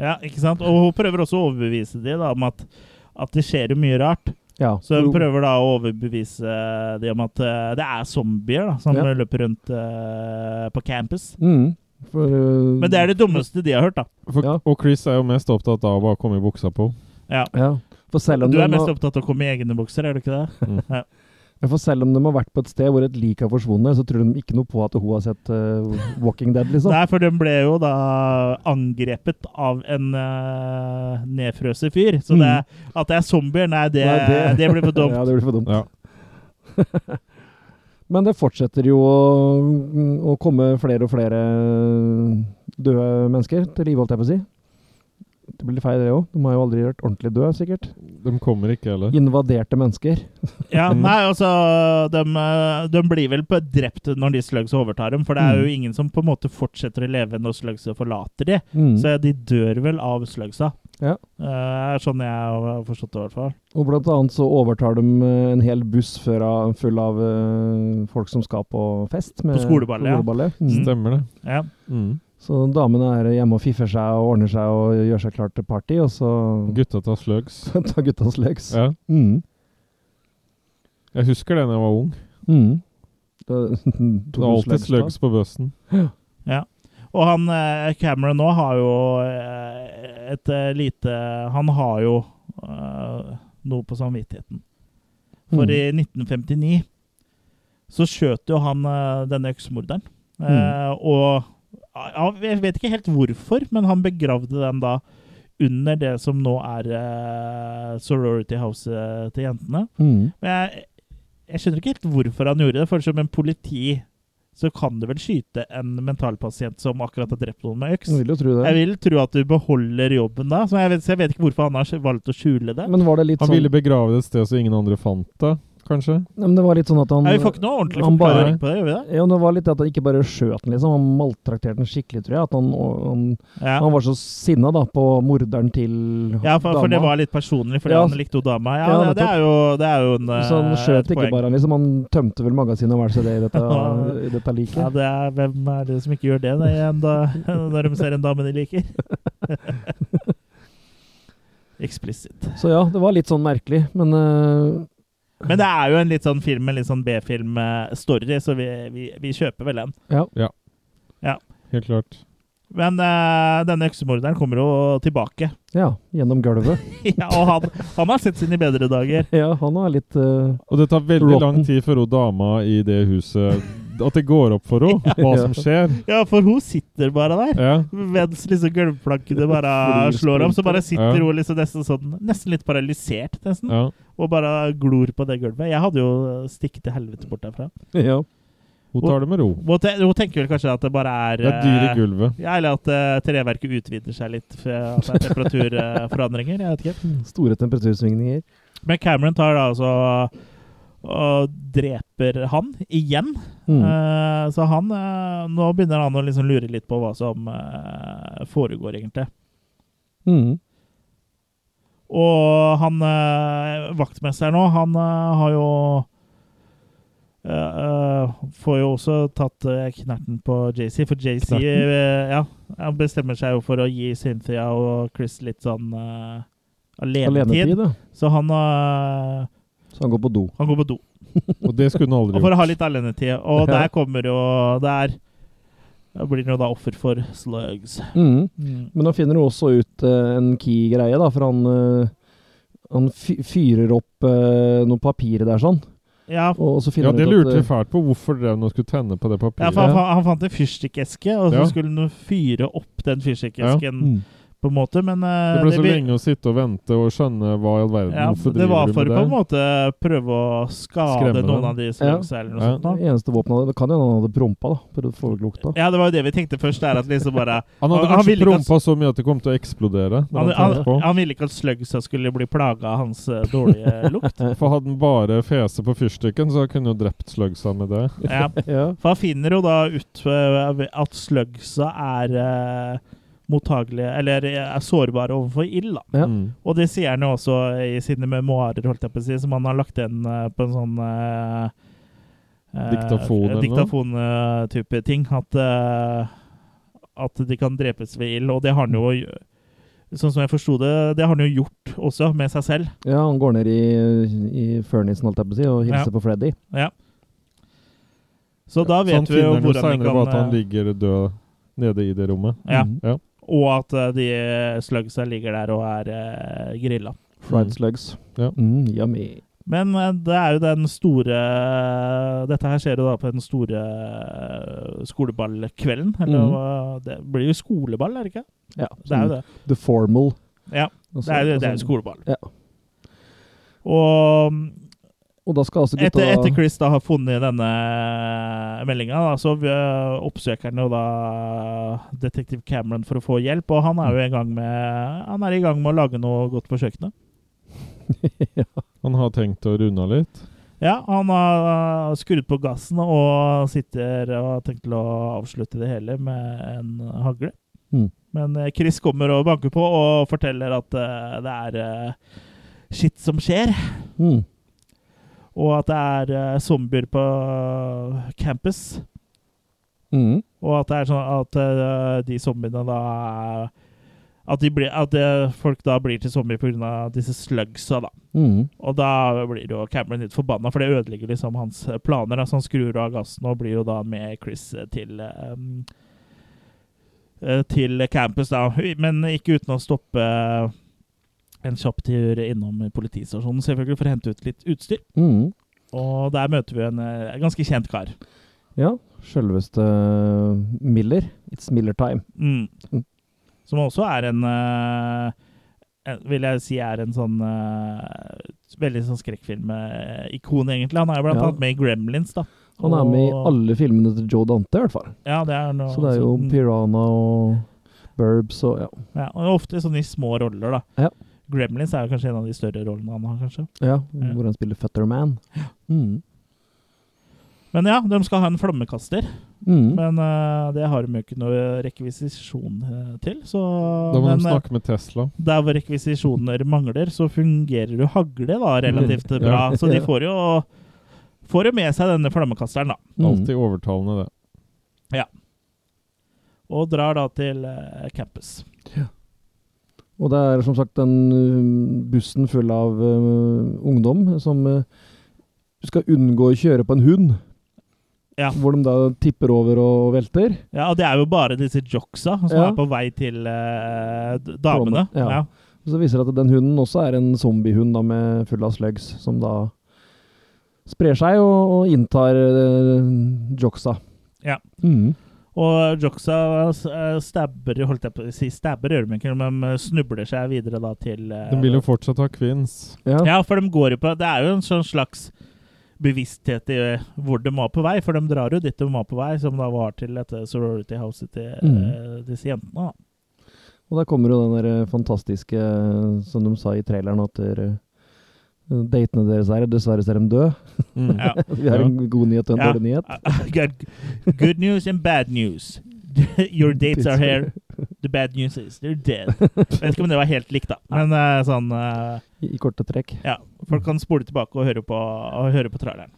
S1: Ja, ikke sant? Og hun prøver også å overbevise de da, om at, at det skjer jo mye rart.
S3: Ja,
S1: Så hun
S3: hun-
S1: prøver da å overbevise de om at eh, det er zombier da, som
S3: Ja.
S1: løper rundt eh, på campus.
S3: Mm, for, eh,
S1: Men det er det dummeste de har hørt, da.
S2: For,
S3: Ja.
S2: Og Chris er jo mest opptatt av å bare komme i buksa på.
S1: Ja.
S3: Ja, for selv om
S1: Du
S3: de
S1: er mest
S3: har-
S1: opptatt av å komme i egne bukser, er du ikke det?
S3: Ja, For selv om de har vært på et sted hvor et lik har forsvunnet, så tror de ikke noe på at hun har sett eh, Walking Dead, liksom.
S1: Nei, for de ble jo da angrepet av en uh, nedfrøset fyr. Så det, at det er zombier, nei, det,
S3: Mm. Nei,
S1: det... blir for dumt.
S3: ja, det blir for dumt.
S2: Ja.
S3: Men det fortsetter jo å, å komme flere og flere døde mennesker til live, holdt jeg på å si. Det blir feil, det òg. De har jo aldri vært ordentlig døde, sikkert.
S2: De kommer ikke heller.
S3: Invaderte mennesker.
S1: Ja, nei, altså de, eh, de blir vel på- drept når de slugsa overtar dem, for det er jo ingen som på en måte fortsetter å leve når slugsa forlater de.
S3: Mm.
S1: Så de dør vel av slugsa.
S3: Ja.
S1: Eh, er sånn jeg har forstått det, i hvert fall.
S3: Og blant annet så overtar de eh, en hel buss før av- full av eh, folk som skal på fest. med-
S1: På skoleball, ja.
S3: Mm.
S2: Stemmer det.
S1: Ja.
S2: Mm.
S3: Så damene er hjemme og fiffer seg og ordner seg og gjør seg klar til party, og så
S2: Gutta tar slugs.
S3: tar guttas leks.
S2: Ja.
S3: Mm.
S2: Jeg husker det da jeg var ung.
S3: Mm. Det,
S2: Det var alltid slugs på bussen.
S1: Og han eh, Cameron nå har jo eh, et eh, lite Han har jo eh, noe på samvittigheten. For
S3: Mm.
S1: i 1959 så skjøt jo han eh, denne øksemorderen. Eh,
S3: Mm.
S1: Og ja, jeg vet ikke helt hvorfor, men han begravde den da under det som nå er eh, sorority house eh, til jentene.
S3: Mm.
S1: Men jeg, jeg skjønner ikke helt hvorfor han gjorde det, for som en politi så kan du vel skyte en mentalpasient som akkurat har drept noen med øks.
S3: Jeg vil jo tro det.
S1: Jeg vil tro at du beholder jobben da, så jeg vet, så jeg vet ikke hvorfor han har skj- valgt å skjule det.
S3: Men var det litt
S2: Han
S3: sånn
S2: ville begrave det et sted så ingen andre fant det, kanskje?
S3: Nei, Men det var litt sånn at han
S1: Nei, vi får ikke noe ordentlig
S3: han bare-
S1: forklaring på det, gjør vi det?
S3: ja, det var litt det at han ikke bare skjøt den, liksom. Han maltrakterte den skikkelig, tror jeg. At han, og- han,
S1: Ja,
S3: han var så sinna da, på morderen til
S1: ja for, for det
S3: dama.
S1: var litt personlig, fordi
S3: Ja.
S1: han likte jo dama. Ja,
S3: Ja,
S1: det, det, er jo, det er jo en,
S3: Så han
S1: eh, et
S3: skjøt ikke
S1: poeng.
S3: bare, han liksom. Han tømte vel magasinet og hva er det så det i dette, i dette liket.
S1: Ja, det er, hvem er det som ikke gjør det da, igjen da, når de ser en dame de liker? Eksplisitt.
S3: Så ja, det var litt sånn merkelig, men eh,
S1: Men det er jo en litt sånn film, en litt sånn B-film-story, så vi, vi, vi kjøper vel den.
S2: Helt klart.
S1: Men eh, denne øksemorderen kommer jo tilbake.
S3: Ja, gjennom gulvet.
S1: ja, og han, han har sett sine bedre dager.
S3: Ja, han har litt eh,
S2: Og det tar veldig lang
S3: Rotten.
S2: tid for hun dama i det huset At det går opp for henne hva
S3: Ja.
S2: som skjer.
S1: Ja, for hun sitter bare der.
S2: Ja.
S1: Mens liksom gulvplankene bare
S3: Flyr
S1: slår om, så bare sitter
S2: Ja.
S1: hun liksom nesten sånn Nesten litt paralysert, nesten.
S2: Ja.
S1: Og bare glor på det gulvet. Jeg hadde jo stikket til helvete bort derfra.
S3: Ja.
S2: Hun tar det med ro.
S1: Hun, te hun tenker vel kanskje at det bare er
S2: Det er dyr i
S1: eh,
S2: gulvet.
S1: Ja, eller at eh, treverket utvider seg litt fra fra temperaturforandringer. jeg vet ikke.
S3: Store temperatursvingninger.
S1: Men Cameron tar da altså og dreper han igjen.
S3: Mm.
S1: Eh, så han eh, Nå begynner han å liksom lure litt på hva som eh, foregår, egentlig.
S3: Mm.
S1: Og han eh, vaktmesteren nå, han eh, har jo eh, eh, Får jo også tatt eh, knerten på JC, for JC
S3: Knerten?
S1: eh, ja, han bestemmer seg jo for å gi Cynthia og Chris litt sånn eh, alenetid.
S3: Alenetid, ja.
S1: Så han, eh,
S3: Så han går på do.
S1: han går på do.
S2: Og det skulle hun aldri
S1: Og for
S2: gjort.
S1: å ha litt alenetid. Og
S3: Ja.
S1: der kommer jo Der da blir han jo da offer for slugs.
S3: Mm.
S1: Mm.
S3: Men han finner jo også ut eh, en key-greie, da, for han, eh, han fy- fyrer opp eh, noe papir der sånn.
S1: Ja,
S3: Og så
S2: Ja,
S3: finner
S2: det
S3: han ut at,
S2: lurte jeg
S3: eh,
S2: fælt på. Hvorfor drev hun og skulle tenne på
S1: Ja,
S2: det
S1: for
S2: papiret?
S1: han, fa- han fant en fyrstikkeske, og så
S2: Ja.
S1: skulle han fyre opp den fyrstikkesken
S3: mm.
S1: på en måte, men eh,
S2: Det ble så
S1: vi-
S2: lenge å sitte og vente og skjønne hva i all verden
S1: ja,
S2: Hvorfor
S1: det var
S2: driver du
S1: for
S2: med
S1: på en
S2: det?
S1: måte prøve å skade
S2: Skremme
S1: noen
S2: dem.
S1: av de slugsa eller noe
S2: Ja.
S1: sånt. Da.
S3: Det eneste våpenet Det kan jo hende han hadde prompa, da, for det foreglukta.
S1: Ja, det var jo det vi tenkte først. Det er at liksom bare
S2: Han
S1: Han-
S2: hadde
S1: han
S2: kanskje
S1: ville ikke at-
S2: prompa så mye at det kom til å eksplodere.
S1: Han,
S2: Når han,
S1: han,
S2: tenkte på.
S1: han ville ikke at slugsa skulle bli plaga av hans eh, dårlige lukt.
S2: For hadde han bare fese på fyrstikken, så kunne han jo drept slugsa med det.
S1: Ja.
S3: Ja.
S1: For han finner jo da ut eh, at slugsa er eh, mottagelige Eller er sårbare overfor ild, da.
S3: Ja.
S2: Mm.
S1: Og det sier han jo også i sine memoarer, holdt jeg på å si, som han har lagt igjen eh, på en sånn eh, eh,
S2: Diktafon eller noe?
S1: Diktafon-type ting. At, eh, at de kan drepes ved ild. Og det har han jo Sånn som jeg forsto det, det har han jo gjort også, med seg selv.
S3: ja, han går ned i, i furnisen, holdt jeg på å si, og hilser
S1: Ja.
S3: på Freddy.
S1: Ja. Så da
S2: Så
S1: vet
S2: han
S1: vi jo
S2: finner noe
S1: hvordan de
S2: seinere bare at han Mhm.
S1: kan eh,
S2: ligger død nede i det rommet.
S1: ja,
S3: Mm.
S2: Ja.
S1: Og at eh, de slugsa ligger der og er uh, grilla.
S3: Fried
S2: Mm.
S3: slugs.
S2: Ja.
S3: Mm, yummy.
S1: Men eh, det er jo den store Dette her skjer jo da på den store eh, skoleballkvelden. Eller
S3: Mhm.
S1: hva- Det blir jo skoleball, er det ikke?
S3: Ja, sånn
S1: Det er jo det.
S3: The formal.
S1: Ja,
S3: Altså,
S1: Det er jo, det er
S3: altså-
S1: jo skoleball.
S3: Ja.
S1: Og mm,
S3: Og da skal altså gutta
S1: etter, etter Chris da har funnet denne meldinga, så eh, oppsøker han jo da eh, detektiv Cameron for å få hjelp. Og han er jo i gang med, han er i gang med å lage noe godt på kjøkkenet.
S2: Han har tenkt å runde av litt.
S1: Ja, han har uh, skrudd på gassen og sitter og har tenkt til å avslutte det hele med en hagle.
S3: Mm.
S1: Men eh, Chris kommer og banker på og forteller at eh, det er eh, shit som skjer,
S3: mm.
S1: og at det er eh, zombier på campus.
S3: Mm.
S1: Og at det er sånn at eh, de zombiene da er- At, de blir, at eh, folk da blir til zombier pga. disse slugsa, da.
S3: Mm.
S1: Og da blir jo Cameron litt forbanna, for det ødelegger liksom hans planer. Altså han skrur av gassen og blir jo da med Chris eh, til ehm, eh, til campus, da. Men ikke uten å stoppe eh, en kjapp tur innom politistasjonen, selvfølgelig, for å hente ut litt utstyr.
S3: Mm.
S1: Og der møter vi en eh, ganske kjent kar.
S3: Ja, sjølveste eh, Miller. It's Miller time.
S1: Mm.
S3: Mm.
S1: Som også er en eh, en- Vil jeg si er en sånn eh, veldig sånn skrekkfilmikon, egentlig. Han er jo blant
S3: Ja.
S1: annet med i Gremlins, da.
S3: Han er med i
S1: Og-
S3: alle filmene til Joe Dante, i hvert fall.
S1: Ja, det er noe,
S3: Så det er jo
S1: sånn-
S3: Piranha og Burbs og ja.
S1: ja, og Ofte sånn i små roller, da.
S3: Ja.
S1: Gremlins er jo kanskje en av de større rollene han har. kanskje.
S3: ja hvor han spiller Futterman. Mm.
S1: Men ja, de skal ha en flammekaster.
S3: Mm.
S1: Men eh, det har de jo ikke noe rekvisisjon eh, til. Så,
S2: Da må
S1: men
S2: de
S1: eh,
S2: snakke med Tesla.
S1: der hvor rekvisisjoner mangler, så fungerer jo hagle da relativt bra. Så de
S3: Mm. Ja.
S1: får jo får jo med seg denne flammekasteren, da.
S3: Mm.
S2: Alltid overtalende, det.
S1: Og drar da til eh, campus.
S3: Og det er som sagt den ø, bussen full av um, ø, uh, ungdom som ø, skal unngå å kjøre på en hund.
S1: Ja.
S3: hvor de da tipper over og velter.
S1: Ja, og det er jo bare disse jocksa som
S3: Ja.
S1: er på vei til eh, d- damene.
S3: Ja.
S1: Ja.
S3: Og Så viser det at den hunden også er en zombiehund da, med full av slugs, som da sprer seg og, og inntar eh, Joxa.
S1: Ja.
S3: Mhm.
S1: Og jocksa eh, stabber Holdt jeg på å si stabber, gjør de ikke, men de snubler seg videre da til eh,
S2: De vil jo fortsatt ha kvinns.
S3: Ja.
S1: Ja, for de går jo på Det er jo en sånn slags bevissthet i eh, hvor de var på vei, for de drar jo dit de var på vei, som da var til dette sorority houset til eh,
S3: Mhm.
S1: disse jentene. da.
S3: Og der kommer jo den der eh, fantastiske, eh, som de sa i traileren, at dere- datene deres er dessverre ser dem dø.
S2: Mm.
S1: Ja.
S3: Vi har en god nyhet og en
S1: Ja.
S3: dårlig nyhet.
S1: I got good news and bad news. Your dates are here. The bad news is they're dead. Jeg vet ikke om det var helt likt, da. Men eh, sånn eh,
S3: I, i korte trekk.
S1: Ja. Folk kan spole tilbake og høre på, og høre på traileren.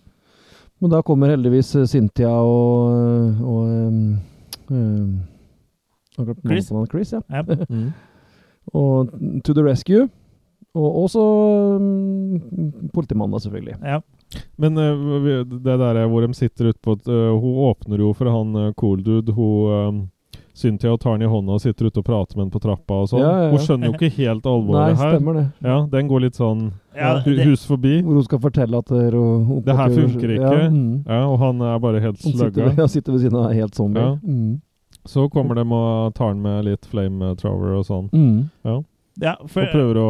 S3: Men da kommer heldigvis eh, Cynthia og, og um, um, jeg har glemt
S1: Chris?
S3: navnet på han, Chris ja.
S1: Ja.
S2: Mm.
S3: Og To The Rescue. Og også um, politimannen, da, selvfølgelig.
S1: Ja.
S2: Men eh, vi- det der er hvor de sitter ute på et eh, Hun åpner jo for han eh, cool dude. Hun eh, Cynthia og tar han i hånda og sitter ute og prater med han på trappa og sånn.
S3: Ja, ja, ja.
S2: Hun skjønner jo ikke helt alvoret
S3: Nei,
S2: her.
S3: stemmer det.
S2: Ja, Den går litt sånn
S1: Ja,
S2: hu-
S1: det,
S2: hus forbi.
S3: Hvor hun skal fortelle at dere, og,
S2: Det her funker ikke.
S3: Ja, mm.
S2: Ja, og han er bare helt
S3: Han sitter,
S2: slugga.
S3: ja, sitter ved siden av helt zombie.
S2: Ja.
S3: Mm.
S2: Så kommer de og tar han med litt flamethrower og sånn.
S3: Mm.
S1: ja,
S2: Og
S1: for,
S2: prøver å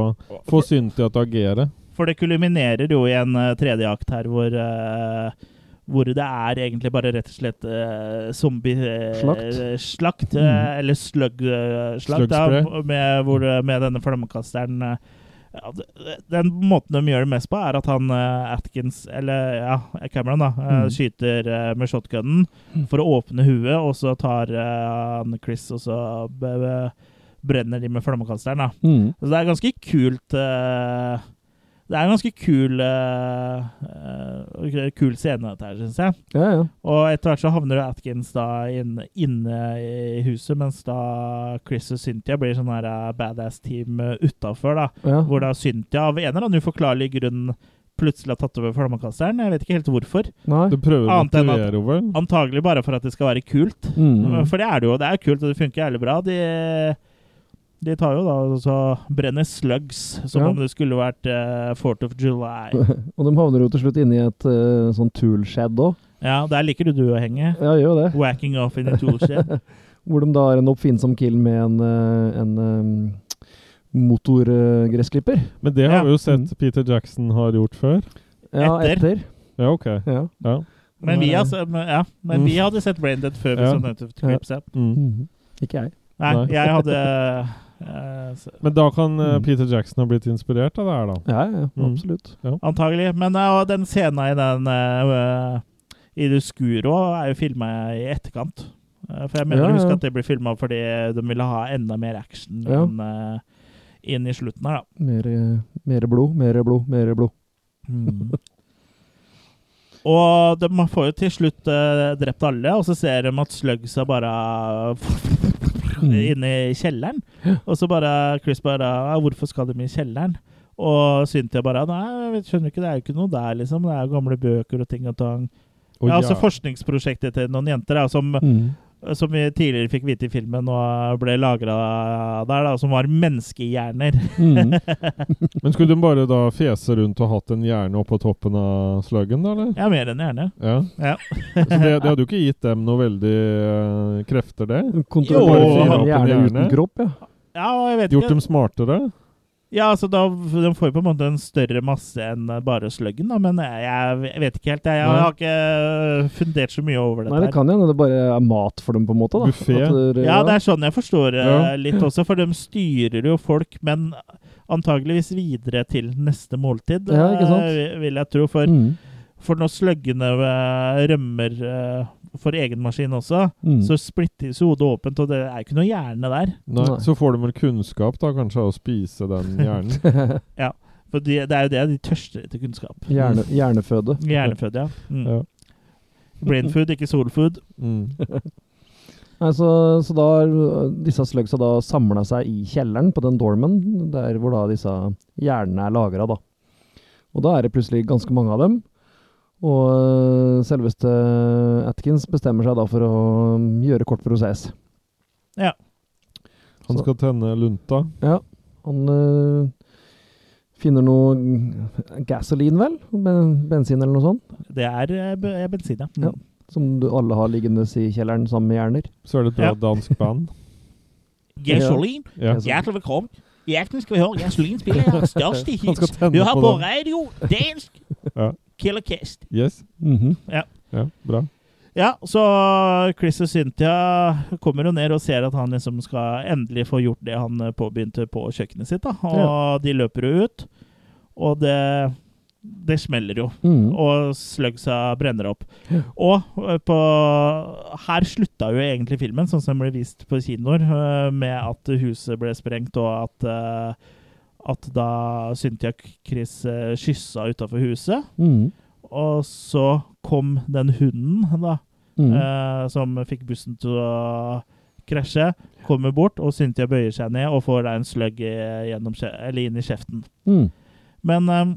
S2: få Cynthia til å agere.
S1: for det kulminerer jo i en eh, tredje akt her hvor eh, hvor det er egentlig bare rett og slett eh, zombie... eh,
S3: Slakt.
S1: slakt eh,
S3: Mm.
S1: Eller slug, eh, slakt, da,
S2: Slugspray.
S1: med, hvor, det- med denne flammekasteren. eh, ja, det- den måten de gjør det mest på, er at han eh, Atkins, eller ja, Cameron, da, eh,
S3: Mm.
S1: skyter eh, med shotgunen for å åpne huet, og så tar eh, han Chris, og så b b brenner de med flammekasteren. da.
S3: Mm.
S1: Så det er ganske kult eh, Det er en ganske kul eh, eh, Kul scene, dette her, syns jeg.
S3: Ja, ja.
S1: Og etter hvert så havner jo Atkins da inn, inne i huset, mens da Chris og Cynthia blir sånn her eh, badass-team eh, utafor, da.
S3: ja.
S1: Hvor da Cynthia av en eller annen uforklarlig grunn plutselig har tatt over flammekasteren. Jeg vet ikke helt hvorfor.
S3: Nei.
S2: Du prøver å
S1: Annet enn at-
S2: motivere henne, vel?
S1: Antagelig bare for at det skal være kult.
S3: Mm.
S1: For det er det jo. Det er kult, og det funker jævlig bra. De, de tar jo da og så brenner slugs, som
S3: Ja.
S1: om det skulle vært eh, 4th of July.
S3: Og de havner jo til slutt inni et eh, sånn toolshed òg.
S1: Ja, der liker du du å henge.
S3: Ja, gjør jo det.
S1: Whacking off in a toolshed.
S3: Hvor de da har en oppfinnsom kill med en, eh, en motorgressklipper.
S2: Men det
S1: Ja.
S2: har vi jo sett
S3: Mm.
S2: Peter Jackson har gjort før.
S3: Ja,
S1: Etter.
S3: etter.
S2: Ja, OK.
S3: Ja.
S2: Ja.
S1: Men vi, altså, men- ja, men vi hadde sett Braindead før vi
S2: Ja.
S1: så Night of the Creeps. ja.
S2: Mm.
S3: Mhm. Ikke jeg.
S1: Nei,
S2: Nei.
S1: jeg hadde eh, s-
S2: Men da kan eh,
S3: Mm.
S2: Peter Jackson ha blitt inspirert av det her, da.
S3: Ja, ja, ja,
S2: Mm.
S3: absolutt.
S1: Antagelig. Men ja, og den scenen i den eh, i det skuro er jo filma i etterkant. Eh, for jeg mener
S3: Ja,
S1: å huske
S3: ja.
S1: at det ble filma fordi de ville ha enda mer action
S3: Ja.
S1: enn, eh, inn i slutten her, da.
S3: Mer, eh, mer blod, mer blod, mer blod. Mm.
S1: og de får jo til slutt eh, drept alle, og så ser de at slugsa bare
S3: Mm.
S1: inne i kjelleren. Og så bare Chris bare «Ja, 'Hvorfor skal de i kjelleren?' Og Cynthia bare 'Nei, jeg skjønner ikke, det er jo ikke noe der, liksom. Det er jo gamle bøker og ting og tang'.
S2: Og
S1: ja, altså
S2: ja-
S1: forskningsprosjektet til noen jenter da, som,
S3: Mm.
S1: som vi tidligere fikk vite i filmen og ble lagra der, da, som var menneskehjerner.
S3: Mm.
S2: Men skulle de bare da fjese rundt og hatt en hjerne oppå toppen av sluggen, da, eller?
S1: Ja, mer enn hjerne.
S2: Ja.
S1: Ja.
S2: Så det, det hadde jo ikke gitt dem noe veldig eh, krefter, det?
S3: Kontrollert
S1: Jo,
S3: hjerne,
S2: opp en
S3: hjerne uten
S2: hjerne.
S3: kropp, ja.
S1: Ja, og jeg vet
S2: Gjort
S1: ikke.
S2: dem smartere?
S1: Ja, altså da, De får jo på en måte en større masse enn bare sluggen, da, men jeg, jeg vet ikke helt. Jeg, jeg har ikke fundert så mye over dette.
S3: Nei, det kan hende det bare er mat for dem, på en måte. da.
S2: Buffet.
S3: At
S1: her.
S3: dere-
S1: Ja, det er sånn jeg forstår det
S2: Ja.
S1: litt også, for de styrer jo folk, men antageligvis videre til neste måltid,
S3: Ja, ikke sant?
S1: eh, vil jeg tro. For
S3: Mm.
S1: For når sluggene eh, rømmer eh, for egen maskin også,
S3: Mm.
S1: så splittes jo hodet åpent, og det er ikke noe hjerne der.
S2: Nei.
S3: Nei.
S2: Så får de vel kunnskap, da, kanskje, av å spise den hjernen?
S1: For de, det er jo det de tørster etter kunnskap.
S3: Hjerne, hjerneføde.
S1: Hjerneføde, ja. Mm.
S2: Ja.
S1: Brain food, ikke soul food.
S2: Mm.
S3: Nei, så, så da har øh, disse slugsa da samla seg i kjelleren på den dormen, der hvor da disse hjernene er lagra, da. Og da er det plutselig ganske mange av dem. Og eh, selveste Atkins bestemmer seg da for å mm, gjøre kort prosess.
S2: Han
S3: Så-
S2: skal tenne lunta.
S3: Han eh, finner noe g- gasoline, vel? Ben- Bensin eller noe sånt?
S1: Det er eh, be- eh, bensin, ja.
S3: Ja.
S1: Mm.
S3: Som du alle har liggende i kjelleren sammen med hjerner.
S2: Så er det et bra
S1: Ja.
S2: dansk band.
S3: Gasolin.
S2: Ja.
S3: Gasolin.
S8: Hjertelig velkommen. I aften skal vi høre Gasolin spille deres største
S2: Han skal
S8: hits. Du
S2: tenne
S8: har
S2: på
S8: på
S2: det.
S8: radio dansk
S2: Ja.
S8: killercast.
S2: Yes.
S3: Mhm.
S2: Ja, bra.
S1: Ja, så Chris og Cynthia kommer jo ned og ser at han liksom skal endelig få gjort det han eh, påbegynte på kjøkkenet sitt. da. Og de løper jo ut, og det, det smeller jo.
S3: Mhm.
S1: Og slugsa brenner opp. Og eh, på, her slutta jo egentlig filmen, sånn som den ble vist på kinoer, eh, med at huset ble sprengt, og at, eh, at da Cynthia Chris eh, kyssa utafor huset.
S3: Mhm.
S1: Og så kom den hunden, da
S3: Mhm.
S1: eh, som fikk bussen til å krasje, kommer bort, og Cynthia bøyer seg ned og får deg en slugg i- gjennom kje- eller inn i kjeften.
S3: Mhm.
S1: Men eh,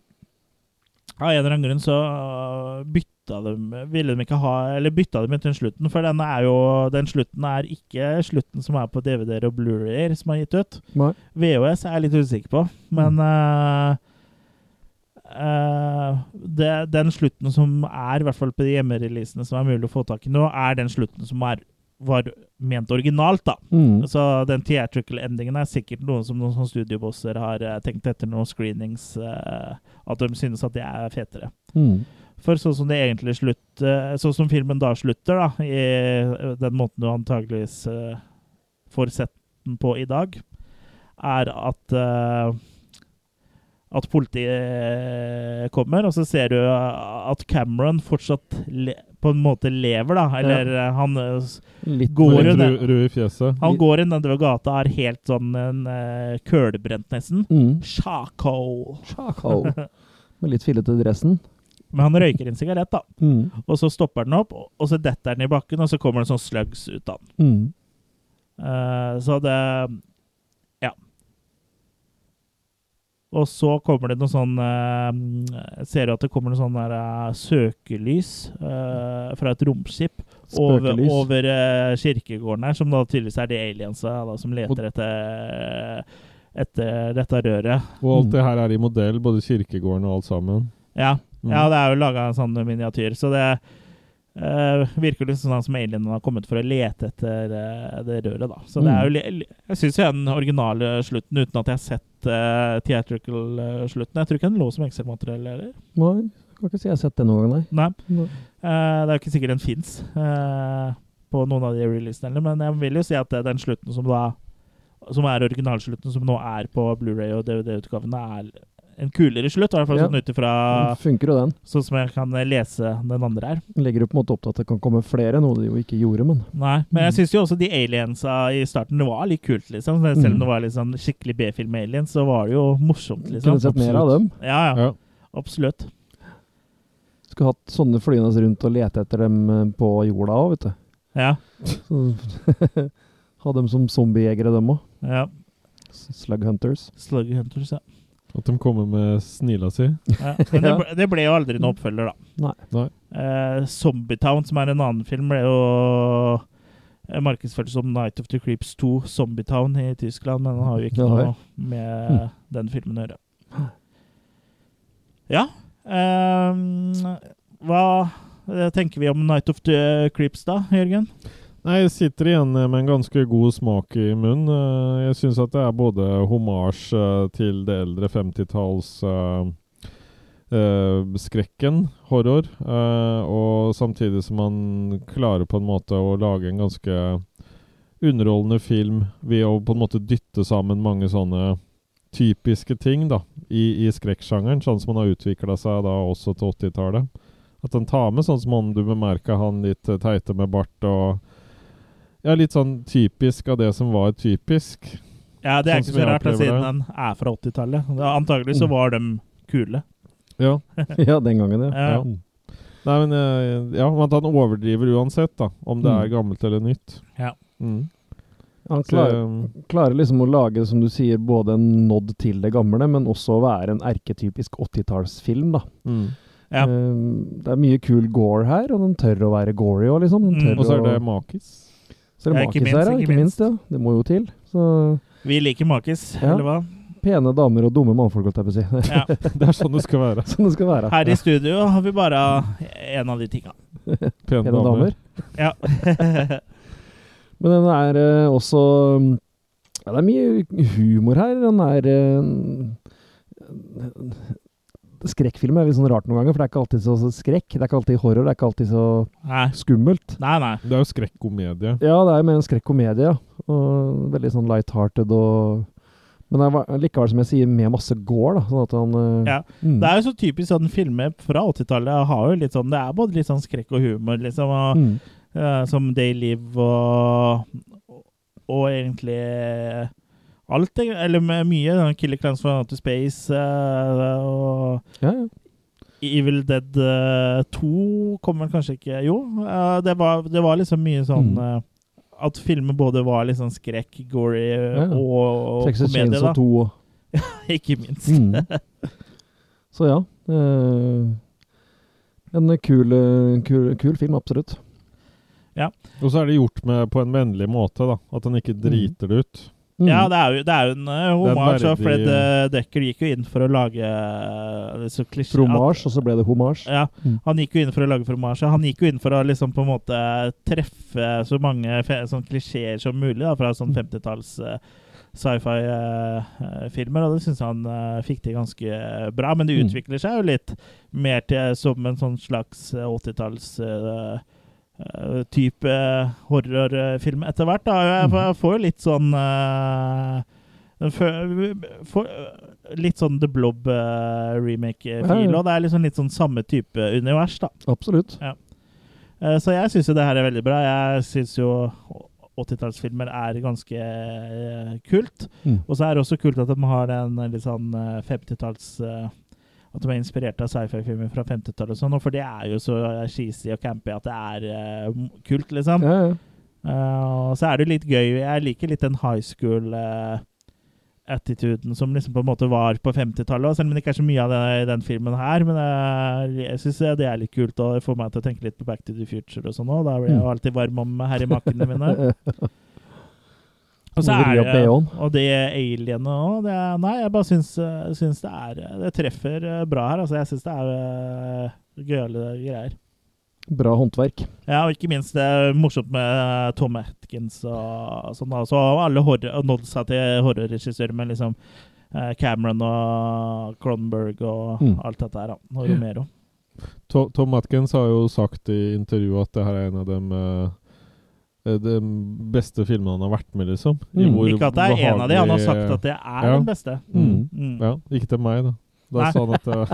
S1: av en eller annen grunn så eh, bytta de Ville de ikke ha Eller bytta de til slutten, for denne er jo Den slutten er ikke slutten som er på DVD-er og Blu-rayer som er gitt ut.
S3: Nei.
S1: VHS E, er jeg litt usikker på, men eh, eh, det, den slutten som er, i hvert fall på de hjemmereleasene som er mulig å få tak i nå, er den slutten som er, var ment originalt, da.
S3: Mhm.
S1: Så den theatrical-endingen er sikkert noe som noen sånne studiobosser har eh, tenkt etter noen screenings, eh, at de synes at det er fetere.
S3: Mhm.
S1: For sånn som det egentlig slutt, eh, sånn som filmen da slutter, da, i eh, den måten du antageligvis eh, får sett den på i dag, er at eh, at politiet kommer, og så ser du eh, at Cameron fortsatt le på en måte lever, da. Eller eh, han eh, s-
S3: Litt
S1: går jo
S2: Litt
S1: ned-
S2: ru- Rød i fjeset.
S1: han går inn nedover gata er helt sånn en eh, kølebrent, nesten.
S3: Mhm.
S1: Charcoal.
S3: Chaco. Med litt fillete dressen.
S1: Men han røyker en sigarett, da.
S3: Mhm.
S1: Og så stopper den opp, og så detter den i bakken, og så kommer det sånn slugs ut av den.
S3: Mhm.
S1: Eh, så det Ja. Og så kommer det noe sånn eh, Ser du at det kommer noe sånn der eh, søkelys eh, fra et romskip over,
S3: Spøkelys.
S1: over eh, kirkegården her, som da tydeligvis er de aliensa da, som leter etter, eh, etter dette røret.
S2: Og alt det her er i modell, både kirkegården og alt sammen.
S1: Ja,
S2: Mm.
S1: ja det er jo laga en sånn miniatyr, så det eh, virker litt sånn som alienene har kommet for å lete etter eh, det røret, da. Så det
S3: Mm.
S1: er jo li li- Jeg syns jo den originale slutten, uten at jeg har sett eh, theatrical-slutten Jeg tror ikke den lå som ekstramateriell, eller?
S3: Nei, kan ikke si jeg har sett det noen gang, nei.
S1: Nei.
S3: Nei.
S1: Eh, det er jo ikke sikkert den fins eh, på noen av de releasene, heller, men jeg vil jo si at eh, den slutten som da som er originalslutten, som nå er på Blu-ray og DVD-utgavene, er en kulere slutt. I hvert fall
S3: Ja. Mm.
S1: sånn ut ifra
S3: Den Funker jo den.
S1: Sånn som jeg kan lese den andre her.
S3: Legger jo på en måte opp til at det kan komme flere, noe de jo ikke gjorde, men
S1: Nei, Men
S3: Mm.
S1: jeg syns jo også de aliensa i starten det var litt kult, liksom. Så Selv om
S3: Mm.
S1: det var litt sånn skikkelig B-film-aliens, så var det jo morsomt, liksom.
S3: kunne sett mer av dem.
S1: Ja, ja.
S2: Ja.
S1: Absolutt.
S3: Skulle hatt sånne flyende rundt og lete etter dem eh, på jorda òg, vet du.
S1: Ja.
S3: Så ha dem som zombiejegere, dem òg.
S1: ja.
S3: Slug Hunters.
S1: Slug Hunters, ja.
S2: At de kommer med snila si.
S1: ja. Men det
S3: Ja.
S1: ble, det ble jo aldri noen oppfølger, da.
S3: Nei.
S2: Nei.
S1: Eh, Zombietown, som er en annen film, ble jo eh, markedsført som Night of the Creeps 2, Zombietown i Tyskland, men den har jo ikke
S3: Ja,
S1: noe med
S2: Hm.
S1: den filmen å gjøre. Ja ehm, Hva eh, tenker vi om Night of the Creeps, da, Jørgen?
S2: Nei, jeg sitter igjen med en ganske god smak i munnen. Eh, Jeg syns at det er både hommage eh, til det eldre 50-talls eh, eh, skrekken, horror, eh, og samtidig som man klarer på en måte å lage en ganske underholdende film ved å på en måte dytte sammen mange sånne typiske ting da, i, i skrekksjangeren, sånn som man har utvikla seg da også til 80-tallet. At den tar med sånn som om du bemerka han litt eh, teite med bart og ja, litt sånn typisk av det som var typisk.
S1: Ja, Det er
S2: Sånn
S1: ikke
S2: som
S1: så
S2: jeg
S1: rart, da,
S2: opplever
S1: siden
S2: det.
S1: den er fra 80-tallet. Da Antagelig så
S3: Mm.
S1: var de kule.
S2: Ja.
S3: ja, den gangen, ja.
S1: Ja.
S2: ja. Nei, men eh, ja, men at han overdriver uansett, da. Om det
S3: Mm.
S2: er gammelt eller nytt.
S1: Ja.
S2: Mm. Så, eh,
S3: Han klarer, klarer liksom å lage, som du sier, både en nod til det gamle, men også å være en erketypisk 80-tallsfilm, da.
S2: eh, mm.
S1: Ja.
S3: Eh, det er mye kul gore her, og den tør å være gory òg, liksom.
S1: Mm.
S3: Den tør
S2: Og så er det
S3: å,
S2: makis.
S3: så er det
S1: Ja, ikke
S3: makis her,
S1: minst,
S3: ja.
S1: ikke
S3: Ikke minst. Ja. Det må jo til. Så
S1: Vi liker makis,
S3: Ja.
S1: eller hva?
S3: pene damer og dumme mannfolk, holdt jeg på å si. Det er
S1: Ja.
S2: Det er sånn det skal være.
S3: sånn det skal være.
S1: Her i studio har vi bare en av de tinga.
S2: Pene,
S3: Pene damer.
S1: Ja.
S3: Men den er eh, også mm, Ja, det er mye humor her. Den er eh, Skrekkfilm er litt sånn rart noen ganger, for det er ikke alltid så så skrekk. Det er ikke alltid horror, det er ikke alltid så
S1: Nei,
S3: skummelt.
S1: nei. nei.
S2: Det er jo skrekkomedie.
S3: Ja, det er mer en skrekkomedie, ja. Og veldig sånn light-hearted og Men det er va- likevel, som jeg sier, med masse gore, da. Sånn at han eh,
S1: Ja.
S3: mm,
S1: Det er jo så typisk sånn filmer fra 80-tallet har jo litt sånn Det er både litt sånn skrekk og humor, liksom. Og,
S3: mm,
S1: eh, som Day Live og Og egentlig alt, egentlig, eller med mye. den Killer Clans from Outer Space eh, og
S3: ja, ja.
S1: Evil Dead eh, 2 kom vel kanskje ikke Jo, eh, det, var, det var liksom mye sånn
S3: Mm.
S1: eh, At filmer både var litt sånn skrekk, gory eh,
S3: Ja.
S1: og, og
S3: Texas
S1: komedie, da.
S3: Chainsaw 2 og
S1: Ikke minst.
S3: Mm. Så ja. eh, en kul, eh, kul, kul film, absolutt.
S2: Og så er det gjort med, på en vennlig måte, da. At han ikke driter det ut.
S3: Mm.
S1: Ja, det er jo, det er jo en uh,
S2: Det er en
S1: hommage. og
S2: verdig-
S1: Fred eh, Decker gikk jo inn for å lage eh, så klisjé-
S3: Fromage, og så ble det hommage.
S1: Ja,
S3: Mm.
S1: han gikk jo inn for å lage fromasje. Han gikk jo inn for å liksom på en måte treffe så mange fe- sånn klisjeer som mulig da, fra
S3: Mm.
S1: sånn 50-talls eh, sci-fi-filmer, og det syns han eh, fikk til ganske bra. Men det
S3: Mm.
S1: utvikler seg jo litt mer til som en sånn slags eh, 80-talls eh, eh, type horrorfilm etter hvert. da.
S3: Mm.
S1: Jeg, får- jeg får jo litt sånn eh, den fø- får, øh, litt sånn The
S3: Ja,
S1: Blob-remake-fil,
S3: ja.
S1: og det er liksom litt sånn samme type univers, da.
S3: Absolutt.
S1: Eh, Så jeg syns jo det her er veldig bra. Jeg syns jo 80-tallsfilmer er ganske eh, kult.
S3: Mm.
S1: Og så er det også kult at de har en litt sånn eh, 50-talls eh, At de er inspirert av sci-fi-filmer fra 50-tallet og sånn, og for det er jo så eh, cheesy og campy at det er eh, m- kult, liksom.
S3: Ja, ja.
S1: Eh, og så er det jo litt gøy Jeg liker litt den high school-attituden som liksom på en måte var på 50-tallet. og Selv om det ikke er så mye av det i den filmen her. Men jeg, jeg syns det er litt kult, og det får meg til å tenke litt på Back to the Future og sånn òg. Da blir jeg jo alltid varm om herremakkene mine.
S3: Eh,
S1: Og så
S3: Vri
S1: er
S3: opp
S1: det
S3: BH-en.
S1: Og det alienet òg. Nei, jeg bare syns, eh, syns det er eh, Det treffer eh, bra her. Altså, jeg syns det er eh, gøyale greier.
S3: Bra håndverk.
S1: Ja, og ikke minst det er morsomt med eh, Tom Atkins og sånn. da. Så alle horror- og nådde seg til horrorregissører med liksom eh, Cameron og Cronberg og
S3: Mm.
S1: alt dette her. da. Og Romero.
S2: To- Tom Atkins har jo sagt i intervjuet at det her er en av dem eh, eh, de beste filmene han har vært med, liksom. I
S3: Mm.
S2: hvor
S1: Ikke at det er en av de, han har
S2: behagelig-
S1: sagt at det er
S2: Ja.
S1: den beste.
S2: Mm.
S1: Mm.
S2: Ja, ikke til meg, da. Da
S1: Nei.
S2: sa han at eh, det,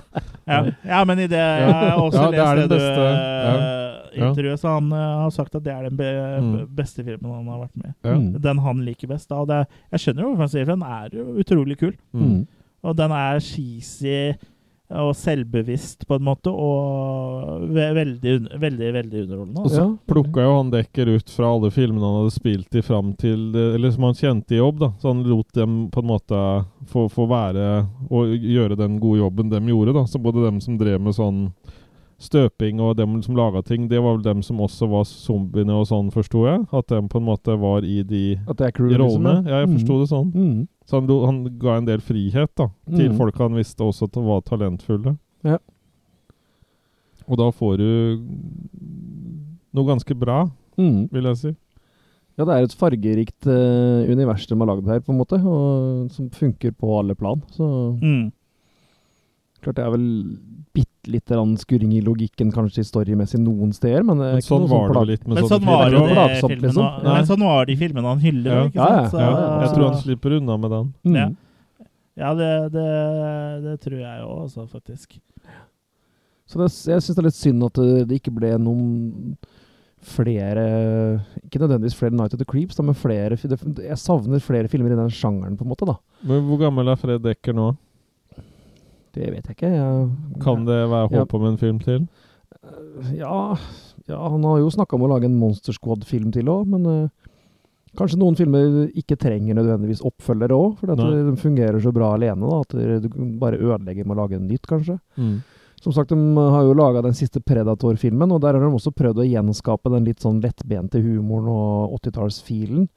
S1: Ja. ja, men i det jeg har også
S2: Ja, det
S1: lest
S2: er den
S1: det,
S2: beste.
S1: du, eh,
S2: Ja.
S1: intervjuet, så han eh, har sagt at det er den be
S2: Mm.
S1: beste filmen han har vært med i.
S2: ja.
S3: Mm.
S1: Den han liker best. da. Og det, jeg skjønner jo hvorfor han sier det, for den er jo utrolig kul.
S2: Mm.
S3: Mm.
S1: Og den er cheesy og selvbevisst på en måte, og ve veldig, un- veldig, veldig underholdende.
S2: Og
S1: Altså.
S2: så
S3: Ja.
S2: plukka jo han Dekker ut fra alle filmene han hadde spilt i fram til Eller som han kjente i jobb, da. Så han lot dem på en måte få, få være og gjøre den gode jobben de gjorde, da. Så både dem som drev med sånn støping og dem som laga ting, det var vel dem som også var zombiene og sånn, forsto jeg. At dem på en måte var i de
S3: At det er crew, liksom.
S2: rollene. Ja, jeg forsto det sånn.
S3: Mm. Mm.
S2: Så han, lo- han ga en del frihet da, til
S3: Mm.
S2: folk han visste også t- var talentfulle.
S3: Ja.
S2: Og da får du noe ganske bra,
S3: Mm.
S2: vil jeg si.
S3: Ja, det er et fargerikt eh, univers de har lagd her, på en måte. Og som funker på alle plan. Så
S1: Mm.
S3: klart det er vel bitte lite grann skurring i logikken, kanskje storymessig noen steder, men, det er
S2: Men
S3: ikke
S2: sånn
S3: noe
S2: var det
S3: plag-
S2: vel litt med
S1: Men
S2: sånne
S1: sånn var
S3: filmer.
S1: jo
S2: filmer.
S1: det
S3: Det var plagsomt,
S1: filmen
S3: liksom.
S1: han- Nei,
S3: Nei.
S1: sånn var de filmene han hyller,
S2: Ja.
S1: ikke
S3: Ja,
S1: sant? Så,
S2: Ja, jeg
S1: så-
S2: tror han slipper unna med den.
S3: Mm.
S1: Ja. Ja, det, det, det tror jeg òg, altså, faktisk.
S3: Så det, jeg syns det er litt synd at eh, det, det ikke ble noen flere Ikke nødvendigvis flere Night of the Creeps, da, men flere fi- det, Jeg savner flere filmer i den sjangeren, på en måte. da.
S2: Men hvor gammel er Fred Dekker nå?
S3: Det vet jeg ikke. Jeg,
S2: Kan det være
S3: Ja.
S2: håp om en film til?
S3: Eh, Ja, ja han har jo snakka om å lage en Monster Squad-film til òg, men eh, kanskje noen filmer ikke trenger nødvendigvis oppfølgere òg, fordi at
S2: Nei. Mm.
S3: de fungerer så bra alene da, at du bare ødelegger med å lage en nytt, kanskje. Som sagt, de har jo laga den siste Predator-filmen, og der har de også prøvd å gjenskape den litt sånn lettbente humoren og 80-tallsfilen.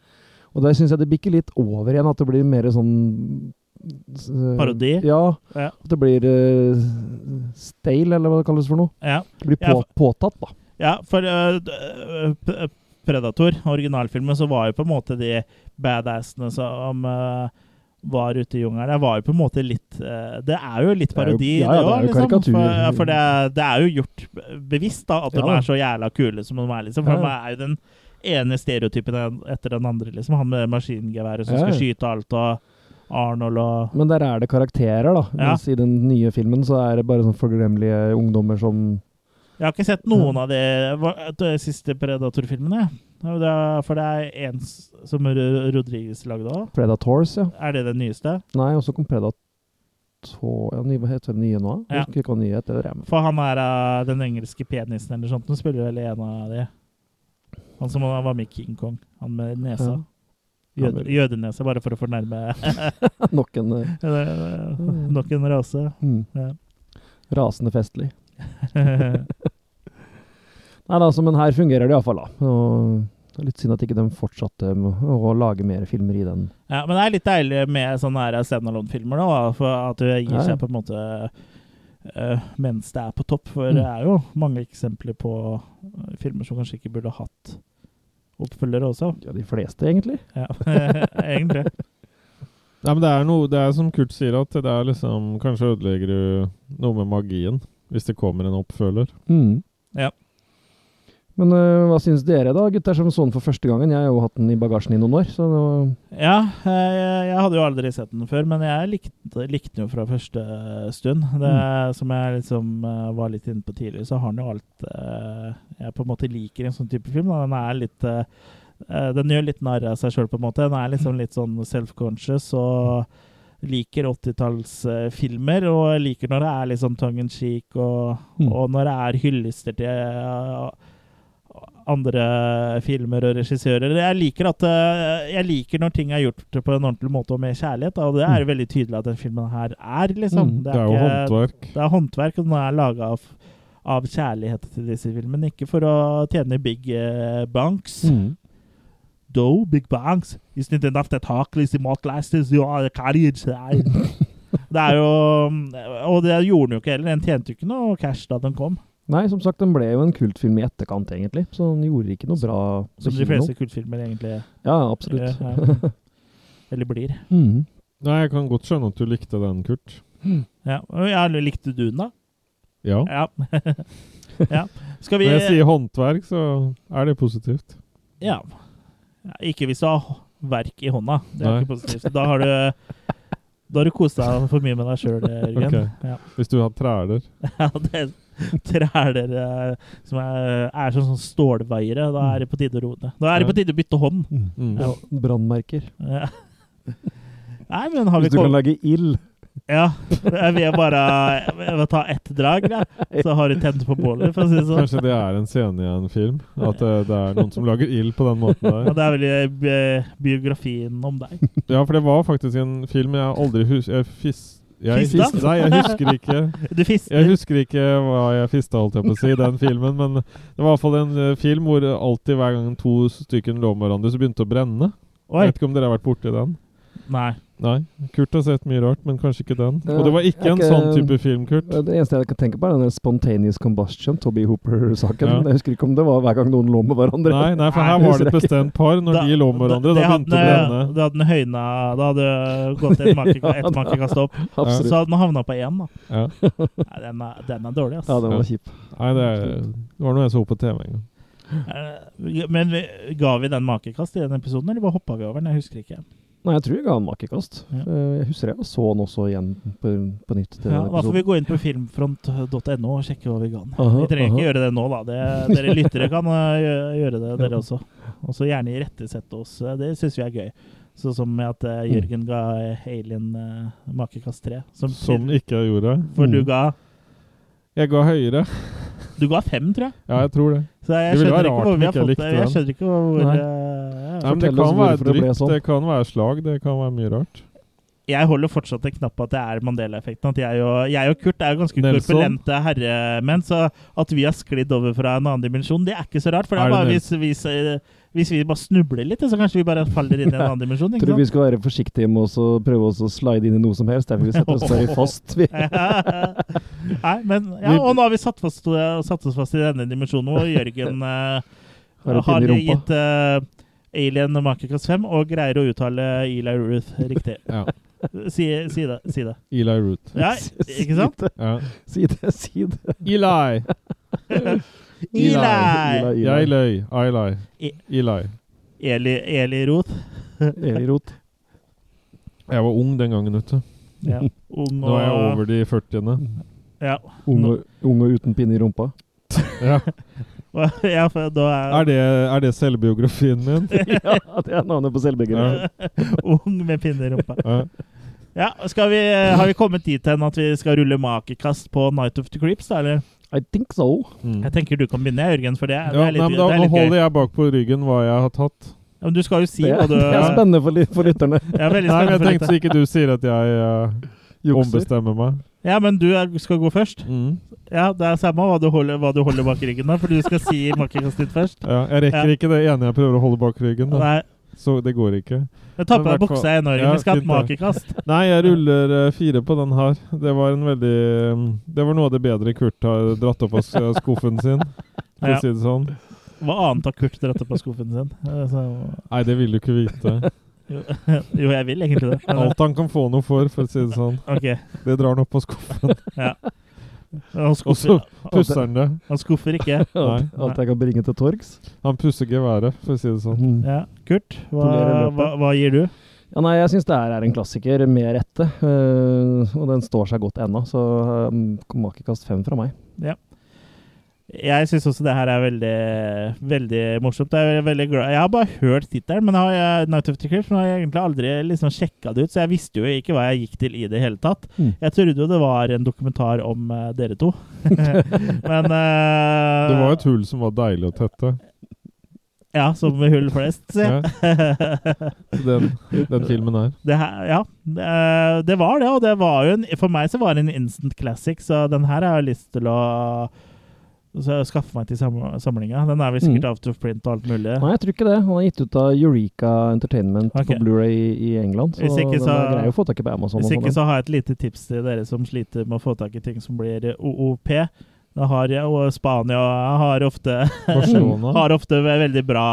S3: Og der syns jeg det bikker litt over igjen, at det blir mer sånn s-
S1: Parodi?
S3: Ja.
S1: Ja.
S3: At det blir uh, stale, eller hva det kalles for noe.
S1: Ja.
S3: Det blir på,
S1: Ja,
S3: påtatt, da.
S1: Ja, for øh, d- øh, p- øh, Predator, originalfilmen, så var jo på en måte de badassene som øh, var ute i jungelen, det var jo på en måte litt øh, Det er jo litt
S3: er jo-
S1: parodi,
S3: ja, ja, det er jo
S1: også, liksom,
S3: karikatur.
S1: For, ja, for det, er- det er jo gjort bevisst, da, at
S3: Ja,
S1: de
S3: da.
S1: er så jævla kule som de er, liksom. For
S3: Ja,
S1: de
S3: ja.
S1: er jo den ene stereotypen en- etter den andre, liksom. Han med maskingeværet som
S3: Ja, ja.
S1: skal skyte alt, og Arnold og
S3: Men der er det karakterer, da.
S1: Ja.
S3: Mens i den nye filmen så er det bare sånn forglemmelige ungdommer som
S1: Jeg har ikke sett noen av de, hva- de siste Predator-filmene. Ja, det er- For det er en s- som Ro- Rodriguez lagde òg.
S3: Predators, ja.
S1: Er det den nyeste?
S3: Nei, og så kom Predator ja, ny- Hva heter den nye nå?
S1: Ja.
S3: Jeg husker ikke hva den nye heter. det er med.
S1: For han er av den engelske penisen eller sånt. Han spiller vel en av de. Han som var med i King Kong. Han med nesa.
S3: Ja.
S1: Jød, jødenese, bare for å fornærme
S3: Nok en eh,
S1: nok en rase.
S3: mm,
S1: Ja.
S3: rasende festlig. Nei, da, altså, men her fungerer det iallfall, da. Og det er litt synd at ikke de fortsatte med å lage mer filmer i den.
S1: Ja, men det er litt deilig med sånne her standalone-filmer, da. For at du gir
S3: Ja, ja.
S1: seg på en måte eh, mens det er på topp.
S3: Mm.
S1: For det er jo mange eksempler på eh, filmer som kanskje ikke burde hatt oppfølgere også.
S3: Ja, de fleste, egentlig.
S1: Ja, egentlig.
S2: Nei, men det er noe Det er som Kurt sier, at det er liksom Kanskje ødelegger du noe med magien hvis det kommer en oppfølger.
S3: Mm.
S1: Ja.
S3: Men øh, hva syns dere, da, gutter som så den for første gangen? Jeg har jo hatt den i bagasjen i noen år, så det var
S1: Ja, eh, jeg, jeg hadde jo aldri sett den før, men jeg likte, likte den jo fra første eh, stund.
S3: Mm.
S1: Det, Som jeg liksom eh, var litt inne på tidligere, så har den jo alt eh, jeg på en måte liker i en sånn type film. Da. Den er litt eh, eh, Den gjør litt narr av seg sjøl, på en måte. Den er liksom litt sånn self-conscious og liker 80-tallsfilmer. Og jeg liker når det er litt sånn tongue in cheek, og,
S3: Mm.
S1: og når det er hyllester til eh, andre filmer og regissører. Jeg liker, at, eh, jeg liker når ting er gjort på en ordentlig måte og med kjærlighet. da, Og det er veldig tydelig at den filmen her er, liksom.
S3: Mm,
S2: Mm. Det er jo
S1: ikke-
S2: håndverk.
S1: Det er håndverk, og den er laga av, av kjærlighet til disse filmene. Ikke for å tjene big eh, banks.
S3: Mm.
S1: Though big banks isn't enough that Harkless in what lasts you are a carriage. Nei. Det er jo mm, Og det gjorde den jo ikke heller. Den tjente jo ikke noe cash da den kom.
S3: Nei, som sagt, den ble jo en kultfilm i etterkant, egentlig. Så den gjorde ikke noe bra på
S1: Som de
S3: kino.
S1: fleste kultfilmer egentlig
S3: Ja, absolutt.
S1: gjør. Ja. Eller blir.
S3: Mhm.
S2: Nei, jeg kan godt skjønne at du likte den, Kurt.
S1: Ja. og Ja, likte du den, da?
S2: Ja.
S1: Ja. ja. Skal vi
S2: Når jeg sier håndverk, så er det positivt.
S1: ja. Ja, Ikke hvis du har verk i hånda. Det er
S2: Nei.
S1: ikke positivt. Da har du da har du kost deg for mye med deg sjøl, Jørgen.
S2: Ok.
S1: Ja.
S2: Hvis du har træler.
S1: Ja, det træler eh, som er, er som sånne stålveiere. Da er det på tide å roe ned. Da er det på tide å bytte hånd.
S2: Mm.
S1: Ja.
S3: Brannmerker.
S1: Ja. Nei, men har vi
S3: Hvis du kan
S1: kommet
S3: lage ild
S1: Ja. Jeg vil bare jeg vil ta ett drag, da. så har du tent på bålet, for å si det sånn.
S2: Kanskje det er en scene i en film? At eh, det er noen som lager ild på den måten
S1: Ja,
S2: der?
S1: det er vel eh, bi- biografien om deg.
S2: Ja, for det var faktisk en film jeg aldri hus... Jeg fis... Jeg
S1: Fista?
S2: fis- Nei, jeg husker ikke
S1: Du fister.
S2: Jeg husker ikke hva jeg fista, holdt jeg på å si, i den filmen. Men det var i hvert fall en eh, film hvor alltid hver gang to stykken lå med hverandre, så begynte det å brenne.
S1: Oi.
S2: Jeg vet ikke om dere har vært borti den?
S1: Nei.
S2: Nei. Kurt har sett mye rart, men kanskje ikke den. Og det var
S3: Ja,
S2: ikke en
S3: jeg
S2: sånn
S3: ikke-
S2: type film, Kurt.
S3: Det eneste jeg kan tenke på, er den der spontaneous combustion, Toby Hooper-saken.
S2: Ja.
S3: Jeg husker ikke om det var hver gang noen lå med hverandre.
S2: Nei, nei, for
S1: Nei,
S2: her
S3: jeg
S2: var det
S3: husker
S2: et bestemt par. Når
S1: Da-
S2: de lå med hverandre, da
S1: hadde
S2: begynte det å
S1: den-
S2: brenne.
S1: Da hadde den høyna Da hadde det gått et
S3: Ja,
S1: makekast opp. Så
S3: Absolutt.
S1: hadde den havna på én, da.
S2: Ja.
S1: Nei, den er, den er dårlig,
S3: Ja,
S1: altså.
S3: den
S2: Ja.
S3: var kjip.
S2: Nei, det, det var noe jeg så på TV en gang.
S1: Eh, Men vi, ga vi den makekast i den episoden, eller bare hoppa vi over den? Jeg husker ikke.
S3: Nei, jeg tror jeg ga den makekast.
S1: Ja.
S3: Eh, Jeg husker jeg så den også igjen på, på nytt. til
S1: Ja,
S3: den
S1: da får vi
S3: episoden.
S1: gå inn på filmfront.no og sjekke hva vi ga den.
S3: Aha,
S1: Vi trenger ikke
S3: aha.
S1: gjøre det nå, da. Det, dere lyttere kan øh, gjø- gjøre det, dere også. Og så gjerne irettesette oss. Eh, Det syns vi er gøy. Sånn som med at øh, Jørgen ga Alien øh, makekast 3. Som,
S2: Som ikke jeg gjorde.
S1: For
S3: Mm.
S1: du ga,
S2: Jeg ga høyere.
S1: du ga fem, tror jeg.
S2: Ja, jeg tror det.
S1: Så jeg
S2: Det ville
S1: skjønner
S2: være
S1: ikke
S2: rart
S1: hvor
S2: om
S1: vi har
S2: ikke jeg
S1: fått det.
S2: likte
S1: Jeg
S2: den.
S1: skjønner ikke hvor
S3: Nei.
S1: øh, ja.
S2: Nei, men det
S3: Fortell oss
S2: kan være
S3: hvorfor det ble
S2: drygt,
S3: sånn.
S2: det kan være slag, det kan være mye rart.
S1: Jeg holder fortsatt en knapp på at det er Mandela-effekten. At jeg og, jeg og Kurt er jo ganske
S2: Nelson?
S1: korpulente herremenn, så at vi har sklidd over fra en annen dimensjon, det er ikke så rart. For det
S2: Er
S1: er
S2: det
S1: bare
S2: Nel-
S1: hvis, hvis, eh, hvis vi bare snubler litt, så kanskje vi bare faller inn i en annen dimensjon.
S3: Jeg tror
S1: Ikke
S3: vi skal være forsiktige med oss å prøve oss å slide inn i noe som helst. Derfor vi setter oss bare fast. Vi.
S1: sant? Nei, men ja, Og nå har vi satt, fast, eh, satt oss fast i denne dimensjonen, og Jørgen eh,
S3: Har det
S1: har
S3: pinne i rumpa.
S1: gitt eh, Alien Makercast 5 og greier å uttale Eli Ruth riktig.
S2: Ja.
S1: Si, si det. Si det.
S2: Eli Root.
S1: Ja, ikke sant?
S3: Si det,
S2: Ja.
S3: si det. Si det.
S2: Eli!
S1: Eli!
S3: Eli,
S2: Jeg
S3: Eli.
S2: løy. I lie.
S1: I-
S2: Eli.
S1: Eli, Eli Roth.
S3: Eli Roth.
S2: Jeg var ung den gangen, vet du.
S1: Ja. Ung
S2: Nå er jeg
S1: og
S2: over de 40.
S1: ja.
S3: Ung og, ung og uten pinne i rumpa.
S2: Ja.
S1: Og- ja, for da
S2: Er,
S1: er,
S2: det, er det selvbiografien min?
S3: Ja, det er navnet på selvbegrepet.
S1: ung med pinne i rumpa.
S2: Ja.
S1: Ja, skal vi, eh, Har vi kommet dit hen at vi skal rulle makekast på Night of the Creeps? da, Eller?
S3: I think so.
S2: Mm.
S1: Jeg tenker du kan begynne, Jørgen, for det, er- det
S2: Ja,
S1: er litt,
S2: nei, men da,
S1: det er
S2: nå
S1: litt gøy.
S2: holder jeg bak på ryggen hva jeg har tatt.
S1: Ja, men du skal jo si
S3: Det,
S1: hva du
S3: det er spennende for, ly- for lytterne.
S1: Jeg er veldig
S2: Nei, men
S1: spennende
S2: jeg
S1: for
S2: tenkte
S1: dette.
S2: så ikke du sier at jeg eh,
S3: Jukser.
S2: ombestemmer meg.
S1: Ja, men du er, skal gå først.
S2: Mm.
S1: Ja, Det er samme hva du holder, hva du holder bak ryggen, da, for du skal si makekastet ditt først.
S2: Ja, jeg rekker
S1: Ja.
S2: ikke det ene jeg prøver å holde bak ryggen, da.
S1: Nei,
S2: så det går ikke.
S1: Jeg tar på meg
S2: Men i hvert fall-
S1: buksa, jeg nå, Jørgen.
S2: Ja,
S1: Vi skal ha et
S2: fint det.
S1: makekast.
S2: Nei, jeg ruller eh, fire på den her. Det var en veldig mm, Det var noe av det bedre Kurt har dratt opp av s- eh, skuffen sin, for
S1: Ja.
S2: å si det sånn.
S1: Hva annet har Kurt dratt opp av skuffen sin? Eh, så-
S2: Nei, det vil du ikke vite.
S1: Jo, jo, jeg vil egentlig det. Men,
S2: Alt han kan få noe for, for å si det sånn.
S1: ok,
S2: Det drar han opp av skuffen.
S1: ja. Han
S2: Og
S1: skuffer,
S2: så pusser han det.
S1: han skuffer ikke.
S2: Nei,
S3: Alt jeg kan bringe til torgs.
S2: han pusser geværet, for å si det sånn.
S3: Mm.
S1: Ja. Kurt, hva,
S3: Tolerer løpet.
S1: hva, hva gir du?
S3: Ja, nei, jeg syns det her er en klassiker med rette. eh, og den står seg godt ennå, så uh, makekast fem fra meg.
S1: Jeg syns også det her er veldig, veldig morsomt. Jeg, er veldig glad. jeg har bare hørt tittelen, men har jeg, Night of the Crypt, men har jeg egentlig aldri liksom sjekka det ut, så jeg visste jo ikke hva jeg gikk til i det hele tatt.
S3: Mm.
S1: Jeg trodde jo det var en dokumentar om eh, dere to, men eh,
S2: Det var et hull som var deilig å tette.
S1: eh, Ja, som med hull flest, sier
S2: Ja,
S1: jeg.
S2: den, den filmen her.
S1: Det her, ja, eh, det var det, og det var jo en, for meg så var det en instant classic, så den her har jeg lyst til å så skaffe meg til sam- samlinga. Den er vel sikkert
S3: Mm.
S1: out of print og alt mulig.
S3: Nei, jeg tror ikke det. Han er gitt ut av Eureka Entertainment
S1: Ok.
S3: på Blu-ray i, i England. Så,
S1: Hvis ikke
S3: den
S1: så-
S3: er grei å få tak i på Amazon.
S1: Hvis
S3: og
S1: ikke
S3: sånn,
S1: så har jeg et lite tips til dere som sliter med å få tak i ting som blir eh, OOP. Da har jeg, og Spania har ofte,
S2: Barcelona.
S1: har ofte veldig bra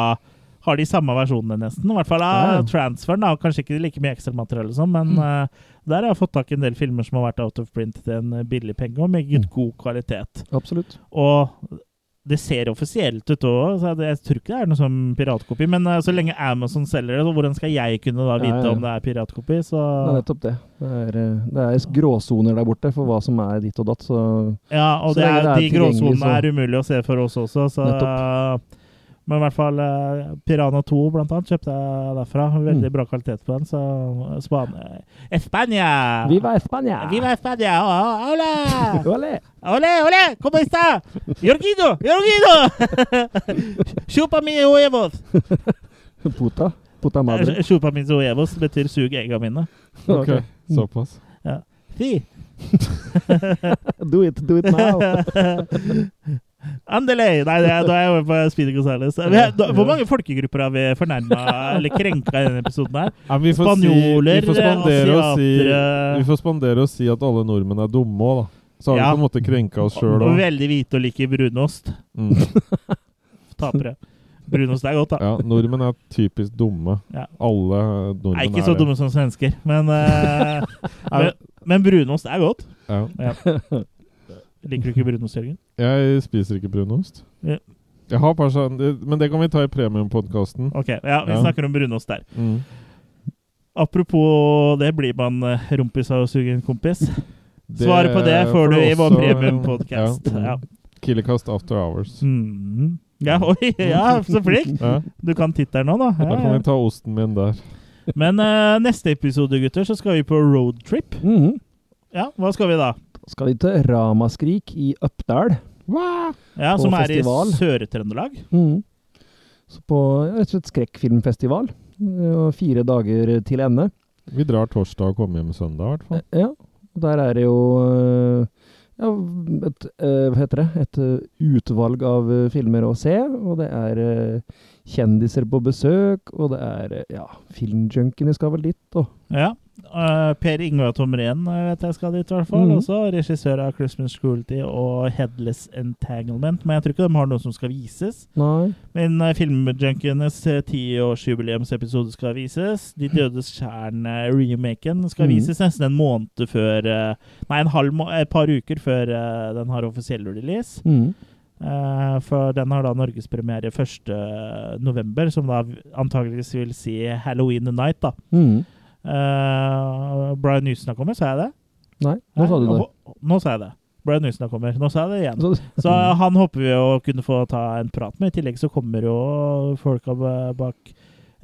S1: Har de samme versjonene, nesten. I hvert fall
S3: Ja, Mm. ja.
S1: av transferen. Da. Kanskje ikke like mye ekstramateriell, og sånn, men eh, der har jeg fått tak i en del filmer som har vært out of print til en eh, billig penge, og meget
S3: Mm.
S1: god kvalitet.
S3: ja. Absolutt.
S1: Og det ser offisielt ut òg, så jeg jeg tror ikke det er noe sånn piratkopi. Men eh, så lenge Amazon selger det, så hvordan skal jeg kunne da
S3: Ja,
S1: vite
S3: ja.
S1: om det er piratkopi? Så
S3: Det er nettopp det. Det er, eh, det er gråsoner der borte for hva som er ditt og datt, så
S1: Ja, og
S3: Så
S1: det
S3: lenge
S1: er,
S3: det er
S1: de
S3: tilgjengelig,
S1: gråsonene
S3: så-
S1: er umulig å se for oss også, så Men i hvert fall eh, Piranha 2 blant annet kjøpte jeg derfra. Veldig
S3: Mm.
S1: bra kvalitet på den, så eh, Spania Espania!
S3: Viva España!
S1: Viva España! Oh, hola!
S3: Ole!
S1: Ole, ole! Como está? Jorgito! Jorgito! Chupa mi huevos!
S3: Puta. Puta madre.
S1: Chupa mis huevos betyr sug egga mine.
S2: Ok, såpass.
S1: Si!
S3: Do it, do it now!
S1: Andele! Nei, det er, da er jeg over på Speedy Gonzales. Vi er- da- Hvor mange folkegrupper har vi fornærma eller krenka i denne episoden her?
S2: Ja, men vi får si,
S1: Spanjoler,
S2: vi får spandere og si,
S1: asiatere.
S2: vi får spandere og si at alle nordmenn er dumme òg, da. Så har
S1: Ja.
S2: vi på en måte krenka oss sjøl
S1: Og
S2: òg.
S1: veldig hvite og liker brunost.
S2: Mm.
S1: Tapere. Brunost er godt, da.
S2: Ja, nordmenn er typisk dumme.
S1: Ja.
S2: Alle nordmenn
S1: er ikke så
S2: det.
S1: dumme som svensker, men, eh, men,
S2: Er-
S1: men brunost er godt.
S2: Ja.
S1: Liker du ikke brunost, Jørgen?
S2: Jeg spiser ikke brunost.
S1: Ja.
S2: Jeg har bare sånn Men det kan vi ta i premiumpodkasten.
S1: Ok, ja, vi
S2: Ja.
S1: snakker om brunost der.
S2: Mm.
S1: Apropos det, blir man eh, rumpis av å suge en kompis?
S2: Det
S1: Svaret på det får du i vår
S2: også-
S1: premiumpodkast.
S2: Ja.
S1: Ja.
S2: Killercast After Hours.
S1: Mm. ja, oi! Ja, så flink!
S2: Ja.
S1: Du kan tittelen nå, da.
S2: Da
S1: Ja,
S2: kan
S1: ja.
S2: vi ta osten min der.
S1: Men eh, neste episode, gutter, så skal vi på roadtrip.
S3: Mhm.
S1: Ja, hva skal vi da?
S3: Skal vi til Ramaskrik i Øppdal?
S1: Ja,
S3: På
S1: Som er
S3: festival.
S1: i Sør-Trøndelag.
S3: Mhm. Så på ja, rett og slett skrekkfilmfestival. eh, Og fire dager til ende.
S2: Vi drar torsdag og kommer hjem søndag, i hvert fall.
S3: Eh, Ja, der er det jo øh, ja, et, øh, hva heter det? et øh, utvalg av øh, filmer å se, og det er øh, kjendiser på besøk, og det er øh, ja, filmjunkiene skal vel dit, og
S1: Ja. eh, per Ingvar Tomren eh, vet jeg skal dit, i hvert fall.
S3: Mhm.
S1: Også regissør av 'Christmas Cruelty' og 'Headless Entanglement'. Men jeg tror ikke de har noe som skal vises.
S3: Nei.
S1: Men uh, filmjunkienes tiårsjubileumsepisode skal vises. De
S3: Mm.
S1: dødes kjerne-remaken skal
S3: Mhm.
S1: vises nesten en måned før eh, Nei, en halv må et par uker før eh, den har offisiell release.
S3: Mm.
S1: Eh, for den har da norgespremiere 1.11., som da antageligvis vil si Halloween night, da.
S3: Mm.
S1: Eh, Brian Newson kommer, sa jeg det?
S3: Nei, nå sa du det.
S1: Nå, nå sa jeg det. Brian Newson kommer. Nå sa jeg det igjen.
S3: Så,
S1: Så han håper vi å kunne få ta en prat med. I tillegg så kommer jo folka ba- bak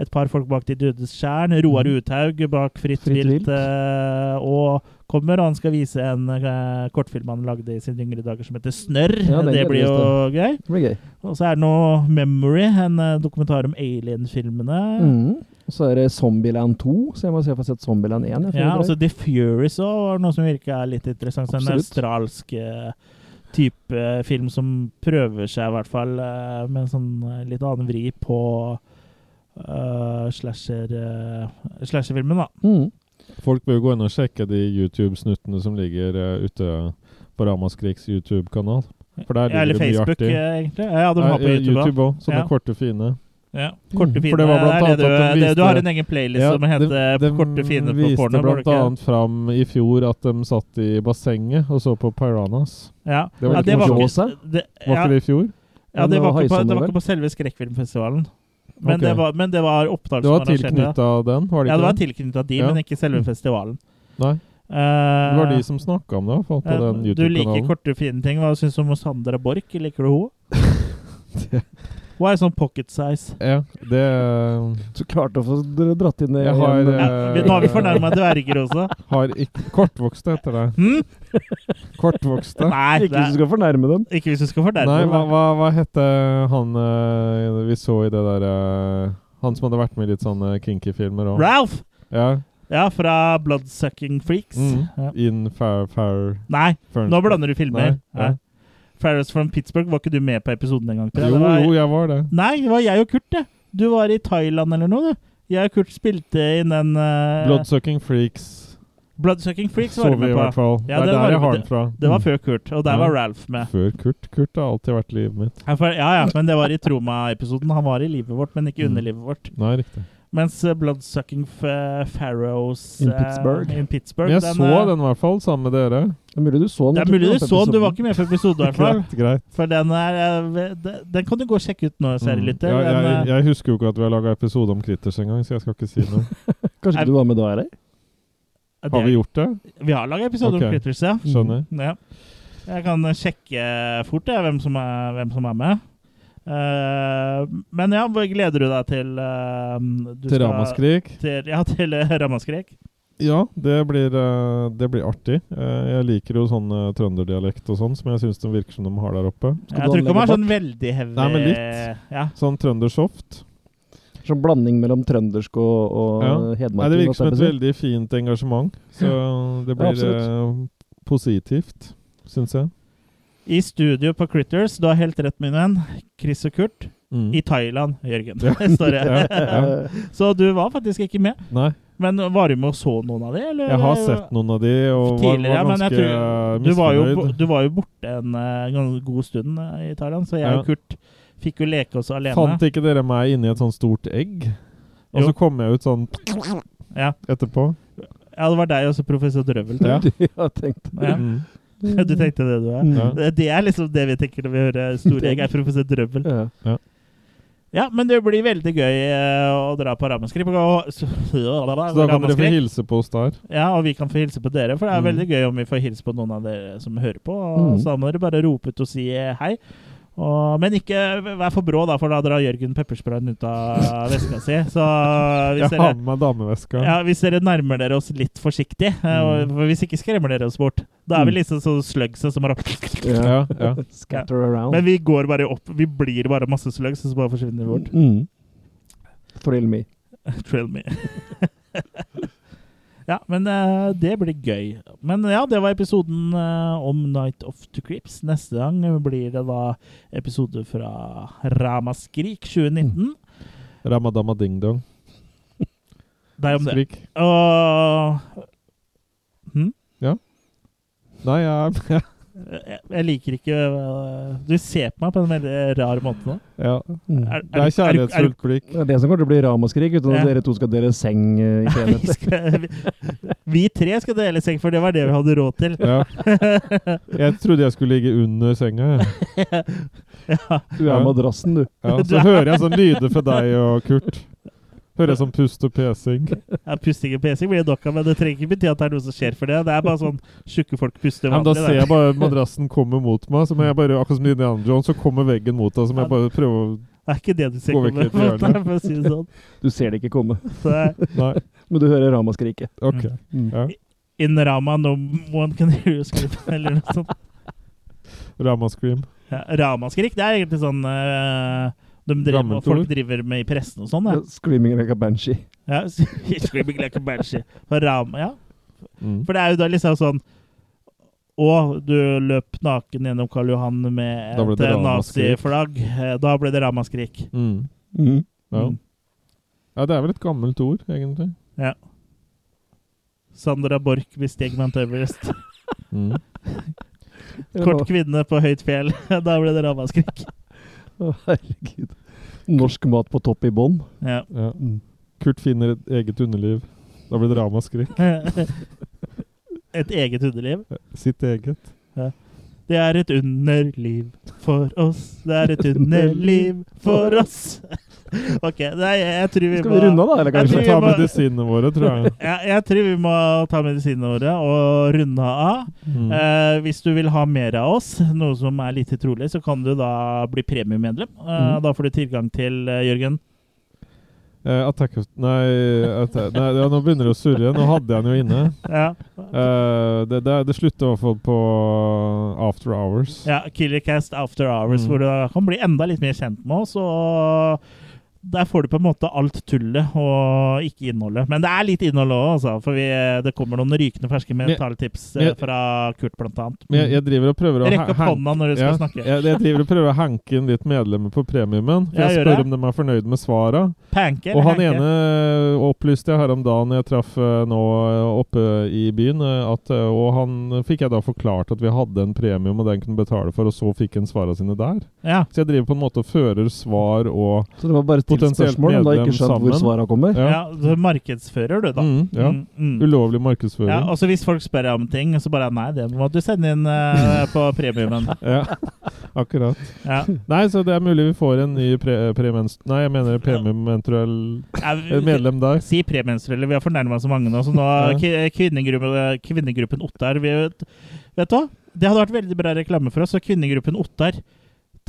S1: et par folk bak De dødes tjern. Roar Uthaug bak Fritt,
S3: Mhm. Fritt
S1: vilt.
S3: vilt.
S1: eh, og kommer, og han skal vise en eh, kortfilm han lagde i sine yngre dager som heter Snørr.
S3: Ja, den
S1: det
S3: gleder vi
S1: blir jo
S3: oss
S1: gøy.
S3: det blir gøy.
S1: Og så er det noe Memory, en eh, dokumentar om alien-filmene.
S3: Mm. Og så er det Zombieland 2, så jeg må se om jeg får sett Zombieland 1. Jeg,
S1: Ja,
S3: for
S1: altså
S3: det
S1: The Furies også var noe som virka litt interessant. Så En
S3: Absolutt.
S1: australsk eh, type eh, film som prøver seg, i hvert fall, eh, med en sånn eh, litt annen vri på eh, slasher eh, slasherfilmen, da.
S3: er- mm.
S2: Folk bør jo gå inn og sjekke de YouTube-snuttene som ligger eh, ute på Ramaskriks YouTube-kanal. For der
S1: Eller
S2: ligger det mye
S1: Facebook,
S2: artig.
S1: eh, egentlig. Ja, de
S2: Nei,
S1: har på
S2: eh,
S1: YouTube. da.
S2: YouTube òg. Sånne
S1: Ja.
S2: korte, fine.
S1: Ja. Korte
S2: Mm,
S1: filmer.
S2: for det var blant
S1: er det
S2: annet at de
S1: du, det, du
S2: viste-
S1: har en egen playlist som heter eh,
S2: de, de
S1: Korte fine på
S2: viste
S1: porno. var det
S2: blant
S1: ikke?
S2: annet fram i fjor at de satt i bassenget og så på Piranhas.
S1: Ja.
S2: det var
S1: ja,
S2: litt
S1: det var
S3: morsomt.
S1: ikke det,
S2: Var
S1: ja,
S2: ikke det i fjor?
S1: ja, det
S3: Men
S1: var ikke på,
S3: Haisommer,
S1: det var
S3: vel?
S1: ikke på selve Skrekkfilmfestivalen. Men,
S2: Ok.
S1: det var, men det var opptak
S2: Det
S1: som
S2: var
S1: arrangerte det.
S2: tilknytta den, var det
S1: Ja, det
S2: ikke
S1: var tilknyttet de,
S2: Ja.
S1: men ikke selve
S2: Mm.
S1: festivalen.
S2: Nei,
S1: Eh,
S2: det var de som snakka om det, i hvert fall, på
S1: eh,
S2: den
S1: Du liker
S2: YouTube-kanalen.
S1: korte, fine ting. Hva syns du om Sandra Borch? Liker du henne? Hun er sånn pocket size.
S2: Ja, det eh,
S3: Så klart å få dr- dratt inn det
S2: Jeg har,
S3: igjen.
S1: Ja,
S2: Eh,
S1: vi- nå har vi fornærma dverger også.
S2: har ikke Kortvokste heter det.
S1: Hm?
S2: Kortvokste.
S1: Nei, det
S3: Ikke hvis du
S1: er,
S3: skal fornærme dem.
S1: ikke hvis du skal fornærme
S2: Nei, hva,
S1: dem.
S2: hva, hva hette han eh, vi så i det der eh, Han som hadde vært med i litt sånne kinky-filmer òg.
S1: Ralph!
S2: Ja.
S1: Ja, fra Bloodsucking Freaks.
S2: Mm.
S1: Ja.
S2: In Fair Fair
S1: Nei, nå blander du filmer.
S2: Nei, ja.
S1: Nei. Ferris from Pittsburgh, var ikke du med på episoden en gang? tror jeg?
S2: Jo,
S1: Det var-
S2: jo, jeg var det.
S1: Nei, det var jeg og Kurt, det. Du var i Thailand eller noe, du. Jeg og Kurt spilte inn den eh,
S2: Bloodsucking Freaks
S1: Bloodsucking Freaks
S2: så
S1: var du
S2: vi i
S1: med
S2: hvert
S1: på.
S2: fall.
S1: Ja,
S2: det
S1: den
S2: er
S1: var
S2: der
S1: du-
S2: jeg har den fra.
S1: Det var
S2: Mm.
S1: før Kurt, og der
S2: Ja.
S1: var Ralph med.
S2: Før Kurt. Kurt har alltid vært livet mitt.
S1: Ja, for, ja, ja, men det var i Troma-episoden. Han var i livet vårt, men ikke
S2: Mm.
S1: under livet vårt.
S2: Nei, riktig.
S1: Mens eh, Bloodsucking F- eh, Pharaohs
S3: In
S1: eh,
S3: Pittsburgh.
S1: in Pittsburgh,
S2: Men jeg
S1: den,
S2: så
S1: eh,
S2: den i hvert fall, sammen med dere.
S3: Det er mulig du så den.
S1: Det
S3: jeg
S1: er
S3: tror
S1: mulig du
S3: var på
S1: så den, du var
S3: episoden.
S1: ikke med på episoden i hvert fall.
S2: Greit, greit.
S1: For den er eh, de- Den kan du gå og sjekke ut nå, kjære
S2: Mm.
S1: lytter.
S2: Ja,
S1: Den,
S2: jeg,
S1: eh,
S2: jeg husker jo ikke at vi har laga episode om Critters engang, så jeg skal ikke si noe.
S3: Kanskje
S1: Nei.
S3: ikke du var med da, eller?
S1: det-
S2: Har vi gjort det?
S1: vi har laga episode
S2: Ok.
S1: om Critters, ja.
S2: Skjønner.
S1: Ja. Jeg kan eh, sjekke fort jeg, hvem, som er, hvem som er med. Eh, men ja, hva gleder du deg til eh, du
S2: Til
S1: skal-
S2: Ramaskrik.
S1: Til, ja, til eh, Ramaskrik.
S2: Ja, det blir, eh, det blir artig. Eh, Jeg liker jo sånn eh, trønderdialekt og sånn, som jeg syns de virker som de har der oppe.
S1: Jeg tror ikke de har sånn veldig heavy
S2: Nei, men litt.
S1: Ja.
S2: Sånn trøndersoft.
S3: Sånn blanding mellom trøndersk og, og
S2: Ja.
S3: hedmarking.
S2: Nei, det virker som et
S3: holdt jeg på å si.
S2: veldig fint engasjement. Så det
S3: Ja,
S2: blir
S3: absolutt.
S2: eh, positivt, syns jeg.
S1: I studio på Critters, du har helt rett, min venn, Chris og Kurt.
S2: Mm.
S1: I Thailand, Jørgen. Står det.
S2: Ja.
S1: Så du var faktisk ikke med.
S2: Nei,
S1: Men var du med og så noen av de? Eller?
S2: jeg har sett noen av de, og var,
S1: Tidligere,
S2: var
S1: men jeg
S2: ganske eh,
S1: tror du var, jo, bo-
S2: misfornøyd.
S1: du var jo borte en eh, gans- god stund eh, i Thailand, så jeg
S2: Ja.
S1: og Kurt fikk jo leke oss alene.
S2: Fant ikke dere meg inni et sånt stort egg? Og
S1: Jo.
S2: så kom jeg ut sånn
S1: Ja.
S2: etterpå.
S1: Ja, det var deg og så professor Drøvel. tror
S2: Ja.
S1: jeg.
S3: Jeg har tenkt.
S1: Ja.
S3: Mm.
S2: Mm.
S1: Du tenkte det, du er.
S2: Ja.
S1: Det- Det er liksom det vi tenker når vi hører Store Egg, er professor Drøvel.
S3: Ja.
S1: Ja, men det blir veldig gøy eh, å dra på Ramaskrik. og- Så
S2: Så da kan dere få
S1: Ramaskrik.
S2: hilse på oss der.
S1: Ja, og vi kan få hilse på dere, for det er
S2: Mm.
S1: veldig gøy om vi får hilse på noen av dere som hører på. Og
S3: Mm.
S1: Så da må dere bare rope ut og si eh, hei. Og, men ikke vær for brå, da, for da drar Jørgen peppersprayen ut av veska si. Så eh, hvis
S2: Jeg har
S1: dere
S2: med meg dameveska.
S1: ja, hvis dere nærmer dere oss litt forsiktig, eh, og- for hvis ikke skremmer dere oss bort, da er vi
S3: Mm.
S1: liksom sånn slugs som har opp
S3: Ja.
S2: Ja, ja.
S3: Scatter around.
S1: Men vi går bare opp. Vi blir bare masse slugs, og så bare forsvinner vi bort.
S3: Mm. Thrill me.
S1: Trail me. Ja, men eh, det blir gøy. Men ja, det var episoden eh, om Night of the Crips. Neste gang blir det da episode fra Ramaskrik 2019.
S2: Ramadama Ding Dong.
S1: Det er om det.
S2: Skrik.
S1: Og hm?
S2: Nei, jeg
S1: jeg, jeg liker ikke eh, Du ser på meg på en veldig rar måte nå.
S2: ja.
S3: Mm.
S1: Er-
S2: Det er
S1: er- er- er-
S2: kjærlighetsfullt blikk.
S3: Det er det som kommer til å bli ramaskrik, uten at
S1: Ja.
S3: dere to skal dele seng eh, i
S1: Vi,
S3: senhet.
S1: skal, vi, vi tre skal dele seng, for det var det vi hadde råd til.
S2: Ja. Jeg trodde jeg skulle ligge under senga. jeg.
S3: Du er madrassen, du.
S2: Ja, så hører jeg sånn lyder fra deg og Kurt. Hører jeg sånn pust og pesing.
S1: Ja, pusting og pesing blir det nok av, men det trenger ikke bety at det er noe som skjer for det. Det er bare sånn tjukke folk puster
S2: Ja, men da
S1: vanlig.
S2: ser
S1: det.
S2: jeg bare madrassen komme mot meg, så må jeg bare, akkurat som i Indiana Jones, så kommer veggen mot deg, så må jeg bare prøve å
S1: Det er ikke det du ser
S2: Gå vekk
S1: komme.
S2: litt i hjørnet.
S1: for å si det sånn.
S3: Du ser det ikke komme,
S1: Så det er
S2: Nei,
S3: men du hører ramaskriket.
S2: OK.
S3: Mm.
S2: Ja.
S1: In Rama, no one can hear you scream, eller noe sånt.
S2: Ramaskrim.
S1: Ja, Ramaskrik, det er egentlig sånn eh, de driver,
S2: Gammelt
S1: folk
S2: ord.
S1: driver med i pressen og sånn.
S3: Ja,
S1: Ja.
S3: Screaming like a banshee.
S1: Ja, screaming like a banshee. For Rama, ja.
S2: Mm.
S1: For det er jo da liksom sånn Å, du løp naken gjennom Karl Johan med
S2: Da ble
S1: et
S2: det
S1: eh,
S2: ramaskrik.
S1: naziflagg. Eh, Da ble det ramaskrik.
S2: Mm.
S3: Mm.
S2: Ja.
S1: Mm.
S2: ja, det er vel et gammelt ord, egentlig.
S1: Sandra Borch besteg Mount Everest.
S2: Mm.
S1: Kort kvinne på høyt fjell. Da ble det ramaskrik.
S3: Å, herregud. Norsk mat på topp i bånn.
S1: Ja.
S2: Ja.
S3: Mm.
S2: Kurt finner et eget underliv. Da blir det ramaskrik.
S1: Et eget hundeliv.
S2: Sitt eget.
S1: Det er et underliv for oss. Det er et underliv for oss. OK, nei, jeg tror vi
S3: Skal vi runde av, da? Eller
S1: Jeg
S2: Vi
S1: tror
S3: kanskje?
S1: jeg
S2: tar
S1: må-
S2: medisinene våre, tror jeg.
S1: Ja, jeg tror vi må ta medisinene våre og runde av.
S2: Mm.
S1: Eh, hvis du vil ha mer av oss, noe som er lite trolig, så kan du da bli premiemedlem. Eh,
S3: Mm.
S1: Da får du tilgang til eh, Jørgen.
S2: Eh, attack of Nei, atta- nei ja, nå begynner det å surre. Nå hadde jeg den jo inne.
S1: Ja.
S2: Eh, det, det, det slutter i hvert fall på eh, After Hours.
S1: ja Killercast After Hours,
S2: Mm.
S1: hvor du da kan bli enda litt mer kjent med oss. Og der får du på en måte alt tullet og ikke innholdet. Men det er litt innhold òg, altså. For vi, det kommer noen rykende ferske mentaltips eh,
S2: men-
S1: fra Kurt, blant annet.
S2: Men jeg, jeg driver og prøver å
S1: Rekk opp
S2: ha- hank-
S1: hånda når du skal
S2: Ja,
S1: snakke.
S2: jeg, jeg driver og prøver å hanke inn litt medlemmer på premiumen. For
S1: Ja,
S2: jeg
S1: gjør
S2: spør
S1: det.
S2: om de er fornøyd med svara.
S1: Panke
S2: Og
S1: eller
S2: han
S1: hanke?
S2: ene eh, opplyste jeg her om dagen jeg traff eh, nå eh, oppe i byen, eh, at, eh, og han fikk jeg da forklart at vi hadde en premium, og den kunne betale for, og så fikk han svara sine der.
S1: Ja.
S2: Så jeg driver på en måte og fører svar og
S3: Så det var bare et
S2: Potensielt
S3: spørsmål, men da ikke
S2: medlem
S3: skjønt
S2: sammen.
S3: hvor svara kommer.
S1: Ja. så markedsfører du, da.
S2: Mm, ja.
S1: Mm, mm.
S2: Ulovlig markedsføring.
S1: Ja, og så hvis folk spør om ting, så bare nei, det må du sende inn eh, på premiumen.
S2: Ja, akkurat.
S1: Ja.
S2: Nei, så det er mulig vi får en ny pre premens... Nei, jeg mener premiumenstruell
S1: Ja,
S2: eh, medlem der.
S1: Si premenstruelle, vi har fornærma så mange nå, så nå
S2: Ja.
S1: k- kvinnegruppe, Kvinnegruppen Ottar vi, Vet vet du hva? Det hadde vært veldig bra reklame for oss, så Kvinnegruppen Ottar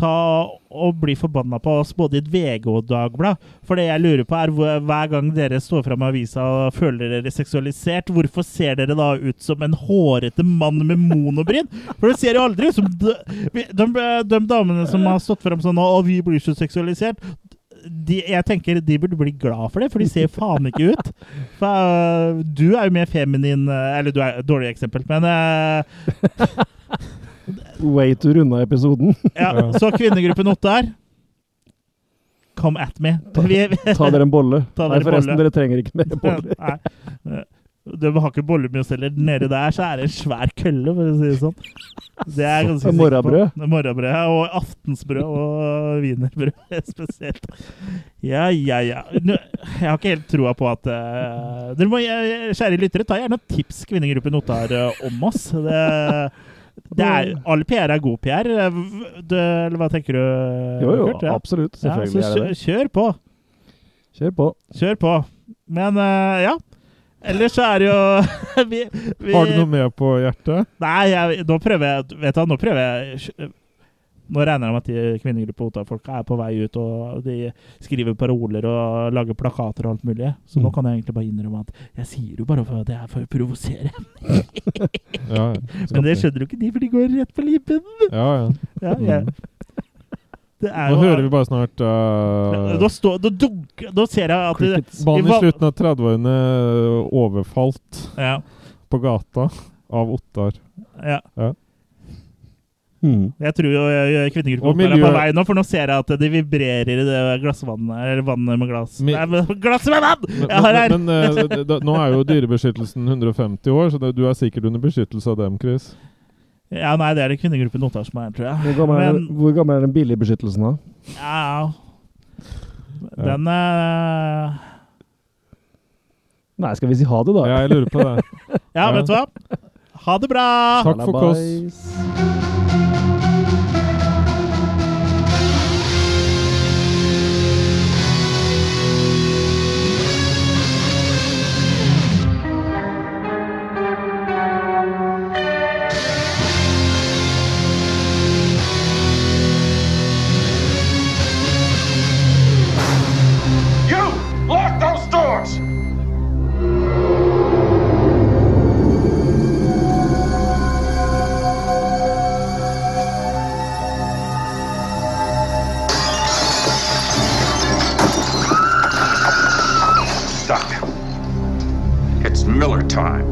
S1: Ta og bli forbanna på oss både i VG og Dagbladet. For det jeg lurer på, er hvor- hver gang dere står fram i avisa og føler dere seksualisert, hvorfor ser dere da ut som en hårete mann med monobryn? For det ser jo aldri ut som de, vi- de, de damene som har stått fram sånn og vi blir så seksualisert. De, jeg tenker de burde bli glad for det, for de ser jo faen ikke ut. For, øh, du er jo mer feminin øh, Eller du er et dårlig eksempel, men øh,
S3: Way to runde av episoden.
S1: ja,
S2: Ja.
S1: Så kvinnegruppen Ottar Come at me. Vi, vi,
S3: Ta dere en bolle.
S1: Ta
S3: Nei,
S1: dere
S3: forresten,
S1: bolle.
S3: dere trenger ikke mer boller.
S1: Nei. De har ikke boller med oss heller. Nede der så er det en svær kølle, for å si det sånn. Det er jeg ganske sikker på.
S3: Og Sånn. morrabrød.
S1: Det er Morrabrød. ja, Og aftensbrød og wienerbrød spesielt. Ja, ja, ja. Nå, jeg har ikke helt troa på at eh, Dere må, eh, kjære lyttere, ta gjerne et tips Kvinnegruppen Ottar eh, om oss. Det, det er, all PR er god PR. Eh, v- Det, eller hva tenker du,
S3: Jo, jo,
S1: Kurt? Ja.
S3: absolutt.
S1: Ja, så
S3: Selvfølgelig er det det.
S1: kjør, kjør på.
S3: Kjør på.
S1: Kjør på. Men eh, ja. Ellers så er det jo vi, vi,
S2: Har du noe med på hjertet?
S1: Nei, jeg, nå prøver jeg Vet du hva, nå prøver jeg Nå regner jeg med at de kvinnegruppa Otta-folka er på vei ut, og de skriver paroler og lager plakater og alt mulig. Så nå
S3: Mm.
S1: kan jeg egentlig bare innrømme at jeg sier jo bare for at det er for å provosere.
S2: Ja, ja.
S1: Men det skjønner jo ikke de, for de går rett på lipen.
S2: Ja, ja.
S1: Ja, jeg, Det er
S2: Mm. Nå
S1: jo
S2: hører vi bare snart uh,
S1: Da, står, da, dunker, da ser jeg at det,
S2: Mannen
S1: vi
S2: i
S1: val-
S2: slutten av 30-årene overfalt
S1: ja,
S2: på gata av Ottar.
S1: ja.
S3: Hmm.
S1: Jeg tror jo eh,
S2: Og
S1: kvinnegruppa miljø... er
S2: miljø-
S1: på vei nå, for nå ser jeg at det vibrerer i det glassvannet Eller vannet med glass.
S2: Mi-
S1: Nei, men glasset med vann!
S2: Men,
S1: Jeg har her!
S2: men, men, eh, da, nå er jo dyrebeskyttelsen 150 år, så det, du er sikkert under beskyttelse av dem, Chris.
S1: Ja, nei, det er det kvinnegruppen Ottar som er, tror jeg.
S3: Hvor, gammel er,
S1: Men
S3: hvor gammel er den billigbeskyttelsen, da?
S1: ja, Den eh,
S3: Nei, skal vi si ha det, da?
S2: Jeg lurer på det.
S1: Ja,
S2: Ja.
S1: vet du hva? Ha det bra!
S2: Takk for oss.
S3: Halabais.
S7: You! Lock those doors!
S4: Doctor, it's Miller time.